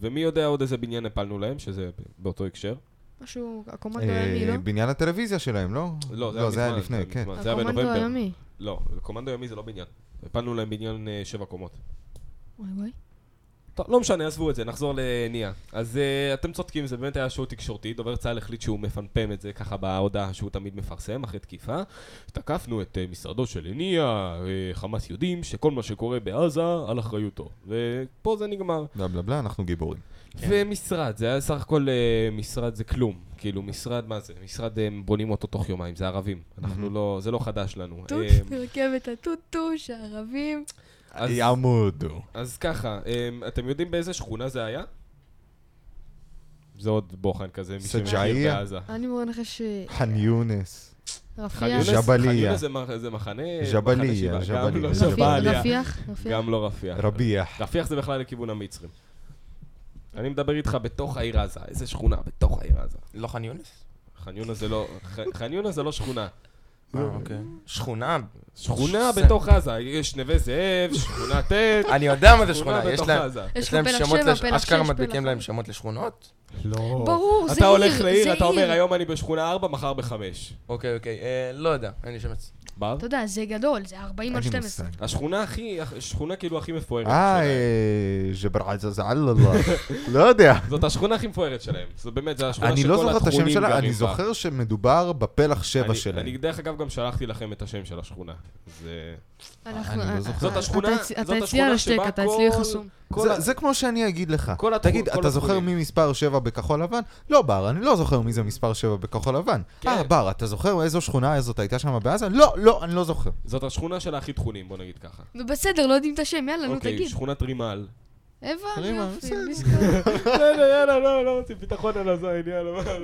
S3: ומי יודע עוד איזה בניין הפלנו להם, שזה באותו הקשר.
S4: משהו, הקומנדו הימי,
S1: אה,
S4: לא?
S1: בניין הטלוויזיה שלהם, לא?
S3: לא, זה היה
S1: לא, זה היה
S3: מזמן,
S1: לפני, כן.
S3: מזמן, זה היה
S4: הקומנדו
S3: בנובמבר.
S4: הימי.
S3: לא, קומנדו ימי זה לא בניין. הפלנו להם בניין אה, שבע קומות.
S4: וואי וואי.
S3: טוב, לא משנה, עזבו את זה, נחזור לניה. אז uh, אתם צודקים, זה באמת היה שואו תקשורתי, דובר צה"ל החליט שהוא מפמפם את זה ככה בהודעה שהוא תמיד מפרסם, אחרי תקיפה. תקפנו את uh, משרדו של ניה, uh, חמאס יודעים שכל מה שקורה בעזה על אחריותו. ופה זה נגמר.
S1: בלה בלה בלה, אנחנו גיבורים.
S3: ומשרד, זה היה סך הכל אה, משרד זה כלום. כאילו, משרד, מה זה? משרד, הם בונים אותו תוך יומיים, זה ערבים. אנחנו לא, זה לא חדש לנו.
S4: טוט,
S3: אה,
S4: רכבת הטוטוש, הערבים.
S3: אז-
S1: אה, ימודו.
S3: אז ככה, אמ, אתם יודעים באיזה שכונה זה היה? זה עוד בוחן כזה, מי שמכיר
S1: סג'עיה?
S3: בעזה.
S4: אני אומר לך
S1: חאן יונס.
S4: שרפיח,
S1: חלילה. ג'בליה.
S3: חלילה זה מח- זה מחנה...
S1: ג'בליה,
S3: מחנה שיבה, גם
S1: ג'בליה.
S3: לא
S1: רפיח,
S3: ג'בליה.
S4: רפיח, רפיח.
S3: גם לא רפיח.
S1: רביח.
S3: רפיח זה בכלל לכיוון המצרים. אני מדבר איתך בתוך העיר עזה, איזה שכונה בתוך העיר עזה.
S2: לא ח'אן יונס?
S3: ח'אן יונס זה לא... ח- ח'אן יונס זה לא שכונה.
S2: אה, אוקיי. שכונה.
S3: שכונה בתוך עזה, יש נווה זאב, שכונה ט'.
S2: אני יודע מה זה אה, שכונה, יש
S3: בתוך
S2: להם
S3: עזה.
S4: יש
S2: יש
S4: לו
S2: להם
S4: פלח
S2: שמות,
S4: שבע,
S2: לש-
S4: פלח
S2: אשכרה
S4: שש,
S2: מדביקים
S4: פלח-
S2: להם שמות לשכונות?
S3: לא.
S4: ברור, זה
S3: אתה הולך
S4: עיר,
S3: לעיר,
S4: זה
S3: אתה אומר,
S4: עיר.
S3: היום אני בשכונה 4, מחר בחמש.
S2: אוקיי, אוקיי, אה, לא יודע, אין לי שמץ.
S3: בר?
S4: אתה יודע, זה גדול, זה 40 על
S3: לא
S1: אין לי
S4: 12.
S1: מושג.
S3: השכונה הכי, השכונה כאילו הכי מפוארת.
S1: אה,
S3: שלהם.
S1: אה, ג'בר עזאזל אללה. לא
S3: [laughs]
S1: יודע.
S3: זאת השכונה הכי מפוארת שלהם. זו באמת, זו השכונה
S1: אני
S3: שכל
S1: לא זוכר את השם
S3: הטחונים גרים
S1: שלה,
S3: בה.
S1: אני זוכר שמדובר בפלח שבע
S3: אני-
S1: שלהם.
S3: אני דרך אגב גם שלחתי לכם את השם של השכונה. זה...
S4: אנחנו-
S1: אני לא זוכר.
S3: זאת
S1: אתה
S3: השכונה,
S4: אצלי- אתה
S3: זאת
S4: אצלי
S3: השכונה
S4: על השתק,
S3: שבה
S4: אתה אצלי
S3: כל-
S4: חסום.
S3: כל
S1: זה-
S3: ה-
S1: זה כמו שאני אגיד לך.
S3: כל התחו-
S1: תגיד,
S3: כל
S1: אתה זוכר
S3: התחומים.
S1: מי מספר 7 בכחול לבן? לא בר, אני לא זוכר מי זה מספר 7 בכחול לבן.
S3: כן.
S1: אה, בר, אתה זוכר איזו שכונה זאת הייתה שם בעזה? לא, לא, אני לא זוכר.
S3: זאת השכונה שלה הכי תחונים, בוא נגיד ככה.
S4: ובסדר, לא יודעים את השם, יאללה, נו
S3: אוקיי,
S4: תגיד.
S3: שכונת רימל.
S1: [laughs]
S4: הבנו,
S1: רימה,
S4: יופי,
S1: בסדר.
S4: בסדר.
S3: יאללה, יאללה, לא, לא רוצים ביטחון על הזין, יאללה. מה זה?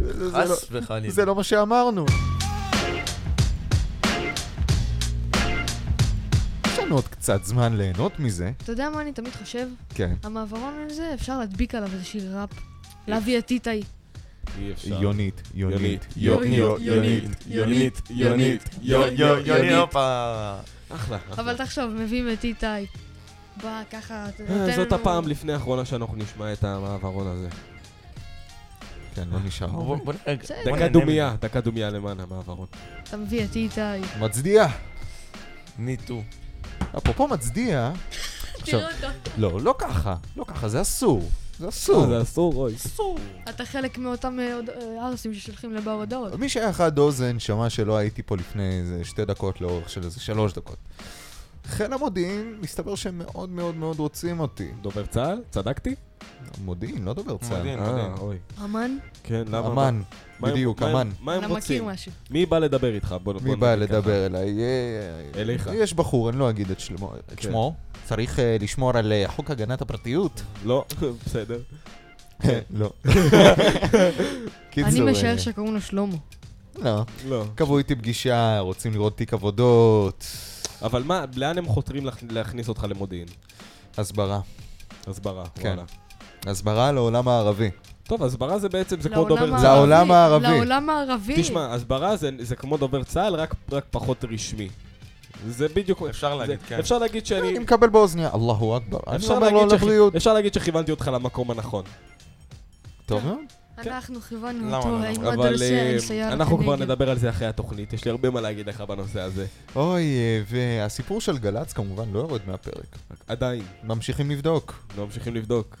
S1: זה- זה
S2: חס
S1: לא-
S2: וחלילה.
S1: זה לא מה שאמרנו. יש לנו עוד קצת זמן ליהנות מזה.
S4: אתה יודע מה אני תמיד חושב?
S1: כן.
S4: המעברון הזה, אפשר להדביק עליו איזה שיר ראפ. להביא את איתי.
S3: אי אפשר.
S1: יונית, יונית,
S3: יונית,
S1: יו- יו-
S4: יונית, יונית, יונית,
S3: יו- יו-
S2: יוני הופה.
S3: אחלה. אחלה.
S4: אבל תחשוב, מביאים את איתי. בא ככה, אתה נותן
S3: אה,
S4: לנו...
S3: זאת הפעם לפני האחרונה שאנחנו נשמע את המעברון הזה.
S1: כן, לא נשאר.
S3: אוקיי.
S2: בוא- בוא נראה-
S4: בסדר.
S2: בוא
S3: דקה
S2: נהנה
S3: דומייה, דקה דומייה למען המעברון.
S4: אתה מביא את איתי.
S1: מצדיע.
S2: מזה. Me too.
S1: אפרופו מצדיע, עכשיו,
S4: תראה אותו.
S1: לא, לא ככה, לא ככה, זה אסור. זה
S3: אה,
S1: אסור.
S3: זה אסור, אוי.
S4: אתה חלק מאותם אה, הוד- אה, ערסים ששולחים לבר הודעות.
S1: מי שהיה חד אוזן שמע שלא הייתי פה לפני איזה שתי דקות לאורך של איזה שלוש דקות. חיל המודיעין, מסתבר שהם מאוד מאוד מאוד רוצים אותי.
S3: דובר צה"ל? צדקתי?
S1: מודיעין, לא דובר צה"ל.
S2: מודיעין. מדהים.
S3: אה, אוי.
S4: אמן?
S3: כן, למה?
S1: אמן,
S3: מה הם-
S1: בדיוק,
S3: מה הם-
S1: אמן.
S3: מה הם
S4: אתה מכיר
S3: רוצים?
S4: משהו.
S3: מי בא לדבר איתך? בוא בוא
S1: מי בא
S3: נגיד ככה.
S1: לדבר אליי? אה,
S3: אליך.
S1: יש בחור, אני לא אגיד את שלמו- את
S3: כן.
S1: שמו. צריך אה, לשמור על אה, חוק הגנת הפרטיות.
S3: לא, [laughs] בסדר. כן.
S1: לא. [laughs]
S3: [laughs]
S4: אני
S1: קיצור, אה,
S4: משער שקוראים לו שלמה.
S1: לא.
S3: לא.
S1: קבעו איתי פגישה, רוצים לראות תיק עבודות,
S3: אבל מה, לאן הם חותרים להכ- להכניס אותך למודיעין?
S1: הסברה.
S3: הסברה,
S1: כן.
S3: וואלה.
S1: הסברה לעולם הערבי.
S3: טוב, הסברה זה בעצם, זה כמו
S4: לעולם
S3: דובר
S4: הערבי.
S1: זה
S3: צה"ל.
S1: העולם הערבי.
S4: לעולם הערבי.
S3: תשמע, הסברה זה- זה כמו דובר צה"ל, רק רק פחות רשמי. זה בדיוק...
S2: אפשר להגיד,
S3: זה-
S2: כן.
S3: אפשר להגיד שאני...
S1: אני מקבל באוזניה, אללהו אכבר. אני
S3: אפשר
S1: אומר לו "לא
S3: להגיד אה, שכי-
S1: לבריאות.
S3: אפשר להגיד שכיוונתי אותך למקום הנכון.
S1: טוב מאוד.
S4: אנחנו כיוונו
S2: למה,
S4: אותו,
S2: למה?
S4: האם
S3: אבל אה,
S4: הדרסי סייר
S3: אנחנו כבר נדבר על זה אחרי התוכנית, יש לי הרבה מה להגיד לך בנושא הזה.
S1: אוי, אה, והסיפור של גל"צ כמובן לא יורד מהפרק.
S3: עדיין,
S1: ממשיכים לבדוק.
S3: לא ממשיכים לבדוק.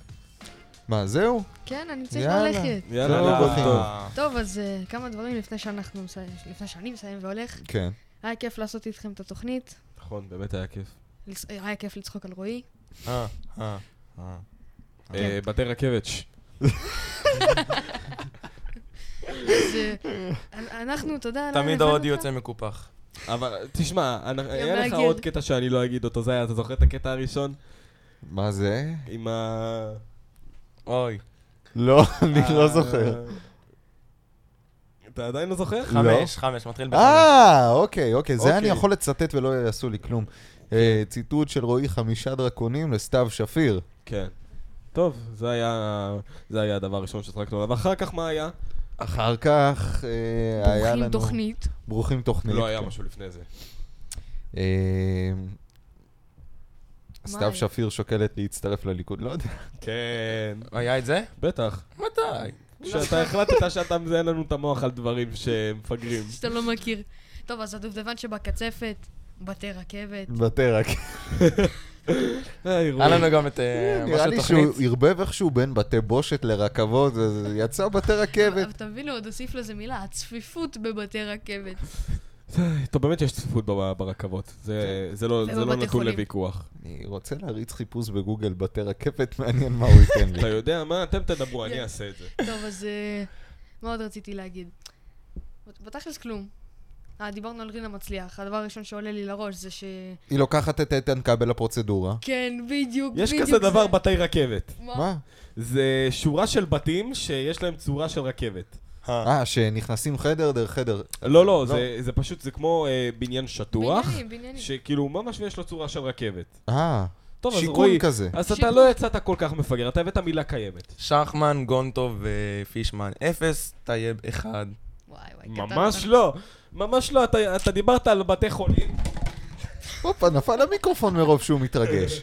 S1: מה, זהו?
S4: כן, אני צריך
S1: יאללה.
S4: ללכת.
S3: יאללה,
S1: טוב,
S3: הכל
S1: אחי.
S3: טוב.
S4: טוב, אז אה, כמה דברים לפני שאנחנו מסיים, לפני שאני מסיים והולך.
S1: כן.
S4: היה כיף לעשות איתכם את התוכנית,
S3: נכון, באמת היה כיף.
S4: לצ- אה, היה כיף לצחוק על רועי.
S2: אה, אה, אה.
S3: אה, בתי רכבת. ש-
S4: אז אה, אנ- אנחנו, תודה. לא
S2: תמיד
S4: הבנו
S2: ההודי
S4: אותה.
S2: יוצא מקופח.
S1: לא.
S3: אבל תשמע, אני- היה לך
S4: מעגל.
S3: עוד קטע שאני לא אגיד אותו, זה היה, אתה זוכר את הקטע הראשון?
S1: מה זה?
S3: עם ה...
S2: אוי.
S1: לא, [laughs] אני
S3: ה-
S1: לא זוכר.
S3: [laughs] אתה עדיין לא זוכר?
S2: חמש, חמש, מתחיל בחמש.
S1: אה, אוקיי, אוקיי. זה אני
S3: אוקיי.
S1: יכול לצטט ולא יעשו לי כלום. אה, ציטוט של רועי חמישה דרקונים לסתיו שפיר.
S3: כן. טוב, זה היה זה היה הדבר הראשון שצחקנו עליו. ואחר כך מה היה?
S1: אחר כך אה, היה
S4: בורחים
S1: לנו...
S4: תוכנית.
S1: ברוכים תוכנית.
S3: לא היה
S1: כן.
S3: משהו לפני זה.
S1: אה, סתיו
S4: היה?
S1: שפיר שוקלת להצטרף לליכוד, לא יודע.
S3: כן.
S2: היה את זה?
S3: בטח.
S2: מתי?
S3: שאתה החלטת שאתה מזיין לנו את המוח על דברים שמפגרים.
S4: שאתה לא מכיר. טוב, אז הדובדבן שבקצפת, בתי רכבת.
S1: בטרק.
S3: היה
S2: היה לנו גם את אה,
S1: נראה
S2: משהו
S1: לי שהוא
S2: תוכנית.
S1: ערבב איכשהו בין בתי בושת לרכבות, אז יצא בתי רכבת.
S4: אבל אתה מבין, הוא עוד הוסיף לזה מילה, הצפיפות בבתי רכבת.
S3: טוב, באמת יש צפיפות ב- ברכבות. זה-
S4: כן.
S3: זה לא זה לא
S4: ובבתי
S3: נתון
S4: חולים.
S3: לוויכוח.
S1: אני רוצה להריץ חיפוש בגוגל בתי רכבת, מעניין מה הוא ייתן לי.
S3: אתה יודע מה? אתם תדברו,
S4: כן.
S3: אני אעשה את זה.
S4: טוב, אז אה, מה עוד רציתי להגיד? בתכלס כלום. אה, דיברנו על רינה מצליח. הדבר הראשון שעולה לי לראש זה ש...
S1: היא לוקחת את איתן כבל לפרוצדורה.
S4: כן, בדיוק,
S3: יש
S4: בדיוק.
S3: כזה
S4: זה.
S3: דבר בתי רכבת.
S1: מה?
S3: זה שורה של בתים שיש להם צורה של רכבת.
S1: אה, שנכנסים חדר דרך חדר.
S3: לא, לא, זה- זה פשוט, זה כמו אה, בניין שטוח,
S4: בניינים, בניינים.
S3: שכאילו ממש ויש לו צורה של רכבת.
S1: אה,
S3: טוב, אז
S1: שיכון
S3: רועי,
S1: כזה.
S3: אז אתה
S4: שיכון.
S3: לא יצאת כל כך מפגר, אתה הבאת מילה קיימת.
S2: שחמן, גונטוב ופישמן. אפס, טייב, אחד.
S4: וואי, וואי, קטן.
S3: ממש לא. ממש לא, אתה, אתה דיברת על בתי חולים, [laughs]
S1: הופה, נפל המיקרופון מרוב שהוא מתרגש.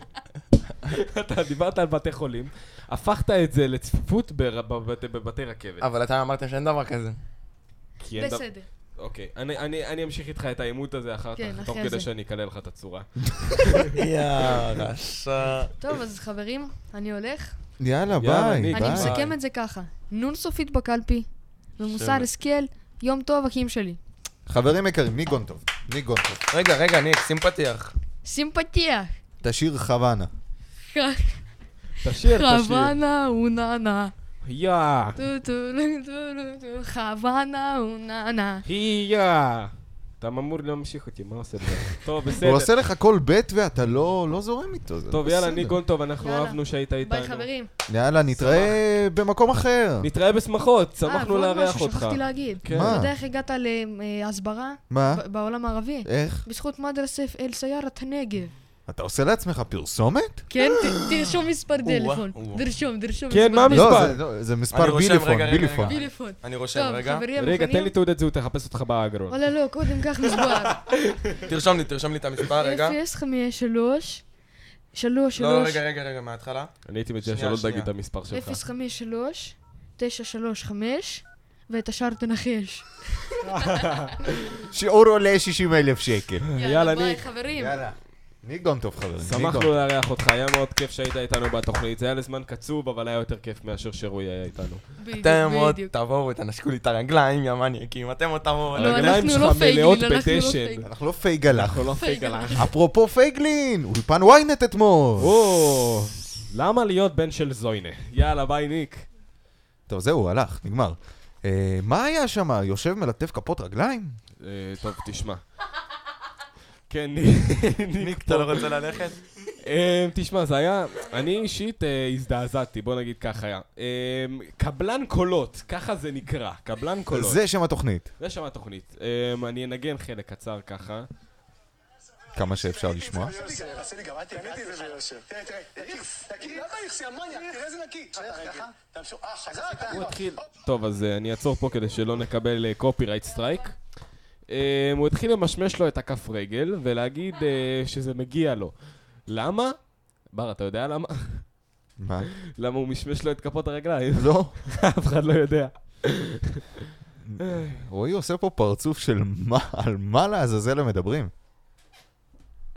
S3: אתה דיברת על בתי חולים, הפכת את זה לצפיפות בר- בבתי- בבתי רכבת.
S2: אבל אתם אמרתם שאין דבר כזה.
S3: כי אין דבר-
S4: בסדר.
S3: אוקיי, אני- אני אני אמשיך איתך את העימות הזה אחר
S4: כן,
S3: כך,
S4: אחרי
S3: תוך
S4: זה.
S3: כדי שאני אקלל לך את הצורה.
S2: יא רשע.
S4: טוב, אז חברים, אני הולך.
S1: יאללה,
S3: יאללה,
S1: ביי,
S3: ניק,
S4: אני
S1: ביי.
S4: מסכם את זה ככה. נון סופית בקלפי, ממוסר
S2: שם.
S4: הסקיאל, יום טוב, אחים שלי.
S1: חברים יקרים, ניק גונטוב, ניק גונטוב.
S2: רגע, רגע, ניק, שים פתיח.
S4: סימפתיה.
S1: תשאיר חוואנה.
S3: תשאיר, תשאיר.
S4: חוואנה אוננה.
S3: יא,
S4: טו טו לו, טו לו, טו, חוואנה אוננה.
S3: יא. אתה אמור להמשיך אותי, מה עושה בזה? טוב, בסדר.
S1: הוא עושה לך כל בית ואתה לא לא זורם איתו. זה
S3: טוב,
S1: בסדר.
S3: יאללה, ניק גונטוב, אנחנו
S4: יאללה.
S3: אהבנו שהיית איתנו.
S4: ביי חברים. אה,
S1: יאללה, נתראה במקום אחר.
S3: נתראה בשמחות, שמחנו
S4: אה, ועוד
S3: לארח
S4: משהו
S3: אותך.
S4: שכחתי להגיד.
S3: כן.
S1: מה?
S4: אתה יודע איך הגעת להסברה?
S1: מה? אה.
S4: ב- בעולם הערבי?
S1: איך?
S4: בזכות מדרסף אל סיירת הנגב.
S1: אתה עושה לעצמך פרסומת?
S4: כן, ת- תרשום מספר טלפון.
S2: או-אה.
S4: תרשום, תרשום
S3: כן, מה
S4: מספר
S1: לא,
S3: מספר?
S1: זה- לא, זה
S2: אני
S1: מספר
S2: רושם,
S1: ביליפון,
S2: רגע, רגע,
S1: ביליפון.
S2: רגע.
S4: טלפון.
S2: אה, אני רושם,
S4: טוב,
S2: רגע.
S4: חברים,
S3: רגע, תן לי
S4: מוכנים?
S3: תעודת זהות, תחפש אותך באגרון.
S4: וואלה, לא, קודם
S2: [laughs]
S4: כך מספר.
S2: תרשום לי, תרשום לי את המספר, רגע.
S4: אפס, חמש, שלוש. שלוש,
S2: לא,
S4: שלוש.
S2: רגע, רגע, רגע, מההתחלה.
S3: אני הייתי מציע
S2: שנייה,
S3: שלא תגיד
S2: שנייה.
S3: את המספר שלך.
S4: 053, 935, ואת השאר תנחש.
S1: שיעור עולה 60 אלף [laughs] שקל.
S3: יאללה,
S4: ביי,
S3: ניק.
S4: חברים.
S1: יאללה. ניק גונטוב, חברים. ניק
S3: שמחנו
S1: גונטוב.
S3: לארח אותך, היה מאוד כיף שהיית איתנו בתוכנית. זה היה לזמן קצוב, אבל היה יותר כיף מאשר שרוי היה איתנו.
S4: בדיוק,
S2: אתם עוד
S4: בדיוק.
S2: תבואו, תנשקו לי את הרגליים, יא מניאקים. אתם עוד תבואו.
S4: לא,
S2: רגע.
S3: הרגליים
S4: אנחנו
S3: שלך
S4: לא פייגלין,
S3: מלאות
S4: אנחנו לא
S3: בדשן.
S4: פייגלין.
S1: אנחנו לא פייגלח.
S3: אנחנו לא פייגלח.
S1: אפרופו פייגלין, אולפן ynet אתמול.
S3: או, למה להיות בן של זוינה? יאללה, ביי, ניק.
S1: טוב, זהו, הלך, נגמר. אה, מה היה שם? יושב מלטף כפות רגליים?
S3: אה, טוב, תשמע. כן, ניק- ניק,
S2: אתה לא רוצה ללכת?
S3: אה, תשמע, זה היה... אני אישית אה, הזדעזעתי, בוא נגיד ככה היה. אה, קבלן קולות, ככה זה נקרא, קבלן קולות.
S1: זה שם התוכנית.
S3: זה שם התוכנית. אה, אני אנגן חלק קצר ככה.
S1: כמה שאפשר לשמוע.
S9: אה,
S3: הוא התחיל... טוב, אז אה, אני אעצור פה כדי שלא נקבל אה, קופירייט סטרייק. אה, הוא התחיל לממשמש לו את הכף רגל ולהגיד אה, שזה מגיע לו. למה? בר, אתה יודע למה? [laughs]
S1: מה?
S3: למה הוא משמש לו את כפות הרגליים?
S1: לא.
S3: [laughs] אף אחד לא יודע.
S1: רועי עושה פה פרצוף של מה, על מה לעזאזל הם מדברים.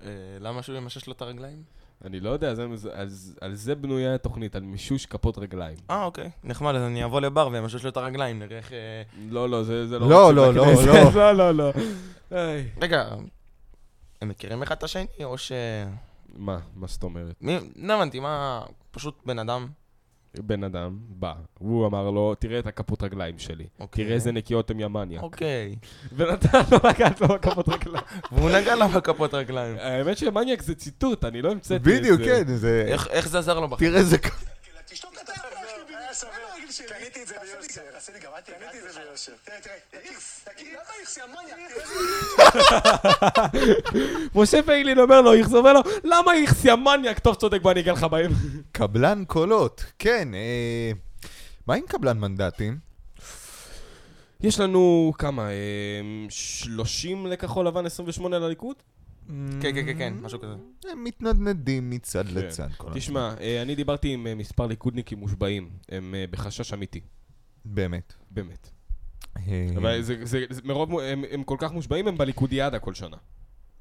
S2: אה, למה שהוא ימשש לו את הרגליים?
S3: אני לא יודע, זה, אז, על זה בנויה התוכנית, על מישוש כפות רגליים.
S2: אה, אוקיי. נחמד, אז אני אבוא לבר וימשש לו את הרגליים, נראה איך... אה,
S3: לא, לא, זה, זה לא...
S1: לא,
S3: רציני,
S1: לא, לא,
S3: כדי-
S1: לא.
S3: [laughs] לא, לא, לא. איי.
S2: רגע, הם מכירים אחד את השני, או ש...
S3: מה, מה זאת אומרת?
S2: מי... לא הבנתי, מה... פשוט בן אדם.
S3: בן אדם בא, הוא אמר לו, תראה את הכפות רגליים שלי.
S2: אוקיי.
S3: תראה איזה נקיות הם ימניה.
S2: אוקיי.
S3: ונתן לו לגעת לו בכפות רגליים.
S2: והוא נגע לה בכפות רגליים.
S3: האמת שמניאק זה ציטוט, אני לא המצאתי את זה.
S1: בדיוק, כן, זה...
S2: איך- איך זה עזר לו בחיים?
S1: תראה איזה...
S3: משה פייגלין אומר לו, איכס אומר לו, למה איכס יא מניאק? טוב, צודק, בוא אני אגע לך בהם.
S1: קבלן קולות. כן, אה... מה עם קבלן מנדטים?
S3: יש לנו כמה, אמ, 30 לכחול לבן, 28 לליכוד?
S2: כן, כן, כן, כן, משהו כזה.
S1: הם מתנדנדים מצד לצד. כל הזמן.
S3: כן. תשמע, אה, אני דיברתי עם אה, מספר ליכודניקים מושבעים, הם אה, בחשש אמיתי,
S1: באמת.
S3: באמת.
S1: אה,
S3: אבל זה, זה, זה, מרוב, מו- הם, הם כל כך מושבעים, הם בליכודיאדה כל שנה.
S1: אה.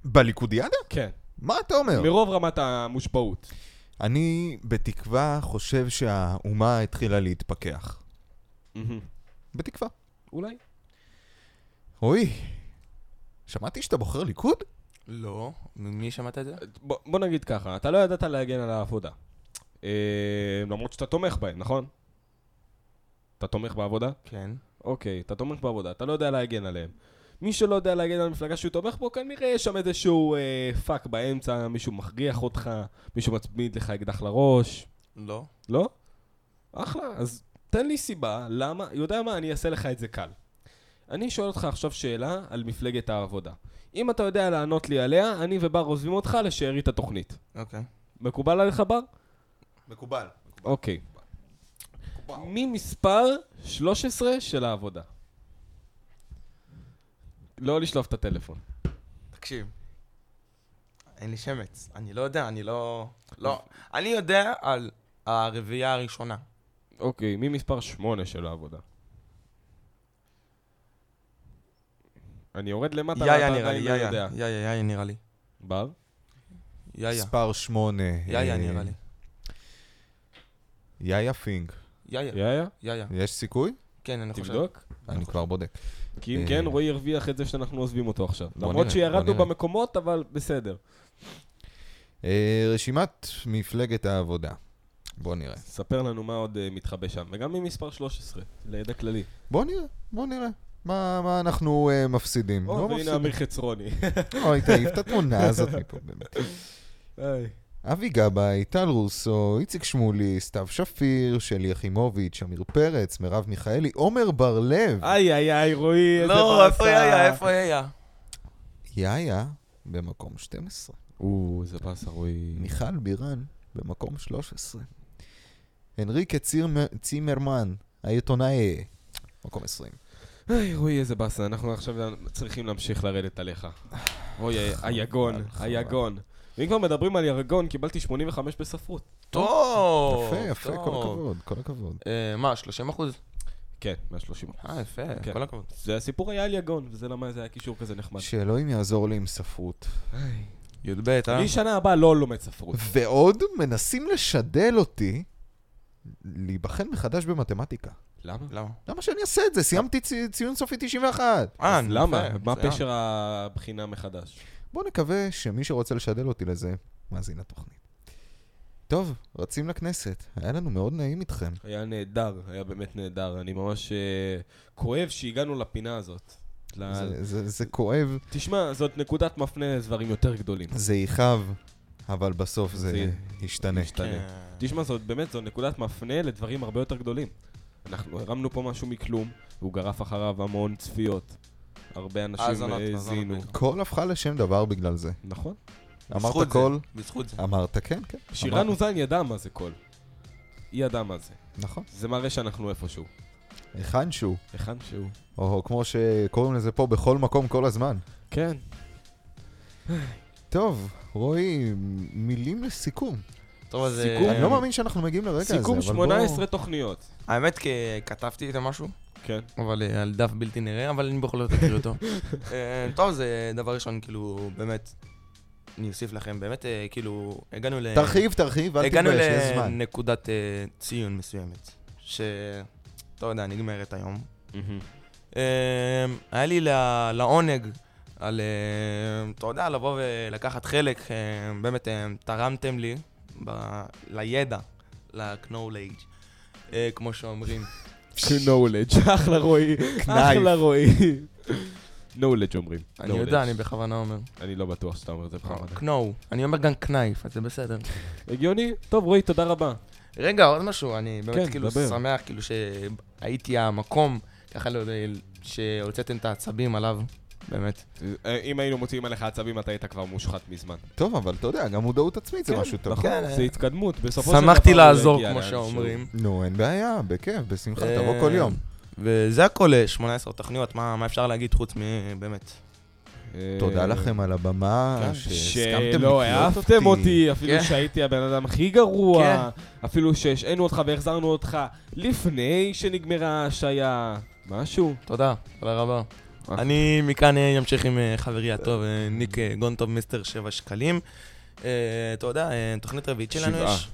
S1: בליכודיאדה?
S3: כן.
S1: מה אתה אומר?
S3: מרוב רמת המושבעות.
S1: אני בתקווה חושב שהאומה התחילה להתפכח.
S3: מהמם.
S1: בתקווה.
S3: אולי.
S1: רועי, שמעתי שאתה בוחר ליכוד?
S2: לא. ממי שמעת את זה?
S3: בוא, בוא נגיד ככה, אתה לא ידעת להגן על העבודה. אה, למרות שאתה תומך בהם, נכון? אתה תומך בעבודה?
S2: כן.
S3: אוקיי, אתה תומך בעבודה, אתה לא יודע להגן עליהם. מי שלא יודע להגן על המפלגה שהוא תומך בו, כנראה יש שם איזשהו אה, פאק באמצע, מישהו מכריח אותך, מישהו מצמיד לך אקדח לראש.
S2: לא.
S3: לא? אחלה, אז תן לי סיבה למה, יודע מה, אני אעשה לך את זה קל. אני שואל אותך עכשיו שאלה על מפלגת העבודה. אם אתה יודע לענות לי עליה, אני ובר עוזבים אותך לשארית התוכנית.
S2: אוקיי.
S3: מקובל עליך בר?
S1: מקובל.
S3: אוקיי. ממספר 13 של העבודה. לא לשלוף את הטלפון.
S2: תקשיב, אין לי שמץ, אני לא יודע, אני לא... לא, אני יודע על הרביעייה הראשונה.
S3: אוקיי, מי מספר 8 של העבודה? אני יורד למטה,
S2: יאיה
S3: ואתה
S2: נראה לי,
S3: עדיין לא
S2: יאיה,
S3: יודע.
S2: יאיה, יאיה נראה לי.
S3: בר?
S2: יאיה.
S1: מספר שמונה.
S2: יאיה
S1: אה,
S2: נראה לי.
S1: יאיה פינק.
S2: יאיה.
S3: יאיה?
S2: יאיה.
S1: יש סיכוי?
S2: כן, אני חושב.
S3: תבדוק.
S2: נכון.
S1: אני כבר בודק.
S3: כי אם
S1: אה,
S3: כן, רועי הרוויח את זה שאנחנו עוזבים אותו עכשיו.
S1: בוא
S3: למרות
S1: נראה, בוא
S3: שירדנו
S1: נראה.
S3: במקומות, אבל בסדר.
S1: אה, רשימת מפלגת העבודה. בוא נראה.
S3: ספר לנו מה עוד אה, מתחבא שם, וגם ממספר 13, לידע כללי.
S1: בוא נראה, בוא נראה. מה, מה אנחנו אה, מפסידים?
S3: או,
S1: לא
S3: והנה
S1: מפסידים.
S3: אמיר חצרוני.
S1: אוי, תעיף את התמונה הזאת מפה, באמת.
S3: איי.
S1: אבי גבאי, טל רוסו, איציק שמולי, סתיו שפיר, שלי יחימוביץ', עמיר פרץ, מרב מיכאלי, עומר בר-לב.
S3: איי איי איי, רועי, איזה
S2: לא, איפה
S3: באסה.
S2: יאיה? איפה יאיה?
S1: יאיה במקום 12.
S3: או, איזה באסה, רועי.
S1: מיכל בירן במקום 13. הנריקה צירמ- צימרמן, העיתונאי, מקום 20.
S3: היי, רועי, איזה באסה, אנחנו עכשיו צריכים להמשיך לרדת עליך. אוי, היגון,
S1: חבל.
S3: היגון. ואם כבר מדברים על ירגון, קיבלתי 85 בספרות.
S2: טוב,
S1: יפה, יפה, כל
S2: טוב.
S1: הכבוד, כל הכבוד.
S2: אה, מה, 30 אחוז?
S3: כן, 130.
S2: אה, יפה,
S3: כן.
S2: כל הכבוד.
S3: זה הסיפור היה על יגון, וזה למה זה היה קישור כזה נחמד.
S1: שאלוהים יעזור לי עם ספרות.
S2: י"ב, אה?
S3: אני שנה הבאה לא לומד ספרות.
S1: ועוד מנסים לשדל אותי להיבחן מחדש במתמטיקה.
S3: למה?
S2: למה?
S1: למה שאני אעשה את זה? סיימתי צי- ציון סופי 91.
S2: אה,
S3: אז
S2: יפה,
S3: למה? מה
S2: מצוין.
S3: פשר הבחינה מחדש?
S1: בואו נקווה שמי שרוצה לשדל אותי לזה, מאזין לתוכנית. טוב, רצים לכנסת. היה לנו מאוד נעים איתכם.
S3: היה נהדר, היה באמת נהדר. אני ממש אה, כואב שהגענו לפינה הזאת. ל-
S1: זה- זה זה כואב,
S3: תשמע, זאת נקודת מפנה לדברים יותר גדולים.
S1: זה יכאב, אבל בסוף זה
S3: זה-
S1: ישתנה.
S3: משתנה. תשמע, זאת באמת, זו נקודת מפנה לדברים הרבה יותר גדולים. אנחנו הרמנו פה משהו מכלום, והוא גרף אחריו המון צפיות. הרבה אנשים
S2: האזנות, האזנות
S3: האזינו.
S2: בעיקר.
S1: כל הפכה לשם דבר בגלל זה.
S3: נכון.
S2: בזכות
S1: אמרת
S2: זה,
S1: קול,
S2: בזכות זה.
S1: אמרת כן, כן.
S3: שירן
S1: אמרת,
S3: אוזן ידע מה זה קול. היא ידעה מה זה.
S1: נכון.
S3: זה מראה שאנחנו איפשהו.
S1: היכן שהוא,
S3: היכן שהוא.
S1: או כמו שקוראים לזה פה, בכל מקום, כל הזמן.
S3: כן.
S1: טוב, רועי, מילים לסיכום.
S2: טוב, אז...
S3: סיכום.
S2: אה,
S1: אני לא מאמין שאנחנו מגיעים לרגע הזה, אבל
S3: סיכום
S1: בואו...
S3: 18 תוכניות.
S2: האמת, כי כתבתי איזה משהו,
S3: כן.
S2: אבל אה, על דף בלתי נראה, אבל אני בכל זאת אקריא
S1: [laughs]
S2: אותו. אה, טוב, זה דבר ראשון, כאילו, באמת, אני אוסיף לכם, באמת, אה, כאילו, הגענו ל...
S1: תרחיב, תרחיב, אל
S2: הגענו
S1: תתבייש, יש זמן.
S2: לנקודת אה, ציון מסוימת, ש... לא יודע, נגמרת היום. אה, היה לי ל- לעונג על, אה, אתה יודע, לבוא ולקחת חלק, אה, באמת אה, תרמתם לי ב- לידע, ל-knowledge, אה, כמו שאומרים.
S3: knowledge, [laughs] אחלה
S1: [laughs]
S3: רועי, אחלה רועי. knowledge אומרים.
S2: אני יודע, אני אוקיי. בכוונה אומר.
S3: אני לא בטוח שאתה אומר את זה בכוונה.
S2: קנואו. אני אומר גם קנייף, אז זה בסדר.
S3: הגיוני? טוב, רועי, תודה רבה.
S2: רגע, עוד משהו, אני באמת
S3: כן,
S2: כאילו
S3: דבר.
S2: שמח, כאילו שהייתי המקום, ככה לא יודע, שהוצאתם את העצבים עליו, באמת.
S3: אה, אם היינו מוציאים עליך עצבים, אתה היית כבר מושחת מזמן.
S1: טוב, אבל אתה יודע, גם מודעות עצמית זה משהו טוב.
S3: נכון,
S2: כן,
S3: זה התקדמות. בסופו של דבר...
S2: שמחתי
S3: הוא
S2: לעזור,
S3: יגיע
S2: כמו
S3: לאנשהו.
S2: שאומרים.
S1: נו, אין בעיה, בכיף, בשמחה,
S2: אה,
S1: תבוא כל יום.
S2: וזה הכל, אה, 18 תוכניות, מה מה אפשר להגיד חוץ מבאמת?
S3: אה,
S1: תודה לכם על הבמה,
S2: כן.
S1: שהסכמתם
S3: שלא העפתם אותי, אפילו
S2: כן.
S3: שהייתי הבן אדם הכי גרוע, אפילו שהשעינו אותך והחזרנו אותך לפני שנגמרה ההשעיה. משהו?
S2: תודה, תודה רבה. אני מכאן אה, אמשיך עם אה, חברי הטוב, אה, ניק אה, גונטוב מיסטר שבע שקלים. אה, אתה יודע, אה, תוכנית רביעית שלנו
S3: שבעה.
S2: יש.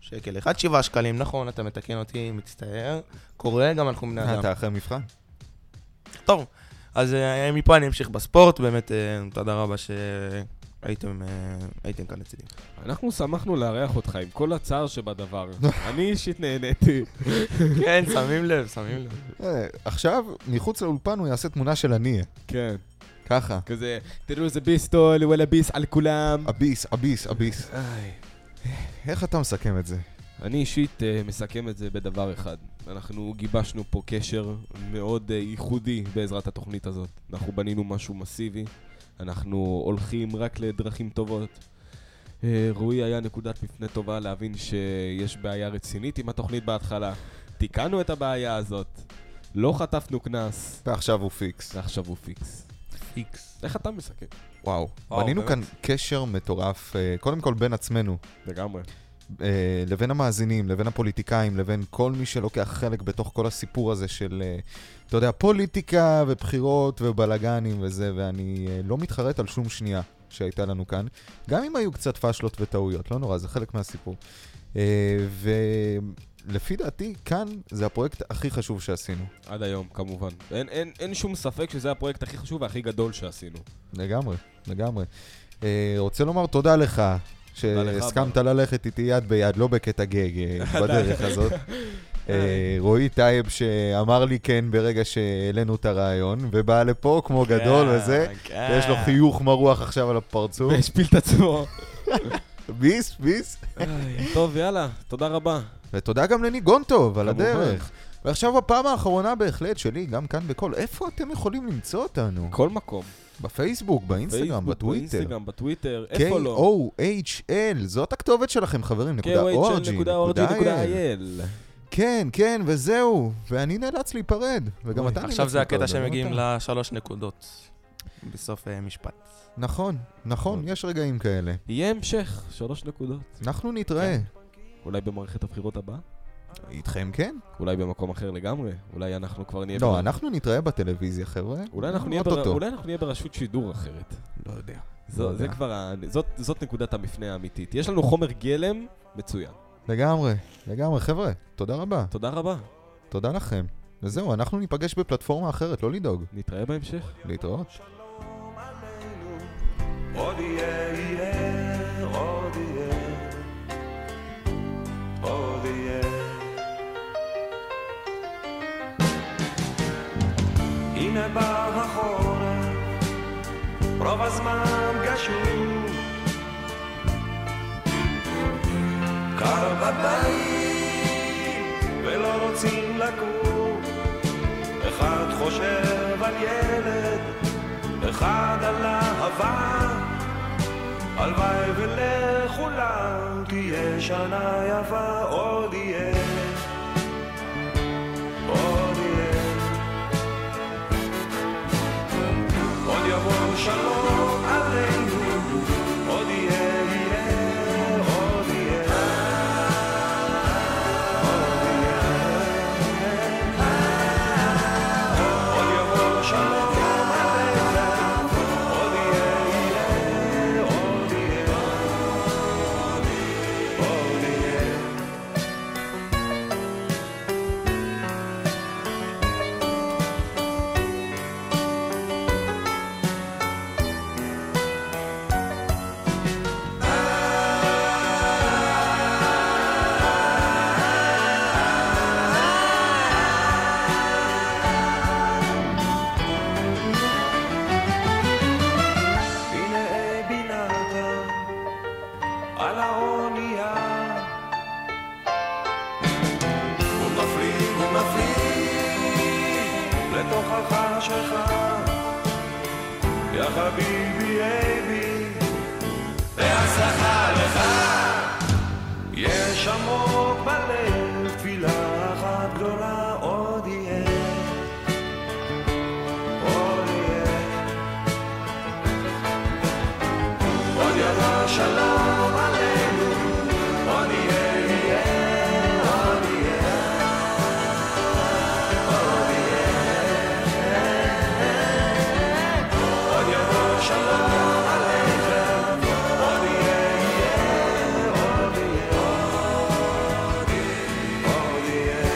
S2: שקל אחד, שבעה שקלים, נכון, אתה מתקן אותי, מצטער. קורה, גם אנחנו בני אדם.
S1: אתה אחרי מבחן?
S2: טוב, אז אה, מפה אני אמשיך בספורט, באמת אה, תודה רבה שהייתם אה, הייתם כאן לצידי.
S3: אנחנו שמחנו לארח אותך עם כל הצער
S2: [laughs]
S3: שבדבר. אני אישית נהניתי.
S2: [laughs] כן, שמים לב, שמים לב.
S1: אה, עכשיו, מחוץ לאולפן הוא יעשה תמונה של אני.
S3: כן.
S1: ככה.
S3: כזה, תראו איזה ביסטול, וואלה ביס על כולם.
S1: אביס, אביס, אביס.
S3: איי.
S1: איך אתה מסכם את זה?
S3: אני אישית אה, מסכם את זה בדבר אחד. אנחנו גיבשנו פה קשר מאוד אה, ייחודי בעזרת התוכנית הזאת. אנחנו בנינו משהו מסיבי, אנחנו הולכים רק לדרכים טובות. אה, רועי היה נקודת מפנה טובה להבין שיש בעיה רצינית עם התוכנית בהתחלה. תיקנו את הבעיה הזאת, לא חטפנו קנס,
S1: ועכשיו הוא פיקס.
S3: ועכשיו הוא פיקס. איקס. איך אתה מסכם?
S1: וואו,
S3: וואו,
S1: בנינו כאן
S3: באמת.
S1: קשר מטורף, אה, קודם כל בין עצמנו.
S3: לגמרי.
S1: אה, לבין המאזינים, לבין הפוליטיקאים, לבין כל מי שלוקח חלק בתוך כל הסיפור הזה של, אה, אתה יודע, פוליטיקה ובחירות ובלאגנים וזה, ואני אה, לא מתחרט על שום שנייה שהייתה לנו כאן, גם אם היו קצת פאשלות וטעויות, לא נורא, זה חלק מהסיפור. אה, ולפי דעתי, כאן זה הפרויקט הכי חשוב שעשינו.
S3: עד היום, כמובן. אין, אין, אין שום ספק שזה הפרויקט הכי חשוב והכי גדול [laughs] שעשינו.
S1: לגמרי, לגמרי. אה, רוצה לומר תודה לך.
S3: לך,
S1: שהסכמת ללכת איתי יד ביד, לא בקטע גג, [laughs] אה, בדרך
S3: די.
S1: הזאת. אה, רועי טייב שאמר לי כן ברגע שהעלינו את הרעיון, ובא לפה כמו גדול
S3: כן,
S1: וזה,
S3: כן.
S1: יש לו חיוך מרוח עכשיו על הפרצוף.
S3: והשפיל את עצמו.
S1: ביס, ביס.
S3: טוב, יאללה, תודה רבה.
S1: ותודה גם לניגון טוב על
S3: כמובן.
S1: הדרך. ועכשיו הפעם האחרונה בהחלט שלי, גם כאן בכל, איפה אתם יכולים למצוא אותנו?
S3: כל מקום.
S1: בפייסבוק, באינסטגרם,
S3: פייסבוק,
S1: בטוויטר.
S3: באינסטגרם, בטוויטר, איפה לא?
S1: K-O-H-L, זאת הכתובת שלכם חברים, נקודה org, נקודה
S3: KOHL.org.il.
S1: כן, כן, וזהו, ואני נאלץ להיפרד, וגם אתה נאלץ
S2: עכשיו זה הקטע
S1: להיפרד, אבל
S2: שמגיעים
S1: אתה.
S2: לשלוש נקודות בסוף אה, משפט.
S1: נכון, נכון, יש רגעים כאלה.
S3: יהיה המשך, שלוש נקודות.
S1: אנחנו נתראה.
S3: אולי במערכת הבחירות הבאה?
S1: איתכם כן?
S3: אולי במקום אחר לגמרי? אולי אנחנו כבר נהיה...
S1: לא,
S3: ב-
S1: אנחנו נתראה בטלוויזיה, חבר'ה.
S3: אולי אנחנו נהיה בר-
S1: אוטוטו.
S3: אולי אנחנו נהיה ברשות שידור אחרת.
S1: לא יודע.
S3: זו-
S1: לא
S3: זה
S1: יודע.
S3: כבר ה- זאת- זאת נקודת המפנה האמיתית. יש לנו חומר גלם מצוין.
S1: לגמרי, לגמרי, חבר'ה, תודה רבה.
S3: תודה רבה.
S1: תודה לכם. וזהו, אנחנו ניפגש בפלטפורמה אחרת, לא לדאוג.
S3: נתראה בהמשך.
S1: להתראות.
S10: עוד יהיה, יהיה, עוד יהיה, עוד יהיה. הנה בא החורף, רוב הזמן גשום. קר בבית, ולא רוצים לקום. אחד חושב על ילד, אחד על אהבה. הלוואי ולכולם תהיה שנה יפה עוד יהיה עוד יהיה עוד יבוא שלום עלינו עוד יהיה יהיה עוד יהיה עוד יהיה עוד יבוא שלום עלינו עוד יהיה יהיה עוד יהיה עוד יהיה הנה בינתה על האונייה. הוא מפליג, הוא מפליג לתוך החשכה. יא חביבי, אייבי, בהצלחה לך. יש עמוק בלב תפילה אחת גדולה עוד יהיה. עוד יהיה. עוד יבוא שלום עלינו, עוד יהיה, יהיה, עוד יהיה, עוד יהיה. עוד יבוא שלום עליכם, עוד יהיה, יהיה, עוד יהיה, עוד יהיה, עוד יהיה.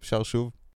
S1: אפשר שוב?